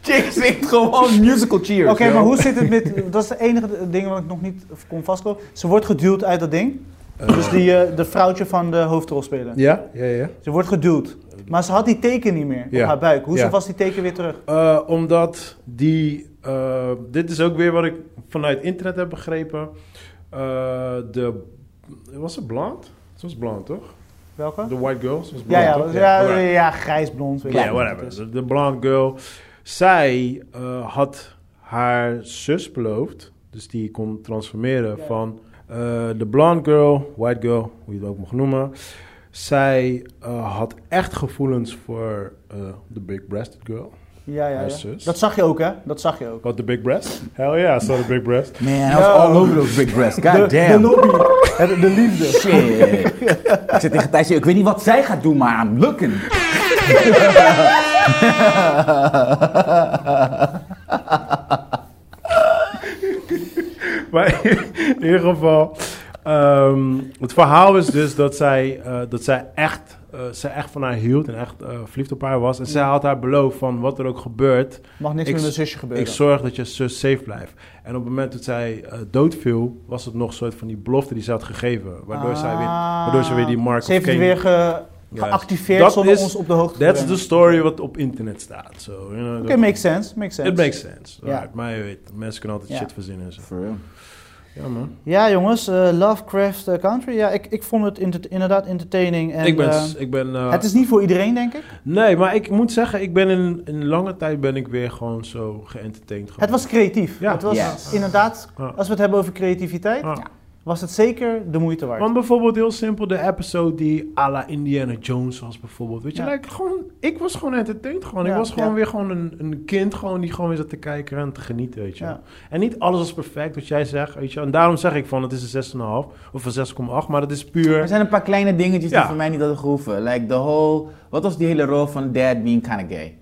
Speaker 3: Chick zingt gewoon musical cheers.
Speaker 2: Oké,
Speaker 3: yo.
Speaker 2: maar hoe zit het met... Dat is de enige ding wat ik nog niet kon vastkomen. Ze wordt geduwd uit dat ding. Dus die, eh, de vrouwtje van de hoofdrolspeler.
Speaker 1: Ja, ja, ja.
Speaker 2: Ze wordt geduwd. Maar ze had die teken niet meer
Speaker 1: Ja.
Speaker 2: op haar buik. Hoe
Speaker 1: Ja.
Speaker 2: was die teken weer terug?
Speaker 1: Eh, omdat die. eh, dit is ook weer wat ik vanuit internet heb begrepen. Eh, de. Was ze blond? Ze was blond, toch?
Speaker 2: Welke?
Speaker 1: De White Girls? was blond,
Speaker 2: Ja, ja,
Speaker 1: toch?
Speaker 2: ja, ja,
Speaker 1: alright.
Speaker 2: ja, grijs blond. weet
Speaker 1: Ja,
Speaker 2: ik.
Speaker 1: whatever. De- De blonde girl. Zij eh, had haar zus beloofd. Dus die kon transformeren van eh, de blonde girl, white girl, hoe je het ook mag noemen. Zij eh, had echt gevoelens voor eh, de big-breasted girl.
Speaker 2: Ja, ja,
Speaker 1: Haar
Speaker 2: ja.
Speaker 1: zus.
Speaker 2: Dat zag je ook, hè? Dat zag je ook.
Speaker 1: Wat de big breast? Hell yeah, I saw the big breast. [laughs]
Speaker 3: Man, I was all over those big breasts. God damn.
Speaker 2: De, de liefde.
Speaker 3: Shit. ik zit tegen Thijs, ik weet niet wat zij gaat doen, maar I'm looking.
Speaker 1: Maar in ieder geval, ehm, het verhaal is dus dat zij, eh, dat zij, echt, eh, zij echt van haar hield en echt eh, verliefd op haar was. En zij had haar beloofd van wat er ook gebeurt,
Speaker 2: Mag niks
Speaker 1: Ik-
Speaker 2: met mijn zusje gebeuren.
Speaker 1: ik zorg dat je zus safe blijft. En op het moment dat zij eh, doodviel, was het nog een soort van die belofte die ze had gegeven. Waardoor, zij weer, waardoor ze weer die Mark
Speaker 2: Ah. Ze heeft
Speaker 1: of
Speaker 2: die
Speaker 1: Cain-
Speaker 2: weer ge-
Speaker 1: Juist.
Speaker 2: geactiveerd
Speaker 1: Dat
Speaker 2: zonder
Speaker 1: is-
Speaker 2: ons op de hoogte te
Speaker 1: That's
Speaker 2: brengen.
Speaker 1: the story wat op internet staat. So, you know,
Speaker 2: Oké,
Speaker 1: dat-
Speaker 2: makes sense, makes sense.
Speaker 1: It makes sense.
Speaker 2: Ja.
Speaker 1: Alright, Maar je weet, mensen kunnen altijd
Speaker 2: Ja.
Speaker 1: shit verzinnen. en zo. Ja, man.
Speaker 2: Ja, jongens, eh, Lovecraft eh, Country. Ja, ik, ik vond het inter- inderdaad entertaining. En,
Speaker 1: ik ben,
Speaker 2: eh,
Speaker 1: ik ben eh,
Speaker 2: het is niet voor iedereen, denk ik.
Speaker 1: Nee, maar ik moet zeggen, ik ben in, in lange tijd ben ik weer gewoon zo geëntertained.
Speaker 2: Het was creatief.
Speaker 1: Ja.
Speaker 2: Het was
Speaker 3: Ja.
Speaker 2: inderdaad,
Speaker 1: Ja.
Speaker 2: als we het hebben over creativiteit,
Speaker 1: Ah.
Speaker 2: was het zeker de moeite waard.
Speaker 1: Want bijvoorbeeld heel simpel, de episode die à la Indiana Jones was bijvoorbeeld. Weet je,
Speaker 2: Ja.
Speaker 1: like, gewoon, ik was gewoon entertained gewoon.
Speaker 2: Ja,
Speaker 1: ik was gewoon
Speaker 2: ja.
Speaker 1: weer gewoon een, een kind gewoon, die gewoon weer zat te kijken en te genieten, weet je.
Speaker 2: Ja.
Speaker 1: En niet alles was perfect, wat jij zegt, weet je. En daarom zeg ik van, het is een 6,5 of een 6,8, maar dat is
Speaker 3: Er
Speaker 1: puur...
Speaker 3: zijn een paar kleine dingetjes die
Speaker 1: Ja.
Speaker 3: voor mij niet hadden gehoeven. Like the whole... Wat was die hele rol van dad being kind of gay?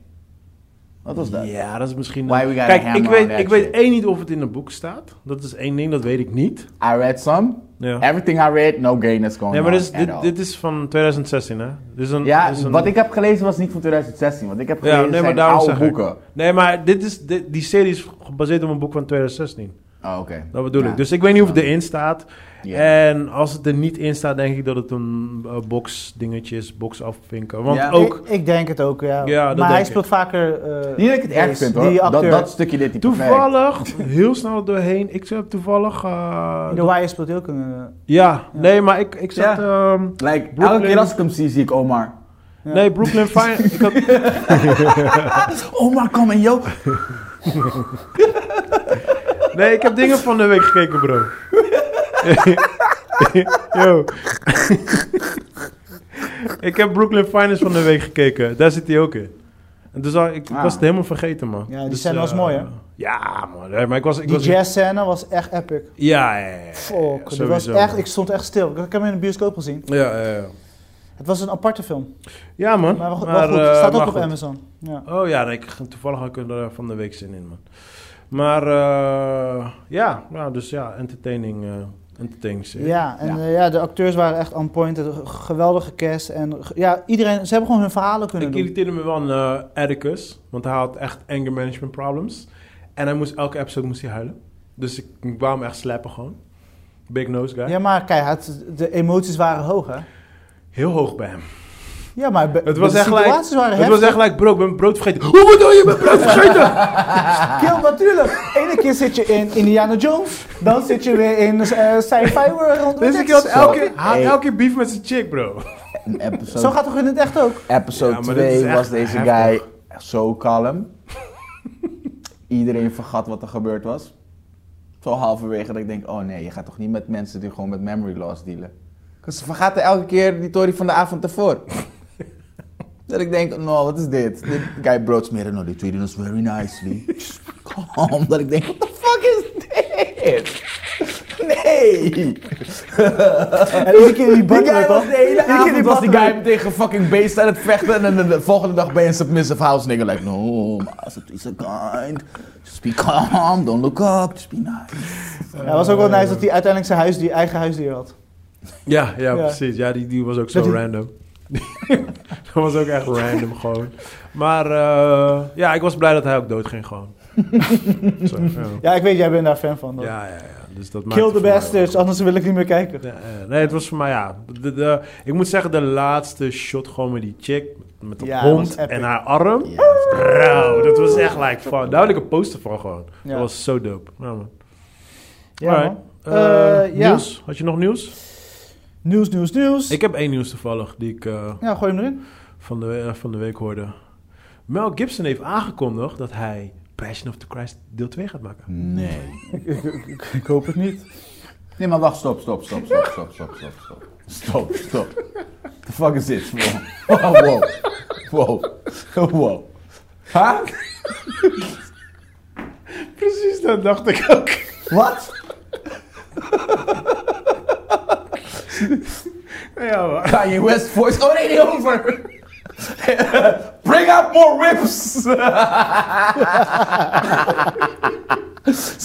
Speaker 3: Wat was dat?
Speaker 1: Ja, dat is misschien...
Speaker 3: Why we gotta
Speaker 1: Kijk,
Speaker 3: hammer
Speaker 1: ik
Speaker 3: on
Speaker 1: weet,
Speaker 3: that
Speaker 1: ik weet
Speaker 3: shit.
Speaker 1: één niet of het in een boek staat. Dat is één ding, dat weet ik niet.
Speaker 3: I read some.
Speaker 1: Ja.
Speaker 3: Everything I read, Oh, no gayness going
Speaker 1: Nee, maar
Speaker 3: on
Speaker 1: dit is,
Speaker 3: at
Speaker 1: dit,
Speaker 3: all.
Speaker 1: dit is van 2016, hè? Dit is een,
Speaker 3: ja,
Speaker 1: dit is een-
Speaker 3: wat ik heb gelezen was niet van 2016. Wat ik
Speaker 1: Ja,
Speaker 3: heb gelezen
Speaker 1: nee, maar
Speaker 3: zijn
Speaker 1: daarom
Speaker 3: oude
Speaker 1: zeg ik.
Speaker 3: boeken.
Speaker 1: Nee, maar dit is, dit- die serie is gebaseerd op een boek van 2016.
Speaker 3: Oh, oké.
Speaker 1: Dat bedoel
Speaker 3: Ja.
Speaker 1: ik. Dus eh, ik weet niet of het erin staat.
Speaker 3: Ja.
Speaker 1: En als het er niet in staat, denk ik dat het een eh, box boxdingetje is, box afvinken. Want
Speaker 3: Ja.
Speaker 1: ook,
Speaker 2: Ik, ik denk het ook, ja.
Speaker 1: Ja, dat
Speaker 2: maar hij
Speaker 1: denk
Speaker 2: speelt vaker... eh,
Speaker 3: Niet dat ik het erg
Speaker 2: deze-
Speaker 3: vind
Speaker 2: Die
Speaker 3: hoor. Dat,
Speaker 2: acteur.
Speaker 3: dat stukje dit niet
Speaker 1: dus toevallig, heel snel er doorheen. Ik heb toevallig... eh,
Speaker 2: In The Wire speelt hij ook een... eh,
Speaker 1: ja, nee, maar ik, ik zat... ehm,
Speaker 3: Like, elke
Speaker 1: Brooklyn-
Speaker 3: keer als ik hem zie, zie ik Omar.
Speaker 2: Ja.
Speaker 1: Nee, Brooklyn Fine... ik had,
Speaker 3: Omar, kom en yo.
Speaker 1: Nee, ik heb dingen van de week gekeken, bro. [laughs] Yo. ik heb Brooklyn Finance van de week gekeken. Daar zit hij ook in. En dus al, ik
Speaker 3: Ah.
Speaker 1: was het helemaal vergeten, man.
Speaker 2: Ja, die
Speaker 1: dus,
Speaker 2: scène was
Speaker 1: eh,
Speaker 2: mooi, hè?
Speaker 1: Ja, man. Nee, Maar ik was... Ik
Speaker 2: Die
Speaker 1: was
Speaker 2: jazz-scène was echt epic.
Speaker 1: Ja, ja, ja, ja.
Speaker 2: Fuck, dat was
Speaker 1: sowieso,
Speaker 2: echt,
Speaker 1: man.
Speaker 2: ik stond echt stil. Ik, ik heb hem in de bioscoop gezien.
Speaker 1: Ja, ja, ja.
Speaker 2: Het was een aparte film.
Speaker 1: Ja, man.
Speaker 2: Maar wel, wel
Speaker 1: Maar,
Speaker 2: goed.
Speaker 1: eh,
Speaker 2: Het staat ook
Speaker 1: maar
Speaker 2: op
Speaker 1: goed.
Speaker 2: Amazon. Ja.
Speaker 1: Oh ja, nee, ik, toevallig had ik er eh, van de week zin in, man. Maar eh, ja, nou, dus ja, entertaining, eh entertaining serie.
Speaker 2: Ja, en
Speaker 3: Ja.
Speaker 2: eh, ja, de acteurs waren echt on point. Een g- Geweldige cast. En ge- ja, iedereen, ze hebben gewoon hun verhalen kunnen
Speaker 1: Ik
Speaker 2: doen.
Speaker 1: irriteerde me wel aan eh, Atticus, want hij had echt anger management problems. En hij moest elke episode moest hij huilen. Dus ik, ik wou hem echt slappen gewoon. Big nose guy.
Speaker 2: Ja, maar kijk, het- de emoties waren hoog, hè?
Speaker 1: Heel hoog bij hem.
Speaker 2: Ja, maar be-
Speaker 1: Het was
Speaker 2: de
Speaker 1: echt like-
Speaker 2: situaties waren
Speaker 1: Het was echt like, bro, ik ben brood vergeten. Hoe bedoel je, ik ben brood [laughs] vergeten?
Speaker 2: Kill, natuurlijk. Ene keer zit je in Indiana Jones. Dan zit je weer in eh sci-fi world.
Speaker 1: dus ik had elke, keer- hij had elke keer beef met zijn chick, bro.
Speaker 3: In
Speaker 1: [laughs]
Speaker 3: episode,
Speaker 2: Zo gaat het toch in het echt ook?
Speaker 3: episode
Speaker 1: Ja, maar dit is
Speaker 3: 2
Speaker 1: echt
Speaker 3: was deze
Speaker 1: heftig.
Speaker 3: guy zo kalm. Iedereen vergat wat er gebeurd was. Zo halverwege dat ik denk, oh nee, je gaat toch niet met mensen die gewoon met memory loss dealen. Dus ze vergaten elke keer die tory van de avond ervoor. dat ik denk, no, wat is dit? Dit guy brood smeren, no, they treated us very nicely. Just Calm, dat ik denk, what the fuck is dit? Nee!
Speaker 2: En iedere keer die
Speaker 3: Die guy
Speaker 2: butler,
Speaker 3: was
Speaker 2: toch?
Speaker 3: de hele
Speaker 2: Iedere keer
Speaker 3: avond was die
Speaker 2: butler.
Speaker 3: guy tegen fucking beest aan het vechten en dan de volgende dag ben je een submissive house nigga like no, master is a kind, just be calm, don't look up, just be nice.
Speaker 2: Ja, het was ook wel nice dat hij uiteindelijk zijn huisdier, eigen huisdier had.
Speaker 1: Ja, ja,
Speaker 2: Ja.
Speaker 1: precies. Ja, die, die was ook zo
Speaker 2: Dat die-
Speaker 1: [laughs] random. dat was ook echt random gewoon. Maar eh, ja, ik was blij dat hij ook dood ging [laughs] gewoon. Zo, ja.
Speaker 2: Ja, ik weet, jij bent daar fan van. toch?
Speaker 1: Ja, ja, ja. Dus dat
Speaker 2: Kill
Speaker 1: maakte
Speaker 2: the
Speaker 1: voor mij
Speaker 2: bastards,
Speaker 1: wel-
Speaker 2: anders wil ik niet meer kijken.
Speaker 1: Ja, eh, nee, het was voor mij, ja. De, de- ik moet zeggen, de laatste shot gewoon met die chick, met de
Speaker 2: Ja,
Speaker 1: hond
Speaker 2: dat was epic.
Speaker 1: en haar arm.
Speaker 3: Ja,
Speaker 1: Bro, dat was echt like fun. Daar had ik een poster van gewoon.
Speaker 2: Ja.
Speaker 1: Dat was zo dope. Ja, man.
Speaker 2: Ja,
Speaker 1: Alright.
Speaker 2: man.
Speaker 1: Eh,
Speaker 2: Eh, ja.
Speaker 1: Nieuws? Had je nog nieuws?
Speaker 2: Nieuws, nieuws, nieuws.
Speaker 1: Ik heb één nieuws toevallig die ik eh,
Speaker 2: Ja, gooi
Speaker 1: [laughs]
Speaker 2: hem erin.
Speaker 1: van, de, eh, van de week hoorde. Mel Gibson heeft aangekondigd dat hij Passion of the Christ deel 2 gaat maken.
Speaker 3: Hm. Nee.
Speaker 2: Ik hoop het niet.
Speaker 3: Nee, maar wacht, stop, stop, stop, stop, stop, stop, stop, stop. Stop, stop. The fuck is this? Wow. Wow. Wow. Wow. Huh?
Speaker 1: Precies, dat dacht ik ook.
Speaker 3: [laughs] Wat?
Speaker 1: ja, man.
Speaker 3: Kanye West voice. Oh nee, niet over. Bring out more whips.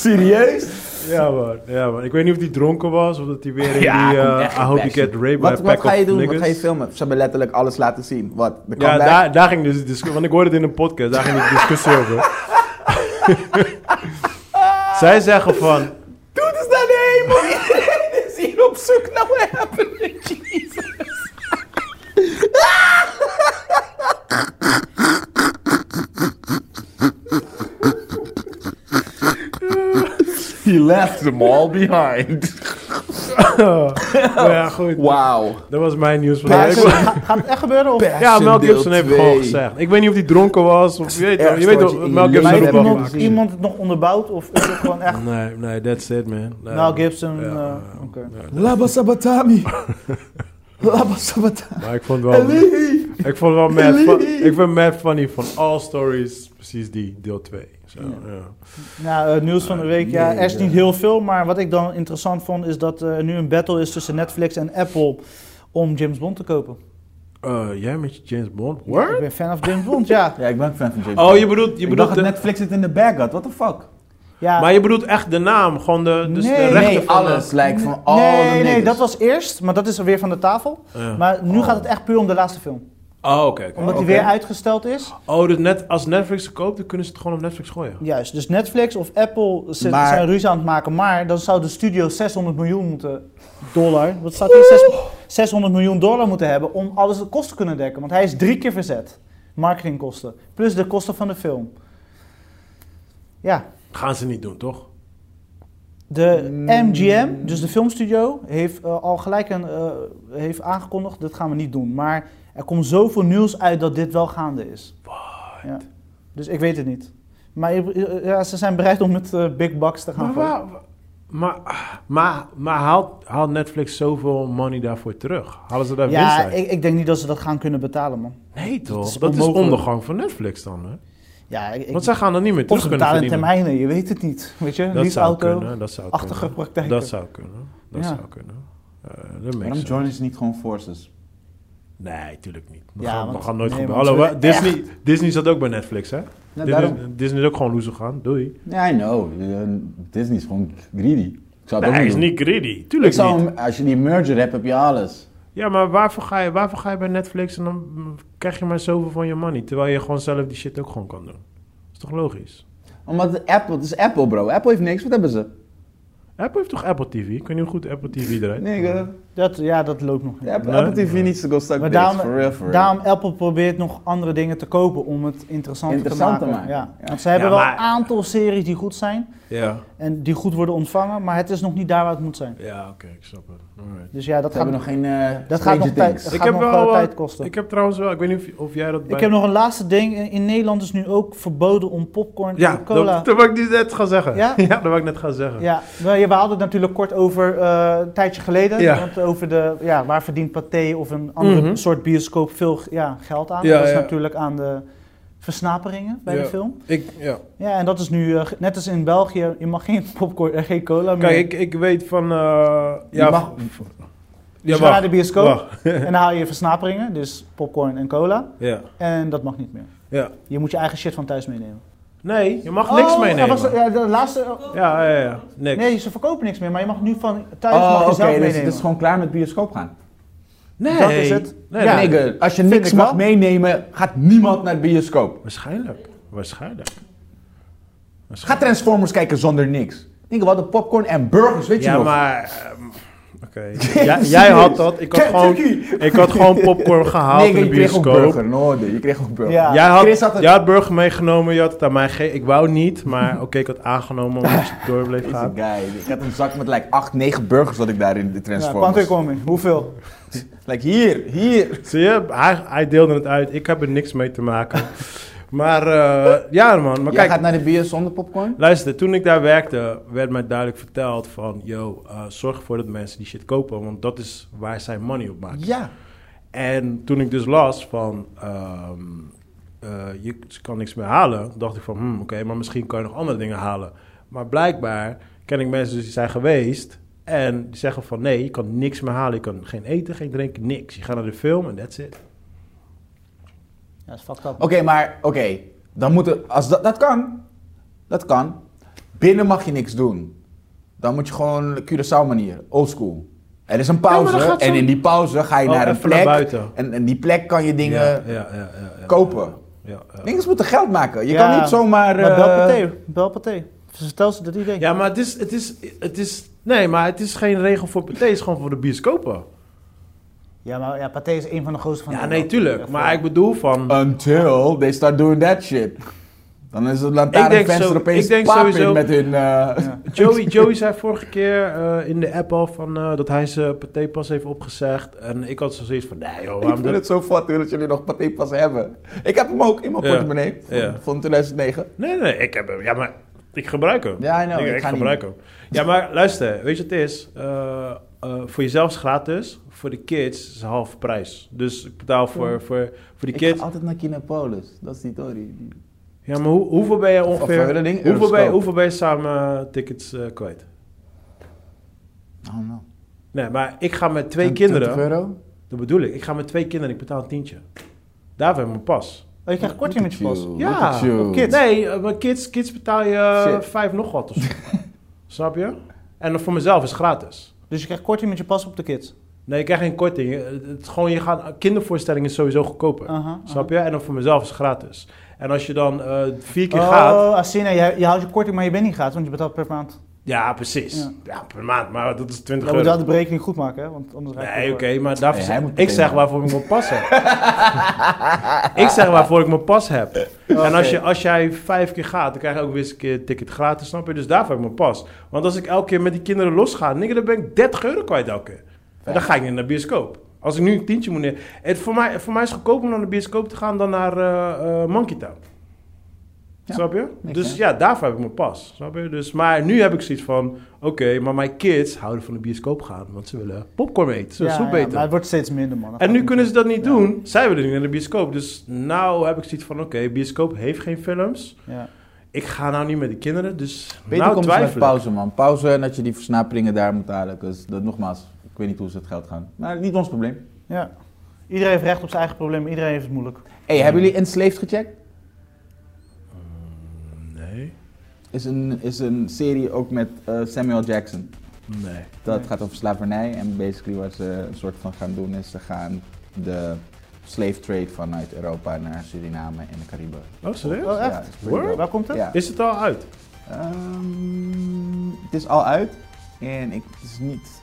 Speaker 3: Serieus?
Speaker 2: [laughs]
Speaker 1: Ja man, ja man. Ik weet niet of hij dronken was of dat hij weer in
Speaker 3: Ja,
Speaker 1: die... eh,
Speaker 3: komt echt
Speaker 1: I hope you
Speaker 3: passion.
Speaker 1: get raped by
Speaker 3: Wat,
Speaker 1: a
Speaker 3: wat
Speaker 1: pack
Speaker 3: ga je
Speaker 1: of
Speaker 3: doen?
Speaker 1: niggas.
Speaker 3: Wat ga je filmen? Ze hebben letterlijk alles laten zien. Wat? De
Speaker 1: Ja,
Speaker 3: comeback?
Speaker 1: daar, daar ging dus de discussie... Want ik hoorde het in een podcast, daar ging de discussie over. [laughs] Zij zeggen van...
Speaker 3: Dude is naar de hemel. Iedereen is hier op zoek naar what happened to Jesus. He left them all behind.
Speaker 1: Maar ja, goed.
Speaker 3: Wow.
Speaker 1: Dat was mijn nieuws van de
Speaker 2: Ja,
Speaker 1: week.
Speaker 2: ga- gaat het echt gebeuren? Of?
Speaker 1: [laughs] Ja, Mel
Speaker 3: deel
Speaker 1: Gibson heeft het gewoon
Speaker 3: twee.
Speaker 1: gezegd. Ik weet niet of hij dronken was of... Je weet, toch, je
Speaker 3: ergste
Speaker 1: weet
Speaker 3: wat
Speaker 1: toch,
Speaker 3: je in je
Speaker 1: Mel
Speaker 3: leven
Speaker 1: Gibson
Speaker 2: Maar
Speaker 1: heeft het
Speaker 2: heeft
Speaker 3: hebt
Speaker 1: wel
Speaker 2: iemand,
Speaker 1: gemaakt.
Speaker 2: iemand het nog onderbouwd? Of is het gewoon echt
Speaker 1: Nee, nee, that's it man. Nee.
Speaker 2: Mel Gibson?
Speaker 1: Ja,
Speaker 2: eh,
Speaker 1: ja,
Speaker 2: Oké.
Speaker 3: Laba Sabatami. Laba Sabatami.
Speaker 1: Maar ik vond het wel... Ik vond het wel mad, fun- ik vind het mad funny van all stories, precies die, deel 2. Zo, ja.
Speaker 2: Nou, eh, nieuws van
Speaker 1: Ah,
Speaker 2: de week. Ja,
Speaker 3: nee,
Speaker 2: er is
Speaker 3: ja.
Speaker 2: niet heel veel. Maar wat ik dan interessant vond, is dat er nu een battle is tussen Netflix en Apple om James Bond te kopen.
Speaker 1: Eh, jij met je James Bond?
Speaker 2: Ja, ik ben fan van James Bond, ja.
Speaker 3: Ja, ik ben ook fan van James
Speaker 1: Oh,
Speaker 3: Bond.
Speaker 1: je bedoelt, je
Speaker 3: Ik
Speaker 1: bedoelt
Speaker 3: dacht dat
Speaker 1: de,
Speaker 3: Netflix het in de bag had. What the fuck?
Speaker 2: ja.
Speaker 1: maar je bedoelt echt de naam, gewoon de, dus
Speaker 2: Nee,
Speaker 1: de rechten van de-
Speaker 3: Like, van
Speaker 2: nee, nee, dat was eerst, maar dat is er weer van de tafel.
Speaker 1: Oh, Ja.
Speaker 2: Maar nu gaat het echt puur om de laatste film.
Speaker 1: Oh, oké. oké.
Speaker 2: Omdat die
Speaker 1: Oké.
Speaker 2: weer uitgesteld is.
Speaker 1: Oh, dus net, als Netflix ze koopt, dan kunnen ze het gewoon op Netflix gooien.
Speaker 2: Juist, dus Netflix of Apple ze-
Speaker 3: Maar-
Speaker 2: zijn ruzie aan het maken, maar dan zou de studio 600 miljoen moeten dollar, wat staat hier, Zes- 600 miljoen dollar moeten hebben om alles de kosten te kunnen dekken, want hij is drie keer verzet, marketingkosten, plus de kosten van de film. Ja,
Speaker 1: Gaan ze niet doen, toch?
Speaker 2: de MGM, dus de filmstudio, heeft eh, al gelijk een, eh, heeft aangekondigd, dit gaan we niet doen, maar er komt zoveel nieuws uit dat dit wel gaande is. Ja. Dus ik weet het niet. Maar eh, ja, ze zijn bereid om met eh, big bucks te gaan.
Speaker 1: Maar,
Speaker 2: voor-
Speaker 1: waar- maar, maar, maar haalt, haalt Netflix zoveel money daarvoor terug? Halen ze daar winst
Speaker 2: Ja,
Speaker 1: uit?
Speaker 2: ik, ik denk niet dat ze dat gaan kunnen betalen, man.
Speaker 1: nee, toch?
Speaker 2: is
Speaker 1: dat is
Speaker 2: onmogelijk.
Speaker 1: ondergang van Netflix dan, hè?
Speaker 2: Ja, ik, ik-
Speaker 1: Want zij gaan er niet meer
Speaker 2: of
Speaker 1: terug
Speaker 2: ze
Speaker 1: kunnen
Speaker 2: betalen in
Speaker 1: verdienen.
Speaker 2: termijnen, je weet het niet. Weet je,
Speaker 1: Dat zou
Speaker 2: leaseauto,
Speaker 1: kunnen, dat zou
Speaker 2: achtige
Speaker 1: kunnen.
Speaker 2: praktijk.
Speaker 1: Dat zou kunnen. Dat
Speaker 2: Ja.
Speaker 1: zou kunnen. Eh dat makes
Speaker 3: Waarom
Speaker 1: sense.
Speaker 3: joinen ze niet gewoon Forces?
Speaker 1: Nee, tuurlijk niet. Dat
Speaker 2: Ja,
Speaker 1: gaat, dat
Speaker 2: want-
Speaker 1: gaat nooit
Speaker 2: nee,
Speaker 1: gebeuren.
Speaker 2: want
Speaker 1: Hallo,
Speaker 2: ze-
Speaker 1: wa- Disney, Disney zat ook bij Netflix, hè?
Speaker 3: Ja,
Speaker 1: Disney, Disney is ook gewoon loser gaan.
Speaker 2: Oh,
Speaker 1: Doei.
Speaker 3: Ja, I know. Eh, Disney is gewoon greedy. Ik zou
Speaker 1: Nee,
Speaker 3: het ook
Speaker 1: hij
Speaker 3: niet
Speaker 1: is
Speaker 3: doen.
Speaker 1: niet greedy.
Speaker 3: Ik
Speaker 1: Tuurlijk niet.
Speaker 3: zou hem- als je die merger hebt, heb je alles.
Speaker 1: Ja, maar waarvoor ga, je, waarvoor ga je bij Netflix en dan mm, krijg je maar zoveel van je money? Terwijl je gewoon zelf die shit ook gewoon kan doen. Dat is toch logisch?
Speaker 3: Omdat Apple, het is Apple bro. Apple heeft niks, wat hebben ze?
Speaker 1: Apple heeft toch Apple TV? Ik weet niet hoe goed Apple TV draait.
Speaker 3: Nee, ik, eh,
Speaker 2: Dat, ja, dat loopt nog niet.
Speaker 3: Apple,
Speaker 1: Nee.
Speaker 3: Apple TV needs to go stuck
Speaker 2: Maar
Speaker 3: dicks,
Speaker 2: daarom,
Speaker 3: for real, for real.
Speaker 2: daarom Apple probeert nog andere dingen te kopen om het interessanter
Speaker 3: Interessant
Speaker 2: te
Speaker 3: te
Speaker 2: maken.
Speaker 3: maken.
Speaker 2: Ja.
Speaker 3: Ja.
Speaker 2: Want ze hebben
Speaker 1: Ja,
Speaker 2: wel
Speaker 1: maar-
Speaker 2: een aantal series die goed zijn
Speaker 1: Ja,
Speaker 2: en die goed worden ontvangen, maar het is nog niet daar waar het moet zijn.
Speaker 1: ja oké, ik snap het. Alright.
Speaker 2: Dus ja, dat
Speaker 3: Ze
Speaker 2: gaat
Speaker 3: hebben nog geen eh
Speaker 2: dat gaat nog
Speaker 3: Stranger
Speaker 2: tijd,
Speaker 3: Things.
Speaker 2: dat
Speaker 1: Ik
Speaker 2: gaat
Speaker 1: heb
Speaker 2: nog
Speaker 1: wel,
Speaker 2: wel
Speaker 1: eh,
Speaker 2: tijd kosten.
Speaker 1: Ik heb trouwens wel, ik weet niet of, of jij dat bij...
Speaker 2: Ik heb nog een laatste ding. In, in Nederland is nu ook verboden om popcorn
Speaker 1: ja,
Speaker 2: en cola.
Speaker 1: Dat, dat wou ik nu net gaan zeggen. [laughs]
Speaker 2: Ja?
Speaker 1: dat wou ik net gaan zeggen.
Speaker 2: Ja, we, we hadden het natuurlijk kort over eh, een tijdje geleden.
Speaker 1: Ja.
Speaker 2: Want over de, ja, waar verdient Pathé of een andere
Speaker 1: Mhm.
Speaker 2: soort bioscoop veel ja, geld aan?
Speaker 1: Ja,
Speaker 2: dat is
Speaker 1: ja.
Speaker 2: natuurlijk aan de versnaperingen bij
Speaker 1: Ja.
Speaker 2: de film.
Speaker 1: Ik, ja.
Speaker 2: Ja, en dat is nu, eh, net als in België, je mag geen [laughs] popcorn en geen cola meer.
Speaker 1: Kijk, ik, ik weet van... eh, ja,
Speaker 3: Je mag,
Speaker 2: dus
Speaker 1: ja,
Speaker 2: je gaat naar
Speaker 1: wacht,
Speaker 2: de bioscoop
Speaker 1: wacht. [laughs]
Speaker 2: en dan haal je versnaperingen, dus popcorn en cola.
Speaker 1: Ja,
Speaker 2: En dat mag niet meer.
Speaker 1: ja.
Speaker 2: Je moet je eigen shit van thuis meenemen.
Speaker 1: Nee, je mag niks
Speaker 2: Oh,
Speaker 1: meenemen.
Speaker 2: Ja, was, ja, de laatste,
Speaker 1: Ja, ja, ja. Niks.
Speaker 2: nee, ze verkopen niks meer, maar je mag nu van thuis mag
Speaker 3: oh,
Speaker 2: je
Speaker 3: oké,
Speaker 2: zelf
Speaker 3: dus
Speaker 2: meenemen.
Speaker 3: het is gewoon klaar met bioscoop gaan.
Speaker 1: nee.
Speaker 2: dat is het.
Speaker 1: Nee,
Speaker 2: Ja.
Speaker 1: nee.
Speaker 3: Nigga, als je
Speaker 2: Vind
Speaker 3: niks
Speaker 2: ik
Speaker 3: mag
Speaker 2: wel.
Speaker 3: meenemen, gaat niemand naar de bioscoop.
Speaker 1: Waarschijnlijk. Waarschijnlijk.
Speaker 3: Ga Transformers kijken zonder niks. Nigga, we hadden popcorn en burgers, weet je
Speaker 1: Ja,
Speaker 3: nog? [laughs]
Speaker 1: maar... ehm, Oké. Jij, jij had dat. Ik had, gewoon, ik had gewoon popcorn gehaald
Speaker 3: Nigga,
Speaker 1: in
Speaker 3: je
Speaker 1: de
Speaker 3: kreeg ook
Speaker 1: bioscoop.
Speaker 3: burger. No, dude, je kreeg ook burger.
Speaker 2: Ja.
Speaker 1: Jij
Speaker 3: Chris
Speaker 1: had,
Speaker 3: had het-
Speaker 1: jij had burger meegenomen, je had het aan mij gegeven. Ik wou niet, maar oké, ik had aangenomen omdat je door bleef
Speaker 3: [laughs] Deze
Speaker 1: gaan.
Speaker 3: guy. Ik had een zak met like 8, 9 burgers dat ik daar in de
Speaker 2: Ja,
Speaker 3: Transformers.
Speaker 2: panterkoming, hoeveel?
Speaker 3: like hier, hier.
Speaker 1: Zie je, hij, hij deelde het uit. Ik heb er niks mee te maken. [laughs] Maar eh, ja man, maar
Speaker 3: Jij
Speaker 1: kijk,
Speaker 3: gaat naar de bios zonder popcorn?
Speaker 1: Luister, toen ik daar werkte, werd mij duidelijk verteld van... Yo, eh, zorg ervoor dat mensen die shit kopen, want dat is waar zij money op maken.
Speaker 3: Ja.
Speaker 1: En toen ik dus las van... ehm, eh, je ze kan niks meer halen, dacht ik van... Hmm, Oké, maar misschien kan je nog andere dingen halen. Maar blijkbaar ken ik mensen dus die zijn geweest... en die zeggen van nee, je kan niks meer halen. Je kan geen eten, geen drinken, niks. Je gaat naar de film en that's it.
Speaker 2: Ja, dat is fucked up.
Speaker 3: Oké, maar oké. Dan moeten, als dat, dat kan. Dat kan. Binnen mag je niks doen. Dan moet je gewoon Curaçao manier, oldschool. Er is een pauze
Speaker 1: dan gaat
Speaker 3: en
Speaker 1: zo'n-
Speaker 3: in die pauze ga je
Speaker 1: Oh,
Speaker 3: naar een
Speaker 1: even
Speaker 3: plek.
Speaker 1: naar buiten.
Speaker 3: En, en die plek kan je dingen
Speaker 1: ja, ja, ja, ja, ja.
Speaker 3: kopen.
Speaker 1: Ja, ja.
Speaker 3: Dingen moeten geld maken. Je
Speaker 2: Ja,
Speaker 3: kan niet zomaar.
Speaker 2: Maar bel
Speaker 3: eh,
Speaker 2: Pathé, bel Pathé. Vertel ze dat idee.
Speaker 1: Ja, maar het is, het is, het is, nee, maar het is geen regel voor Pathé, het is gewoon voor de bioscopen.
Speaker 3: Oh,
Speaker 2: Ja, maar ja, Pathé is een van de grootste van
Speaker 1: Ja,
Speaker 2: Nederland.
Speaker 1: nee, tuurlijk. Maar ik bedoel
Speaker 3: Oh.
Speaker 1: van,
Speaker 3: Until they start doing that shit. Dan is het
Speaker 1: Ik denk
Speaker 3: lantaarnfans
Speaker 1: zo-
Speaker 3: er opeens
Speaker 1: ik denk
Speaker 3: paap
Speaker 1: sowieso-
Speaker 3: in met hun... eh,
Speaker 1: Joey, Joey zei vorige keer eh, in de app al van, eh, dat hij zijn Pathé pas heeft opgezegd. En ik had zoiets van, nee joh,
Speaker 3: [laughs] ik
Speaker 1: waarom
Speaker 3: vind
Speaker 1: dat?
Speaker 3: het zo fat hoor, dat jullie nog paté pas hebben. Ik heb hem ook in mijn
Speaker 1: Ja.
Speaker 3: portemonnee van,
Speaker 1: Ja.
Speaker 3: van 2009.
Speaker 1: Nee, nee, ik heb hem, ja maar, ik gebruik hem.
Speaker 3: Ja, I know,
Speaker 1: ik,
Speaker 3: ik
Speaker 1: ik
Speaker 3: ga niet
Speaker 1: gebruik hem. Ja, maar luister, weet je wat het is? Eh, eh, voor jezelf is gratis, voor de kids is het half prijs. Dus ik betaal voor, voor, voor die
Speaker 3: Ik
Speaker 1: kids.
Speaker 3: ga altijd naar Kinopolis. Dat is die Tori.
Speaker 1: Ja, maar hoe, hoeveel ben je ongeveer,
Speaker 3: Of, eh, dat ding,
Speaker 1: hoeveel, ben, je-
Speaker 3: Euroscope.
Speaker 1: hoeveel ben je samen eh, tickets eh, kwijt?
Speaker 3: Oh
Speaker 2: Nou,
Speaker 3: no.
Speaker 1: Nee, maar ik ga met twee kinderen.
Speaker 3: 20 euro?
Speaker 1: Dat bedoel ik. Ik ga met twee kinderen. Ik betaal een tientje. Daarvoor heb ik mijn pas.
Speaker 2: Oh, je krijgt korting met je pas.
Speaker 3: Look
Speaker 1: Ja,
Speaker 3: at you.
Speaker 1: op kids. Nee, eh, maar kids, kids betaal je eh,
Speaker 3: Shit.
Speaker 1: vijf nog wat.
Speaker 3: [laughs]
Speaker 1: of zo. Snap je? En voor mezelf is het gratis.
Speaker 2: Dus je krijgt korting met je pas op de kids.
Speaker 1: Nee, ik krijg geen korting. Eh, Het, het is gewoon, je gaat, kindervoorstellingen is sowieso goedkoper.
Speaker 2: Aha, aha.
Speaker 1: Snap je? En dan voor mezelf is het gratis. En als je dan eh, vier keer gaat...
Speaker 2: Oh, Asina, je, je houdt je korting, maar je bent niet gratis, want je betaalt per maand.
Speaker 1: Ja, precies.
Speaker 2: Ja.
Speaker 1: Ja. per maand, maar dat is 20
Speaker 2: Je moet
Speaker 1: euro.
Speaker 2: wel de berekening goed maken, hè? want anders raak je
Speaker 1: Nee, oké,
Speaker 2: door.
Speaker 1: maar daarvoor
Speaker 3: Nee, hij moet
Speaker 1: ik zeg
Speaker 3: betalen.
Speaker 1: waarvoor ik mijn pas
Speaker 3: [laughs]
Speaker 1: heb. ik zeg waarvoor ik mijn pas heb. En als, je, als jij vijf keer gaat, dan krijg je ook weer eens een keer een ticket gratis, snap je? Dus daarvoor heb ik mijn pas. Want als ik elke keer met die kinderen losga, nigga, dan ben ik 30 euro kwijt elke keer. En dan ga ik niet naar de bioscoop. Als ik nu een tientje moet neer... Het, voor, mij, voor mij is het goedkoper om naar de bioscoop te gaan dan naar eh, eh, Monkey Town. Snap je? Dus ja, daarvoor heb ik mijn pas. Snap je? Dus, maar nu heb ik zoiets van... Oké, maar mijn kids houden van de bioscoop gaan. Want ze willen popcorn eten. Ze
Speaker 2: Ja,
Speaker 1: willen soep
Speaker 2: ja,
Speaker 1: eten.
Speaker 2: maar het wordt steeds minder, man. Dat
Speaker 1: En
Speaker 2: gaat
Speaker 1: nu
Speaker 2: niet
Speaker 1: kunnen ze dat niet doen. Zij willen niet naar de bioscoop. Dus nou heb ik zoiets van... Oké, bioscoop heeft geen films.
Speaker 2: meer. Ja.
Speaker 1: Ik ga nou niet met de kinderen. Dus
Speaker 3: Beter
Speaker 1: nou
Speaker 3: komt het met
Speaker 1: twijfel ik.
Speaker 3: pauze, man. Pauze en dat je die versnaperingen daar moet halen. Dus dat, nogmaals, ik weet niet hoe ze het geld gaan. Maar niet ons probleem.
Speaker 2: ja. Iedereen heeft recht op zijn eigen probleem, iedereen heeft het moeilijk.
Speaker 3: hey, hebben jullie Enslaved gecheckt?
Speaker 1: Nee.
Speaker 3: Is een, is een serie ook met eh, Samuel Jackson.
Speaker 1: Nee.
Speaker 3: Dat gaat over slavernij en basically wat ze een soort van gaan doen is ze gaan de slave trade vanuit Europa naar Suriname en de Cariben.
Speaker 1: Oh, serieus?
Speaker 2: Oh, echt?
Speaker 3: Ja, is pretty
Speaker 1: Word?
Speaker 3: dope.
Speaker 2: Waar komt het?
Speaker 3: Ja.
Speaker 1: Is het al uit?
Speaker 3: Ehm, het is al uit en ik, het is niet...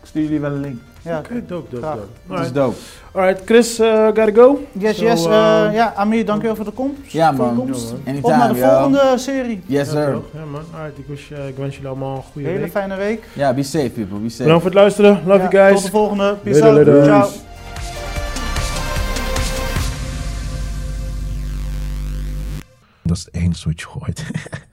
Speaker 3: Ik stuur jullie wel een link.
Speaker 2: Ja,
Speaker 1: Oké, dope, dope,
Speaker 2: Graag.
Speaker 1: dope.
Speaker 3: Het is
Speaker 1: Alright.
Speaker 3: dope.
Speaker 1: Alright, Chris, eh, gotta go.
Speaker 2: Yes,
Speaker 1: Zo,
Speaker 2: yes. eh,
Speaker 1: eh,
Speaker 2: ja, Amir, dankjewel voor de komst.
Speaker 3: Ja,
Speaker 2: voor de
Speaker 3: man.
Speaker 2: komst. Op
Speaker 3: Anytime,
Speaker 2: naar de
Speaker 3: yo.
Speaker 2: volgende serie.
Speaker 3: Yes,
Speaker 1: Ja,
Speaker 3: sir.
Speaker 1: toch? Ja, man. Alright, ik, wish, eh, ik wens jullie allemaal een goede
Speaker 2: Hele
Speaker 1: week.
Speaker 2: fijne week.
Speaker 3: Ja, be safe, people. Be safe.
Speaker 1: Bedankt voor het luisteren. Love
Speaker 2: Ja,
Speaker 1: you
Speaker 2: Tot
Speaker 1: guys.
Speaker 2: de volgende. Peace
Speaker 1: Later,
Speaker 2: out.
Speaker 1: later.
Speaker 2: Ciao.
Speaker 9: Dat is één switch gooit.